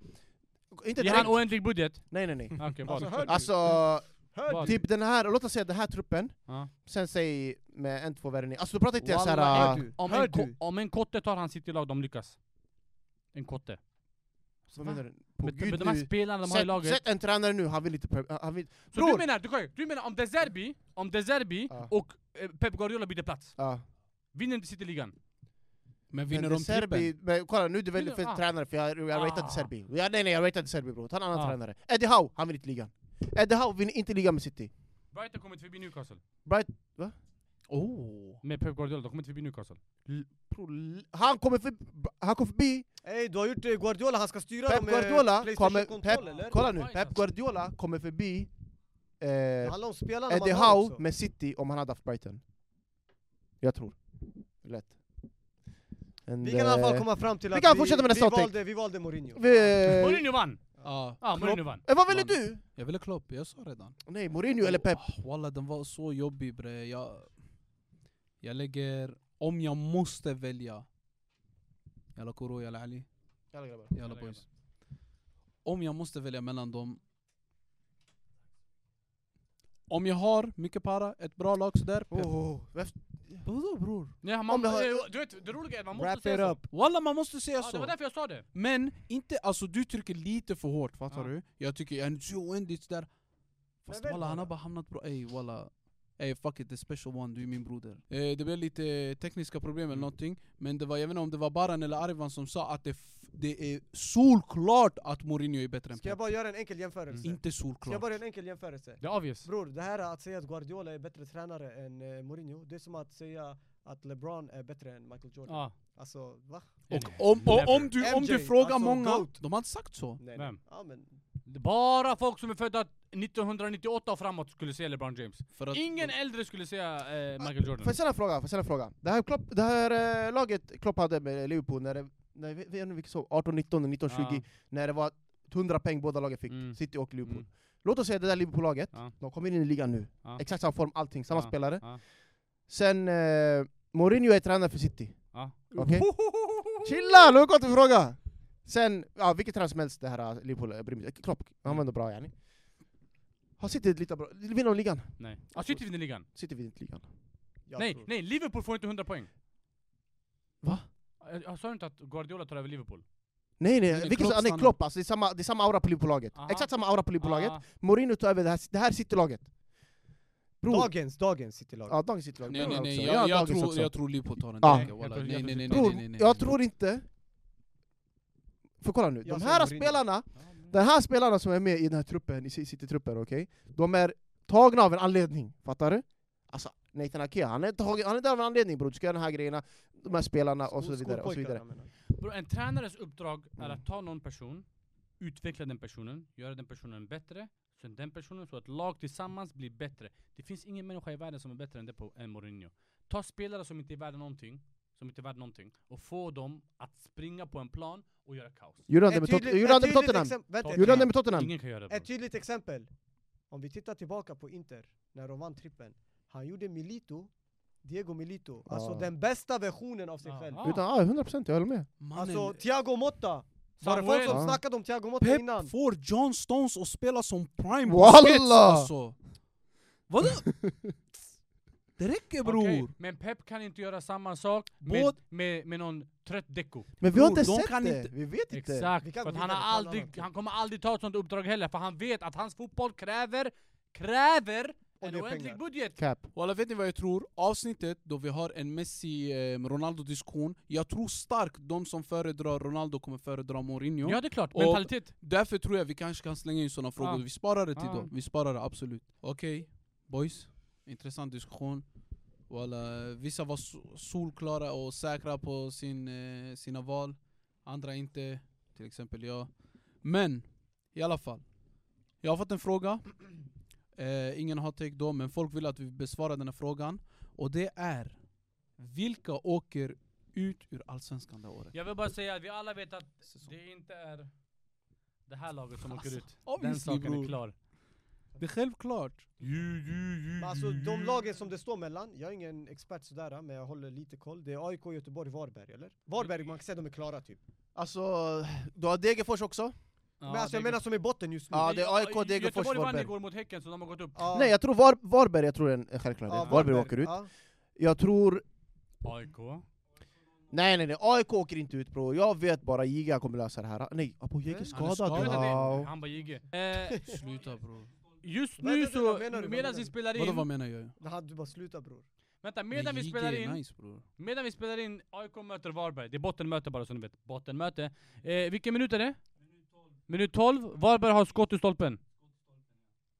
D: Inte
B: Ger
D: direkt,
B: han oändlig budget?
D: nej nej nej.
B: Ah, Okej,
E: Alltså,
B: bra.
E: hör du?
D: Alltså,
E: Hör
B: Vad?
E: du?
D: typ den här, låt oss säga den här truppen,
B: Ja.
D: sen säg med en, två värvningar. Alltså du pratar inte
B: Wallah,
D: såhär...
E: hör du?
B: Om
E: Hör
B: en, ko-
E: du?
B: om en kotte tar han sitt lag, de lyckas. En kotte.
D: Vad menar du? På
B: Men,
D: gud
B: men de här
D: nu.
B: spelarna de har i
D: Sätt,
B: laget.
D: sätt en tränare nu, han vill inte... Pre- Han vill,
B: Så
D: bror!
B: du menar, du, kan- du menar om De Zerbi, om De Zerbi
D: Ja.
B: och eh, Pep Guardiola byter plats,
D: ja.
B: vinner inte Cityligan?
A: Men
D: Men
A: vinner
D: det
A: de
D: Serbi,
A: trippen?
D: men kolla nu du väljer
B: Vinner-
D: fel
B: ah.
D: tränare för jag, jag
B: Ah.
D: ratade Serbi. Ja, nej nej, jag ratade Serbi bror, ta en annan
B: Ah.
D: tränare. Eddie Howe, han vinner inte ligan. Eddie Howe vinner inte ligan med City.
B: Brighton kommer inte förbi Newcastle.
A: Oh.
B: Med Pep Guardiola, de kommer inte förbi Newcastle.
D: Bror, l- han kommer förbi, han kommer förbi
E: Ey, du har gjort eh, Guardiola, han ska styra
D: Pep
E: dem med
D: Guardiola kommer,
E: Playstation-kontroll eller?
D: Pep, kolla nu,
B: Why
D: Pep
E: alltså.
B: does-
D: Guardiola kommer förbi eh,
E: Det handlar om spelarna
D: Eddie
E: man har
D: Howe
E: också.
D: med City om han hade haft Brighton. Jag tror. Lätt. And,
E: Vi kan i alla fall
D: eh,
E: komma fram till
D: vi
E: att
D: kan fortsätta med nästa
E: vi,
D: avtänk.
E: valde, vi valde Mourinho.
D: vi-
B: Mourinho vann!
A: Ja.
B: Ja,
A: Klopp.
B: Mourinho vann.
D: eh, vad ville
A: Man.
D: du?
A: Jag ville Klopp, jag sa redan.
D: Nej, Mourinho eller Pep?
A: Oh, Walla den var så jobbig bre. Jag, jag lägger, om jag måste välja. Jalla Koro, jalla Ali, jalla boys. Om jag måste välja mellan dem. Om jag har mycket para, ett bra lag sådär. Pep.
D: Oh, varför-
A: Vadå bror?
B: Ja,
D: Om
B: man,
D: det har-
B: eh, du vet, det roliga är att man måste
E: Wrap
B: säga
E: it
B: så.
E: up.
A: Walla man måste säga
B: Ja, det var
A: så.
B: därför jag sa det.
A: Men inte, alltså du trycker lite för hårt fattar
B: Ja.
A: du? Jag tycker jag är så oändligt där. Fast
E: väl,
A: walla han har
E: walla.
A: bara hamnat bra, ey walla. Ey fuck it, the special one, du är min broder. Mm. Eh, det blev lite tekniska problem eller någonting. Men det var, jag vet inte om det var Baran eller Arvan som sa att det, f- det är solklart att Mourinho är bättre än
E: Ska jag
A: Pep.
E: bara göra en enkel jämförelse?
A: Inte
E: Ska jag
A: solklart.
E: bara göra en enkel jämförelse?
B: Det är obvious.
E: Bror, det här att säga att Guardiola är bättre tränare än eh, Mourinho, det är som att säga att LeBron är bättre än Michael Jordan.
B: Ja.
E: Alltså, va?
A: Och om, och om, du, om du
E: MJ,
A: frågar
E: alltså,
A: många,
E: GOAT.
A: de har inte sagt så.
E: Nej,
B: Vem?
E: nej. Ja, men,
B: Det är Bara folk som är födda 1998 och framåt skulle säga LeBron James.
A: För att
B: Ingen äldre skulle säga eh, Michael
D: Får
B: Jordan.
D: jag ställa en fråga? Får jag ställa en fråga? Det här, Klopp, det här eh, laget Klopp hade med Liverpool när det, när, vi- vi- vi såg 18, 19, 19, 20
B: Ja.
D: När det var 100 poäng båda lagen fick,
B: Mm.
D: City och Liverpool
B: Mm.
D: Låt oss säga det där Liverpool-laget,
B: Ja.
D: de kom in i ligan nu
B: Ja.
D: Exakt samma form, allting, samma
B: Ja.
D: spelare
B: Ja.
D: Sen, eh, Mourinho är tränare för City
B: Ja.
D: Okej? Chilla! Lugna till fråga! Sen, ja vilket tränare som helst det här eh, Liverpool, eh, bryr mig inte. Klopp,
B: Mm.
D: han var ändå bra yani Har City lite bra, vinner de ligan?
B: Nej. Ja, City vinner ligan.
D: City vinner inte ligan
E: jag
B: nej,
E: tror.
B: nej, Liverpool får inte 100 poäng.
A: Va?
B: Jag, jag sa inte att Guardiola tar över Liverpool.
D: Nej nej,
A: Men Klopp
D: vilket, Klopp, nej,
A: stannar.
D: Klopp alltså, det är samma, det är samma aura på Liverpool-laget
E: Ah.
B: Aha.
D: Exakt samma aura på Liverpool-laget
B: Ah,
D: Mourinho tar över det här, det här City-laget. Bror.
E: Dagens, dagens Citylag.
D: Ja, dagens City-lag.
A: Nej nej
D: Bror
A: nej,
D: också.
A: jag, jag,
D: dagens
A: tror,
D: också.
A: jag tror Liverpool tar en
E: Ah.
D: Ja.
A: tagge walla.
B: Jag
A: Nej
B: tror-
A: nej
B: jag
A: nej nej
B: tror-
A: nej
D: Bror,
A: nej, nej.
D: jag tror inte... För kolla nu,
E: Jag
D: de
E: ser
D: här
E: Mourinho.
D: spelarna,
B: ja, men-
D: de här spelarna som är med i den här truppen, i Ci- City-truppen, okej? De är tagna av en anledning, fattar du? Alltså, Nathan Ake, han är, tagen, han är där av en anledning bror, du ska göra de här grejerna, de här spelarna och så
E: Skol-
D: vidare. Och så vidare.
E: skolpojkarna, menar jag.
B: Bro, en tränares uppdrag är
D: Mm.
B: att ta någon person, utveckla den personen, göra den personen bättre, sen den personen, så att lag tillsammans blir bättre. Det finns ingen människa i världen som är bättre än, det på, än Mourinho. Ta spelare som inte är värda någonting, som inte är värda någonting, och få dem att springa på en plan och göra kaos.
D: Gjorde han det
E: Ett
D: med
E: tydligt-
D: Tot- gjorde han det
E: ett
D: med
E: tydligt
D: Tottenham?
E: exempel- vänta, ett
D: Gjorde han det
E: tydligt-
D: med Tottenham?
B: Ingen kan göra det.
E: Ett
B: bro.
E: tydligt exempel. Om vi tittar tillbaka på Inter, när de vann trippen. Han gjorde Milito, Diego Milito, alltså
D: Ja.
E: den bästa versionen av sig
B: Ja.
E: själv.
B: Ja.
D: Utan, ja, 100% jag håller med.
A: Mannen,
E: Alltså, Thiago Motta! Var det folk
B: Samuel.
E: som
D: Ja.
E: snackade om Thiago Motta
A: Pep
E: innan?
A: får John Stones att spela som prime
D: Walla!
A: spets alltså! Vadå? Det räcker bror!
B: Okej, men Pep kan inte göra samma sak med,
A: Båd-
B: med, med någon trött deko.
D: Men vi har
A: Bror,
D: inte
A: de
D: sett
A: kan
D: det,
A: inte-
D: vi vet inte.
E: Vi
B: Exakt,
E: kan
B: för att
E: gå
B: han, har
E: vidare på alla
B: aldrig,
E: andra.
B: han kommer aldrig ta ett sånt uppdrag heller, för han vet att hans fotboll kräver, kräver
E: Och
B: en
E: mer
B: oändlig
E: pengar.
B: budget.
D: Cap.
A: Walla vet ni vad jag tror? Avsnittet då vi har en Messi-Ronaldo-diskussion, jag tror starkt de som föredrar Ronaldo kommer föredra Mourinho.
B: Ja det är klart,
A: Och-
B: mentalitet.
A: Därför tror jag vi kanske kan slänga in såna frågor,
B: Ja.
A: vi sparar det till
B: Ja.
A: då. Vi sparar det absolut. Okej, boys. Intressant diskussion. Walla, vissa var so- solklara och säkra på sin, eh, sina val, andra inte. Till exempel jag. Men, i alla fall. Jag har fått en fråga. Eh, ingen hot take då, men folk vill att vi besvarar den här frågan. Och det är, Vilka åker ut ur Allsvenskan det året?
B: Jag vill bara säga att vi alla vet att
A: Säsong.
B: det inte är det här laget som åker
A: Alltså,
B: ut. Den
A: obviously,
B: saken är
A: bror.
B: klar.
A: Det är självklart.
E: Men alltså de lagen som det står mellan, jag är ingen expert sådär men jag håller lite koll. Det är AIK, Göteborg, Varberg eller? Varberg, man kan säga de är klara typ.
D: Alltså, du har Degerfors också?
E: men alltså jag menar som är i botten just nu.
D: Ja, det är AIK,
B: Gö-
D: Degerfors,
B: Göteborg vann
D: Varberg.
B: igår mot Häcken, så de har gått upp.
E: Ja.
D: Nej, jag tror Var Varberg, jag tror det är en en självklarhet.
E: Ja,
D: Varberg, åker ut.
E: Ja.
D: Jag tror...
B: AIK.
D: Nej nej nej, AIK åker inte ut bro. Jag vet bara Jiga kommer lösa det här. Nej, Apoyeke
E: Nej.
D: är
A: Han är
D: skadad.
A: skadad.
D: Ja.
B: Han bara ljuger. Eh,
A: Sluta bror.
B: just
E: Vänta,
B: nu
E: vänta,
B: så,
E: vad menar du?
B: medan
E: Vad menar
B: vi
E: du?
B: spelar
A: Vadå vad
B: in...
A: menar jag?
E: Det hade du bara sluta bror.
B: Vänta, medan
A: Men
B: vi
A: JG
B: spelar
A: är
B: in...
A: Nice, bror.
B: Medan vi spelar in AIK möter Varberg. Det är bottenmöte bara så ni vet. Bottenmöte. Eh, vilken minut är det? Minut 12. Varberg har skott i stolpen.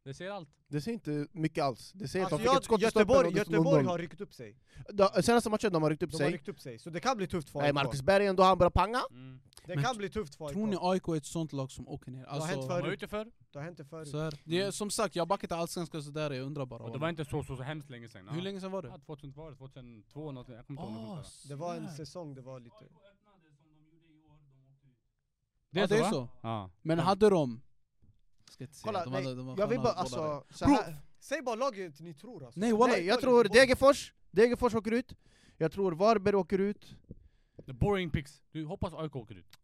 B: Det säger allt.
D: Det ser inte mycket alls. Det ser
E: Alltså,
D: att de fick ett skott
E: jag,
D: i stolpen
E: Göteborg,
D: och det stod
E: Göteborg
D: 0-0.
E: har ryckt upp sig.
D: Da- Senaste matchen de har ryckt upp
E: De har
D: sig.
E: ryckt upp sig, så det kan bli tufft för
D: Nej,
E: AIK.
D: Marcus Berg ändå, han börjar panga.
E: det
A: Men
E: kan bli tufft för AIK.
A: Tror ni AIK är ett sånt lag som åker ner?
E: har hänt
A: Alltså,
B: De
E: förut.
B: var ute för.
E: Det har hänt det förut.
A: så här. Det är, som sagt, jag backar till Allsvenskan sådär, jag undrar bara.
B: Och det var inte så, så, så hemskt länge sedan.
A: Hur länge sedan var
B: Ja,
A: det?
B: 2002 eller 2002 någonting. Jag kommer inte ihåg. när
A: Ah,
B: det
E: Det var en
A: snap.
E: säsong, det var lite...
A: Ja, det är
B: va?
A: så.
B: Ja.
A: Men hade de... Ska inte säga,
D: Kolla,
A: de
D: nej,
A: hade, de var
D: Jag vill
A: sköna
D: bara,
A: bollar där.
D: alltså... Så
A: Bro,
D: här.
E: Säg bara laget ni tror alltså.
A: Nej, walla,
D: Nej, jag tror Degerfors, Degerfors åker ut. Jag tror Varberg åker ut.
B: The boring picks. Du hoppas AIK åker ut.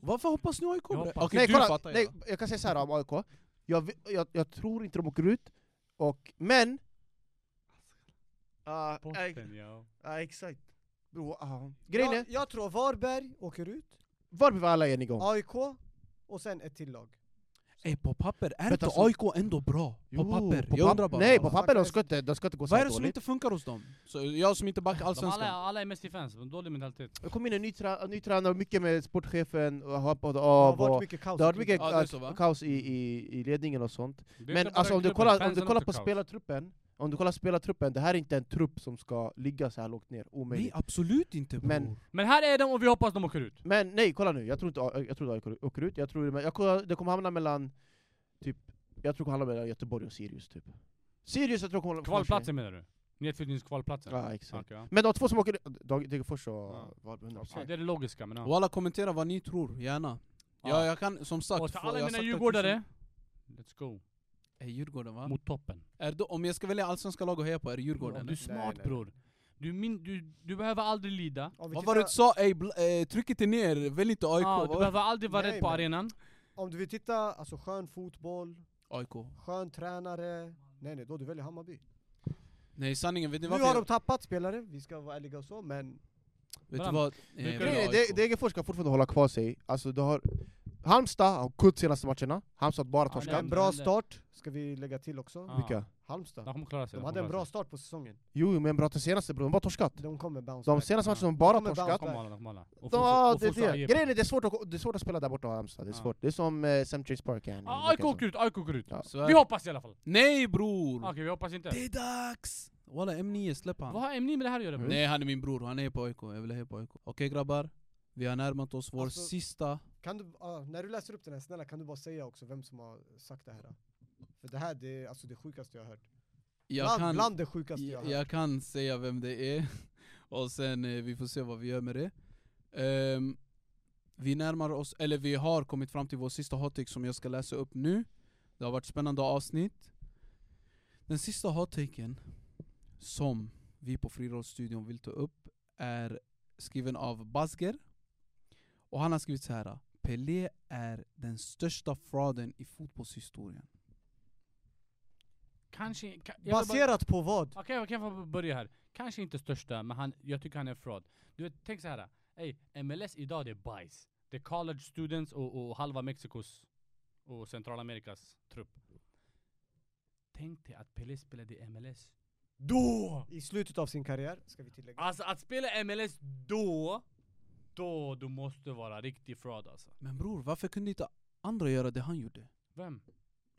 A: Varför hoppas ni AIK? bre?
B: Jag hoppas-
A: Okej,
D: nej,
A: Typ du
D: kolla,
A: fattar
D: nej,
A: jag.
D: jag kan säga så här om AIK. Jag, vi- jag, jag tror inte de åker ut, och, men... Ja,
B: Botten, ja.
D: exakt. Bro, ja. ah, Grejen är,
E: Jag, jag tror Varberg åker ut,
D: Varberg var alla eniga om.
E: AIK och sen ett till lag.
A: Ey, på papper, är
D: Men
A: inte
D: alltså-
A: AIK ändå bra? På papper, jag undrar bara.
D: Nej, på
A: walla.
D: papper de ska inte, de ska inte gå så
A: Vad är
D: här
A: det som
D: dåligt.
A: inte funkar hos dem? Så jag som inte backar
B: De alla,
A: Allsvenskan.
B: alla är Messi-fans. De har Dålig mentalitet.
D: Det kom in en ny, tra- ny tränare, mycket med sportchefen, och han hoppade
E: Det
D: av.
E: har varit
D: Och
E: mycket kaos.
D: det har varit mycket
A: Ja, det är
D: eh,
A: så, va?
D: kaos i, i, i ledningen och sånt.
B: Det är
D: Men
B: klart
D: alltså
B: bara
D: om du
B: klubben.
D: kollar, om du
B: Fansen
D: kollar
B: också
D: på
A: typ
B: kaos.
D: spelartruppen, om du kollar spelartruppen, det här är inte en trupp som ska ligga så här lågt ner,
A: Nej,
D: omöjligt.
A: absolut inte bror.
D: Men-
B: Men här är de och vi hoppas de åker ut.
D: Men nej, kolla nu, jag tror inte A- jag tror att AIK åker ut, jag tror, men jag kollar, det kommer hamna mellan, typ, jag tror det kommer hamna mellan Göteborg och Sirius typ. Sirius jag tror kommer...
B: Kvalplatsen menar du? Nedflyttningskvalplatsen?
D: Ja, exakt.
B: Okej, ja.
D: Men de två som åker Dag- Degerfors och
B: Ja.
D: Varberg, 100%.
B: Ja, det är det logiska men ja.
A: Walla, kommentera vad ni tror, gärna.
B: Ja.
A: Ja, jag kan som sagt...
B: Och till
A: få- jag
B: alla
A: har sagt
B: mina
A: det
B: djurgårdare, let's go.
A: tusen- Är Djurgården va?
B: Mot toppen.
A: Är det, om jag ska välja allsvenska lag att heja på, är det Djurgården
B: Du är
A: eller?
E: Nej,
B: smart
E: nej.
B: bror. Du, min, du, du behöver aldrig lida.
E: Om vi
A: Vad var det du
E: tittar-
A: sa? Ey, bl- eh, tryck inte ner, välj inte AIK.
B: Ja,
A: Vad
B: Ah, du
A: var det?
B: behöver aldrig vara
E: Nej,
B: rädd på
E: men-
B: arenan.
E: Om du vill titta, alltså skön fotboll,
A: AIK.
E: skön tränare. Nej nej, då du väljer Hammarby.
A: Nej sanningen, vet ni
E: Nu
A: varför?
E: har
A: jag-
E: de tappat spelare, vi ska vara ärliga och så, men
A: Vet du
B: Varann.
A: vad? Eh,
B: Vilka-
A: jag
D: Nej,
A: väljer
D: nej,
A: AIK.
D: Degerfors ska fortfarande hålla kvar sig, alltså du har... Halmstad har kutt senaste matcherna, Halmstad bara
B: Ja,
E: det är
D: torskat.
E: en
B: det
E: bra
B: händer.
E: start, ska vi lägga till också.
B: Ja.
D: Vilka?
B: De
E: Halmstad.
B: kommer klara sig.
E: De
B: de
E: hade en
B: kommer
E: bra
B: klara sig.
E: start på säsongen.
D: Jo men bra till senaste bror, de bara torskat.
E: De kommer bounce
D: De
E: back.
D: senaste
B: Ja.
D: matcherna de bara
E: Kommer bounce
D: torskat.
E: back.
B: Kom alla, de kom alla. Och
D: Ja,
B: Fosha- och
D: det
B: Fosha
D: är det.
B: IF.
D: Grejen är det är svårt att, det är svårt att spela där borta i Halmstad, det är
B: Ja.
D: svårt. Det är som eh, Sam Chase Park här.
E: Mm,
B: Ja, Ah, AIK åker ut, AIK åker ut.
D: Ja.
A: Så är
B: Vi
A: det.
B: hoppas i alla fall.
A: Nej
E: Mm.
B: Okej,
A: bror!
B: vi hoppas inte.
A: Det är dags! Walla M9, släpp han.
B: Vad har Emni med det här att göra?
E: Mm.
B: bror?
A: Nej han är min bror, han är på AIK, jag vill heja på AIK. Okej grabbar, vi har närmat oss vår
E: Alltså-
A: sista...
E: Kan du, ja, när du läser upp den här, snälla kan du bara säga också vem som har sagt det här? då? För det här det är alltså det sjukaste jag har hört.
A: Jag
E: Bland,
A: kan,
E: bland det sjukaste jag har
A: jag,
E: hört.
A: jag kan säga vem det är, och sen eh, vi får se vad vi gör med det. Ehm, vi närmar oss, eller vi har kommit fram till vår sista hot-take som jag ska läsa upp nu. Det har varit spännande avsnitt. Den sista hot-taken som vi på Frirollstudion vill ta upp är skriven av Basger. Och han har skrivit så här. Pelé är den största frauden i fotbollshistorien.
B: Kanske... ka- jag vill bara-
E: Baserat på vad?
B: Okej, jag kan få börja här. Kanske inte största, men han, jag tycker han är en fraud. Du vet, tänk så här. Ey, MLS idag det är bajs. Det är college students och, och halva Mexikos och Centralamerikas trupp. Tänk dig att Pelé spelade i MLS. Då!
E: I slutet av sin karriär, ska vi tillägga.
B: Alltså att spela i MLS då, då du måste vara riktig fraud alltså.
A: Men bror, varför kunde inte andra göra det han gjorde?
B: Vem?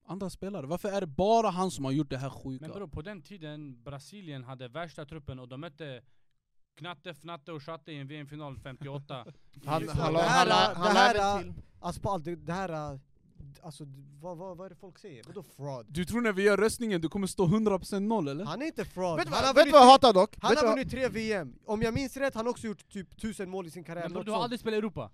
A: andra spelare. Varför är det bara han som har gjort det här sjuka?
B: Men bror, på den tiden Brasilien hade värsta truppen och de mötte Knatte, Fnatte och Chatte i en VM-final 58.
D: Han,
E: Just
D: han,
E: det,
D: han,
E: det här-
D: han,
E: det här-
D: han, till.
E: Alltså på allt, det, det här... äh, d- alltså, d- vad, vad, vad är det folk säger? Vadå fraud?
A: Du tror när vi gör röstningen det kommer stå 100% noll eller?
E: Han är inte fraud!
D: Vet du
E: han har
D: vad, vet du
E: vunnit,
D: vad jag hatar dock?
E: han
D: Vet du
E: har
D: vad-
E: vunnit tre VM, om jag minns rätt han har också gjort typ tusen mål i sin karriär
B: Men bror,
E: något
B: du har
E: sånt.
B: aldrig spelat i Europa.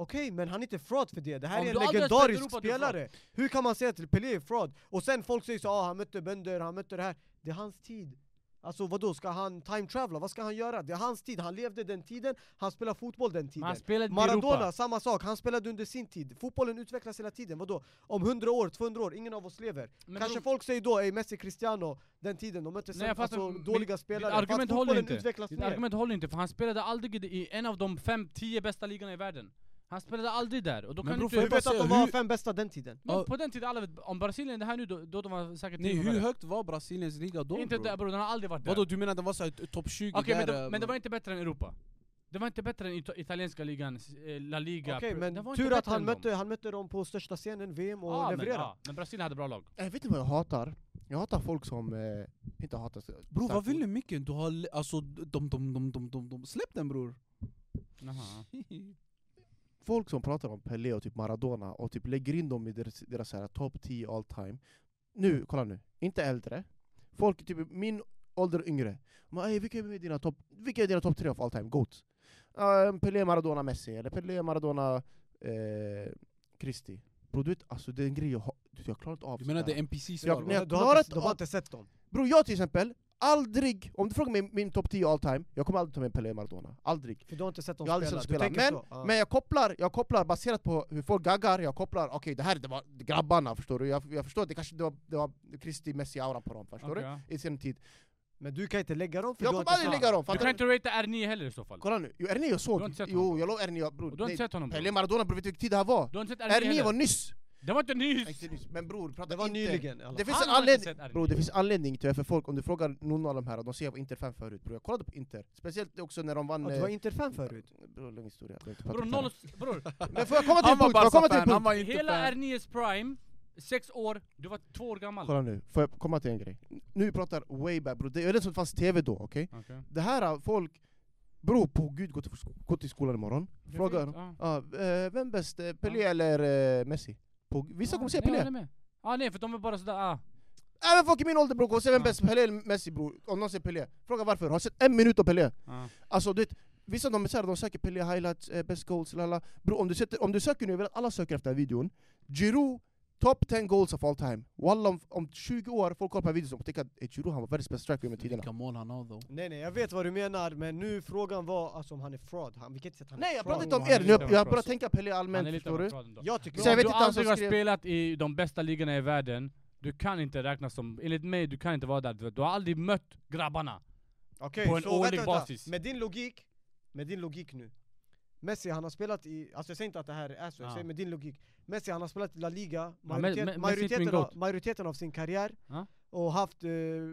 E: Okej, men han är inte fraud för det. Det här
B: Om
E: är
B: du
E: en
B: aldrig har spelat i
E: legendarisk
B: Europa, du är
E: spelare. Hur kan man säga att Pelé är fraud? Och sen folk säger så ah, han mötte bönder, han mötte det här. Det är hans tid. Alltså vadå, ska han time travela? Vad ska han göra? Det är hans tid. Han levde den tiden, han spelar fotboll den
B: Men
E: tiden.
B: han spelade inte i
E: Maradona,
B: Europa.
E: samma sak. Han spelade under sin tid. Fotbollen utvecklas hela tiden. Vadå? Om 100 år, 200 år, ingen av oss lever.
B: Men
E: Kanske
B: bror,
E: folk säger då, ey Messi, Cristiano, den tiden, de mötte
B: Nej,
E: sen,
B: jag fattar,
E: alltså,
B: men
E: dåliga
B: ditt
E: spelare.
B: argument
E: För att
B: håller
E: fotbollen
B: inte.
E: utvecklas
B: ditt
E: mer.
B: argument håller inte för han spelade aldrig i- i en av de fem, tio bästa ligorna i världen. Han spelade aldrig där. Och då
A: Men
B: kan
A: bror,
B: du inte...
A: får
E: Du
A: jag
E: vet
A: bara
E: att de
A: säga,
E: var
A: hur-
E: fem bästa den tiden.
B: Men
A: Ja.
B: på den tiden, alla vet, om Brasilien är här nu, då, då de var säkert
A: Nej
B: till och
A: hur
B: med
A: högt var Brasiliens liga då
B: där. Inte där
A: bror?
B: bror, den har aldrig varit där.
A: Vadå du menar den var såhär t- topp 20
B: Okej men,
A: där?
B: det-
A: eh,
B: men det
A: bror?
B: var inte bättre än Europa. Det var inte bättre än ita- italienska ligan, s- eh, La Liga.
E: Okej,
B: Pre- det var
E: men
B: inte
E: tur att
B: bättre
E: han
B: än dem.
E: mötte, han mötte dem på största scenen, VM, och
B: Ja, men,
E: levererade.
B: ja, men Brasilien hade bra lag.
D: Eh, Vet du vad jag hatar? Jag hatar folk som eh, inte hatar sig.
A: Bror vad
D: starkt
A: vill du mycket? Du har le- alltså de, de, de, de, de, de, släpp den bror!
D: folk som pratar om Pelé och typ Maradona och typ lägger in dem i deras, deras så här top 10 all time. Nu, kolla nu, inte äldre. Folk typ i min ålder och yngre. Man, "Ey, vilka är dina topp vilka är dina top 3 of all time? Goats. Uh, Pelé, Maradona, Messi. Eller Pelé, Maradona, eh, Christie. Bro, du vet, alltså det är en grej jag har... du, Jag klarar inte av
A: Du
D: sånt
A: menar
D: här.
A: det är NPC-svar?
D: Jag-
A: bror?
D: nej,
E: Du har
D: klarat
E: inte, de har
D: av-
E: inte sett dem.
D: Bro, jag till exempel, aldrig... Om du frågar mig min topp 10 all time, jag kommer aldrig ta med Pelé, Maradona. Aldrig.
E: För du har inte sett dem
D: Jag har aldrig
E: spela.
D: sett
E: Du
D: dem spela,
E: tänker så. Ja.
D: Men jag kopplar, jag kopplar baserat på hur folk gaggar, jag kopplar, okej det här det var grabbarna förstår du, jag, jag förstår, det kanske det var, det var Kristi Messi-aura på dem förstår
B: Okej, ja.
D: du, i sin tid.
E: men du kan inte lägga dem för
D: Jag
E: du har
D: kommer
E: inte
D: aldrig
E: sett
D: lägga dem,
B: Du
D: fattar
B: kan
D: du?
B: inte ratea R9 heller i så fall.
D: Kolla nu, jo, Ernie jag
B: Du har
D: såg,
B: inte sett
D: jo jag lovar Ernie, jag, bror,
B: Du har inte sett honom bror.
D: Pelé Maradona bror, vet du vilken tid det här var?
B: Du har inte sett R9
D: Ernie var
B: heller.
D: nyss!
B: Det var inte
D: Nej,
B: nyss!
D: Inte nyss, men bror prata
E: Det var
D: inte.
E: nyligen i alla
D: Det
E: fall.
D: finns en
B: Han har inte
D: anledning,
B: sett R9.
D: bro, det finns anledning till varför folk, om du frågar någon av de här, de säger jag var Inter-fan förut bror, jag kollade på Inter, speciellt också när de vann...
E: Ja, Du
D: eh,
E: var Inter-fan förut.
D: Bror lång historia, jag vill inte prata
B: Bror,
D: om
B: noll...
D: det.
B: s- Bror,
D: Men får jag komma till
A: Han
D: en
A: var
D: punkt, får jag komma till
A: Barca-fan,
D: en punkt?
A: han var inte
B: hela
A: fan!
B: R9s prime, sex år, du var två år gammal.
D: Kolla nu, får jag komma till en grej? Nu pratar way back bro, det är det som fanns tv då, okej?
B: Okej.
D: Det här har folk, beror på gud, gå till, gå till skolan imorgon, fråga dem.
B: Ja.
D: Ja, eh, vem bäst, eh, Pelé
B: Ja.
D: eller eh, Messi? På, vissa
B: Ja,
D: kommer säga
B: nej, jag
D: Pelé,
B: håller med. Ja nej för de är bara sådär, ah.
D: även folk i min ålder bror kommer säga vem
B: Ja.
D: bäst, Pelé eller Messi bror, om någon säger Pelé. Fråga varför, har du sett en minut av Pelé?
B: Ja.
D: Alltså du vet, vissa de, är så här, de söker Pelé highlights, eh, best goals, lala. Bro, om, du sätter, om du söker nu, jag vill att alla söker efter den här videon, Giroud Top 10 goals of all time. Walla om, om 20 år, folk kollar på den här videon och tänker att eh, Giroud han var världens bästa striker med tiderna.
A: Vilka mål han har though!
E: Nej nej, jag vet vad du menar, men nu frågan var alltså om han är fraud. Han, vi kan inte säga att han
D: Nej
E: är
D: jag
E: fraud.
D: pratar inte om
B: Han är
D: er, nu,
B: lite av en
D: jag, jag
B: cross.
D: bara tänka Pelé
B: Han
D: allmänt
B: är lite
D: förstår
B: av en
D: du?
B: fraud ändå.
E: Jag tycker
D: Så jag
B: Om
D: vet
B: du
D: inte han som
B: aldrig har
D: skrev-
B: spelat i de bästa ligorna i världen, du kan inte räknas som, enligt mig, du kan inte vara där. Du- Du har aldrig mött grabbarna.
E: Okej,
B: på en
E: så
B: årlig basis.
E: Med din logik, med din logik nu. Messi han har spelat i, alltså jag säger inte att det här är så, jag
B: Ja.
E: säger med din logik. Messi han har spelat i La Liga,
B: Me-
E: majoritet,
B: Me- Messi är min
E: majoriteten,
B: goat.
E: av, majoriteten av sin karriär.
B: Ja.
E: Och haft eh,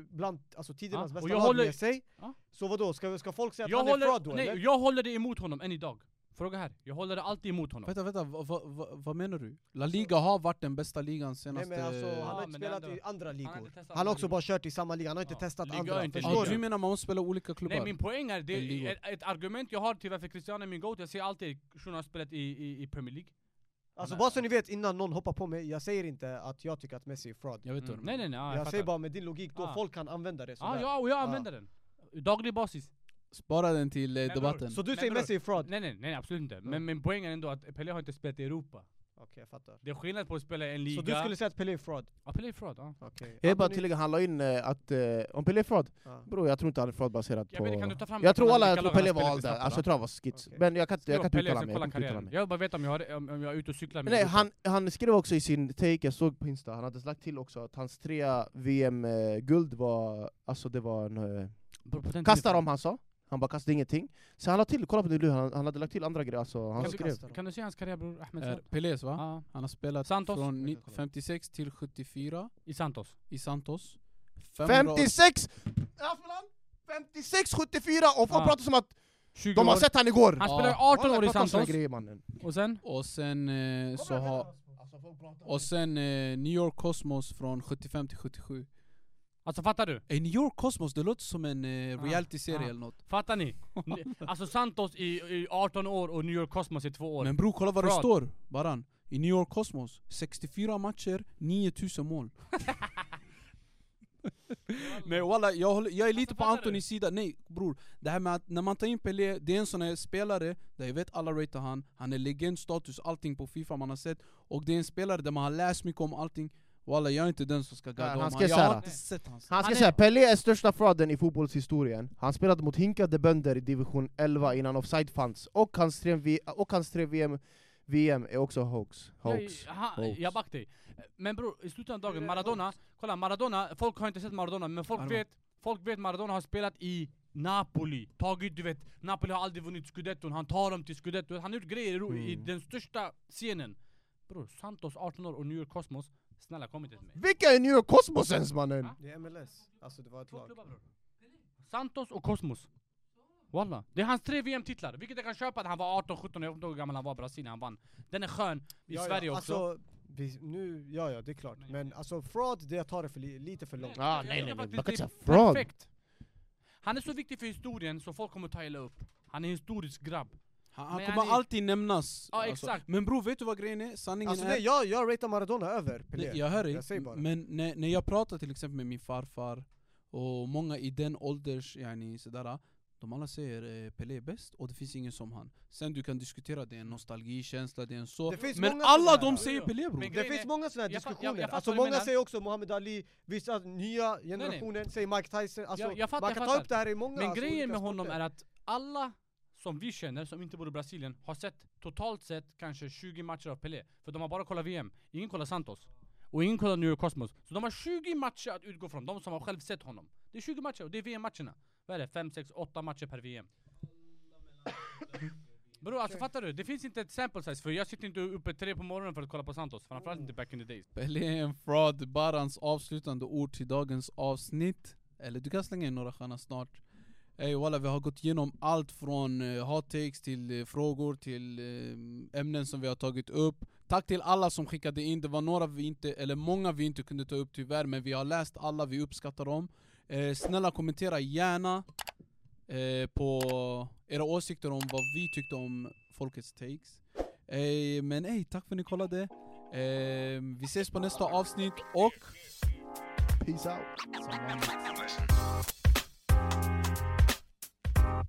E: bland alltså, tidernas
B: Ja, och
E: bästa
B: jag
E: lag
B: håller-
E: med sig.
B: Ja.
E: Så vadå, ska, ska folk säga att
B: Jag
E: han är fraud då
B: håller, nej,
E: eller?
B: jag håller det emot honom än idag. Fråga här. Jag håller det alltid emot honom.
A: Vänta vänta, vad va, va, vad menar du? La Liga har varit den bästa ligan
E: Nej
A: senaste...
E: men alltså, han
B: Ja,
E: har inte
B: men
E: spelat
B: ändå.
E: i andra
B: har inte
E: ligor.
B: testat
E: Han
B: andra
E: har också
B: ligor.
E: bara kört i samma liga, han har inte
B: Ja.
E: testat
B: Liga är
E: andra.
B: inte
A: ah,
E: förstår
B: liga.
A: du
E: du?
A: menar man måste spela olika klubbar?
B: Nej min poäng är, det
A: En ligor.
B: är ett, ett argument jag har till varför Cristiano är min GOAT, jag ser alltid shunon har spelat i, i, i Premier League.
E: Alltså
B: Han är-
E: bara så ni vet innan någon hoppar på mig, jag säger inte att jag tycker att Messi är fraud.
A: Jag vet
B: Mm.
A: inte.
B: Nej nej nej, ja, jag,
E: Jag säger
B: fattar.
E: bara med din logik, då
B: Ah.
E: folk kan använda det
B: Ja,
E: sådär.
B: ja, och jag
E: Ja.
B: använder den. Daglig basis.
A: Spara den till eh,
B: bror,
A: debatten.
E: Så du
B: Men
E: säger
B: bror,
E: Messi är fraud?
B: Nej nej, nej absolut inte.
E: Ja.
B: Men min poäng är ändå att Pelé har inte spelat i Europa.
E: Okej, jag fattar.
B: Det är skillnad på att spela i en liga...
E: Så du skulle säga att Pelé är fraud?
B: Ja, Pelé är fraud, ja.
E: Okej.
D: Jag vill bara
E: Anthony-
D: tillägga, han la in eh, att, eh, om Pelé är fraud,
E: Ja.
D: bror jag tror inte han är fraud baserat
B: Jag
D: på...
B: vet inte, kan du ta fram
D: Jag tror
B: vilka
D: alla,
B: lag
D: jag tror
B: han
D: Pelé
B: spelat
D: var
B: i
D: all där,
B: snabbt,
D: alltså
B: då?
D: jag tror han var skits.
E: Okej.
D: Men jag kan inte jag kan inte
B: Pelé,
D: uttala
B: sen
D: mig,
B: kolla
D: jag kan inte
B: karriären.
D: uttala mig.
B: Jag vill bara veta om jag, har, om, om jag är ute och cyklar
D: Men
B: med
D: nej,
B: Europa.
D: han, han skrev också i sin take, jag såg på Insta, han hade lagt till också att hans tre VM-guld var, alltså det var en... Eh,
B: Bror, på den tiden-
D: kastar om han sa, han bara kastade ingenting. Sen han la till, kolla på det nu, han, han hade lagt till andra grejer, alltså han
B: Kan du,
D: skrev...
B: kasta- kan du se hans karriär bror, Ahmed?
A: Är
B: Saad?
A: Pelés va?
B: Ja,
A: Han har spelat
B: Santos.
A: från ni-
D: Jag kan kolla.
A: 56 till 74
B: i Santos.
A: i Santos. 500
D: 56! Aflan! 56, 74! Och folk
B: Ah.
D: pratar som att
B: 20
D: de har
B: år.
D: sett han igår!
B: Han
A: Ja.
B: spelade
D: Kolla,
B: 18 år i
D: prata om såna
B: Santos,
D: Grejer, mannen.
B: och sen?
A: och sen eh, så har... Och sen eh, New York Cosmos från 75 till 77.
B: Alltså fattar du?
A: Eh, New York Cosmos, det låter som en eh,
B: Ah,
A: realityserie
B: ah.
A: eller något.
B: Fattar ni? Ni- Alltså Santos i, i 18 år och New York Cosmos i två år.
A: Men bror kolla vad det
B: Fraud.
A: står, Baran. i New York Cosmos. 64 matcher, 9000 mål. Nej Eh, walla, jag, håller, jag är lite på
B: Alltså, fattar du?
A: Antonis sida. Nej bror, det här med att när man tar in Pelé, det är en sån här spelare där jag vet alla ratear han, han är legendstatus, allting på Fifa man har sett. Och det är en spelare där man har läst mycket om allting. Walla jag är inte den som ska
D: Nej,
A: gadda om
D: han
A: han.
D: ska
A: Jag
D: så här.
A: har inte sett hans...
D: Han ska
B: Han är-
D: säga, Pelé är största frauden i fotbollshistorien. Han spelade mot hinkade bönder i division 11 innan offside fanns, och hans tre, v- och hans tre VM, VM är också hoax. hoax.
B: Jag, aha,
D: Hoax.
B: jag backar dig. Men bror, i slutet av dagen, Maradona, kolla Maradona, folk har inte sett Maradona, men folk
A: Maradona.
B: vet, folk vet Maradona har spelat i Napoli, tagit du vet, Napoli har aldrig vunnit scudetton, han tar dem till scudetton, han har gjort grejer i ro- i
E: Mm.
B: den största scenen. Bror, Santos 18 år och New York Cosmos, snälla kom inte till mig.
D: Vilka är New York Cosmos ens mannen?
B: Ah.
E: Det är MLS. Alltså det var ett
B: Två
E: lag.
B: klubbar bror. Santos och Cosmos. Walla. Det är hans tre VM-titlar, vilket jag kan köpa att han var 18, 17, jag kommer inte ihåg hur gammal han var i Brasilien, han vann. Den är skön, i
E: Ja, ja,
B: Sverige också.
E: Alltså, vi, nu, ja ja det är klart. Men alltså fraud, det jag tar det för li, lite för långt.
D: Ah,
B: Jag
D: nej,
B: tycker
D: nej, nej.
B: faktiskt
D: Man kan
B: det är
D: inte säga fraud.
B: perfekt. Han är så viktig för historien så folk kommer ta illa upp. Han är en historisk grabb.
A: Han, han
B: Men
A: kommer
B: han är-
A: alltid nämnas.
B: Ja,
A: alltså.
B: exakt.
A: Men bror vet du vad grejen är? Sanningen
E: Alltså
A: är...
E: nej, jag, jag ratear Maradona över Pelé.
A: Nej, jag hör dig,
E: Jag säger bara.
A: men när, när jag pratar till exempel med min farfar och många i den ålders, yani, sådär, de alla säger eh, Pelé är bäst och det finns ingen som han. Sen du kan diskutera, det är en nostalgikänsla, det är en så.
E: Det finns
A: Men
E: många
A: alla
E: sådana
A: de
E: här.
A: säger Pelé bror.
B: Men
E: Det
B: grejen
E: finns
B: är-
E: många sådana här
B: jag fa- jag- jag
E: diskussioner.
B: fattar
E: alltså
B: vad du
E: många
B: menar.
E: säger också Muhammad Ali, vissa nya generationen säger Mike Tyson. Alltså,
B: Jag- jag fattar,
E: man kan
B: jag
E: ta
B: fattar.
E: upp det här i många
B: Men
E: alltså,
B: grejen
E: olika
B: med honom
E: sporter.
B: är att alla som vi känner, som inte bor i Brasilien, har sett totalt sett kanske 20 matcher av Pelé. För de har bara kollat VM, ingen kollar Santos. Och ingen kollar New York Cosmos. Så de har 20 matcher att utgå från, de som har själv sett honom. Det är 20 matcher och det är VM-matcherna. Vad är det? 5, 6, 8 matcher per VM. Bror alltså fattar du? Det finns inte ett sample size för jag sitter inte uppe tre på morgonen för att kolla på Santos. Framförallt inte back in the days.
A: Pelé är typ. en fraud, Barans avslutande ord till dagens avsnitt. Eller du kan slänga in några sköna snart. Ey walla, vi har gått igenom allt från eh, hot takes till eh, frågor till eh, ämnen som vi har tagit upp. Tack till alla som skickade in, det var några vi inte, eller många vi inte kunde ta upp tyvärr men vi har läst alla, vi uppskattar dem. Eh, snälla kommentera gärna eh, på era åsikter om vad vi tyckte om folkets takes. Eh, men ey, tack för att ni kollade. Eh, vi ses på nästa avsnitt och
D: Peace out.
A: som vanligt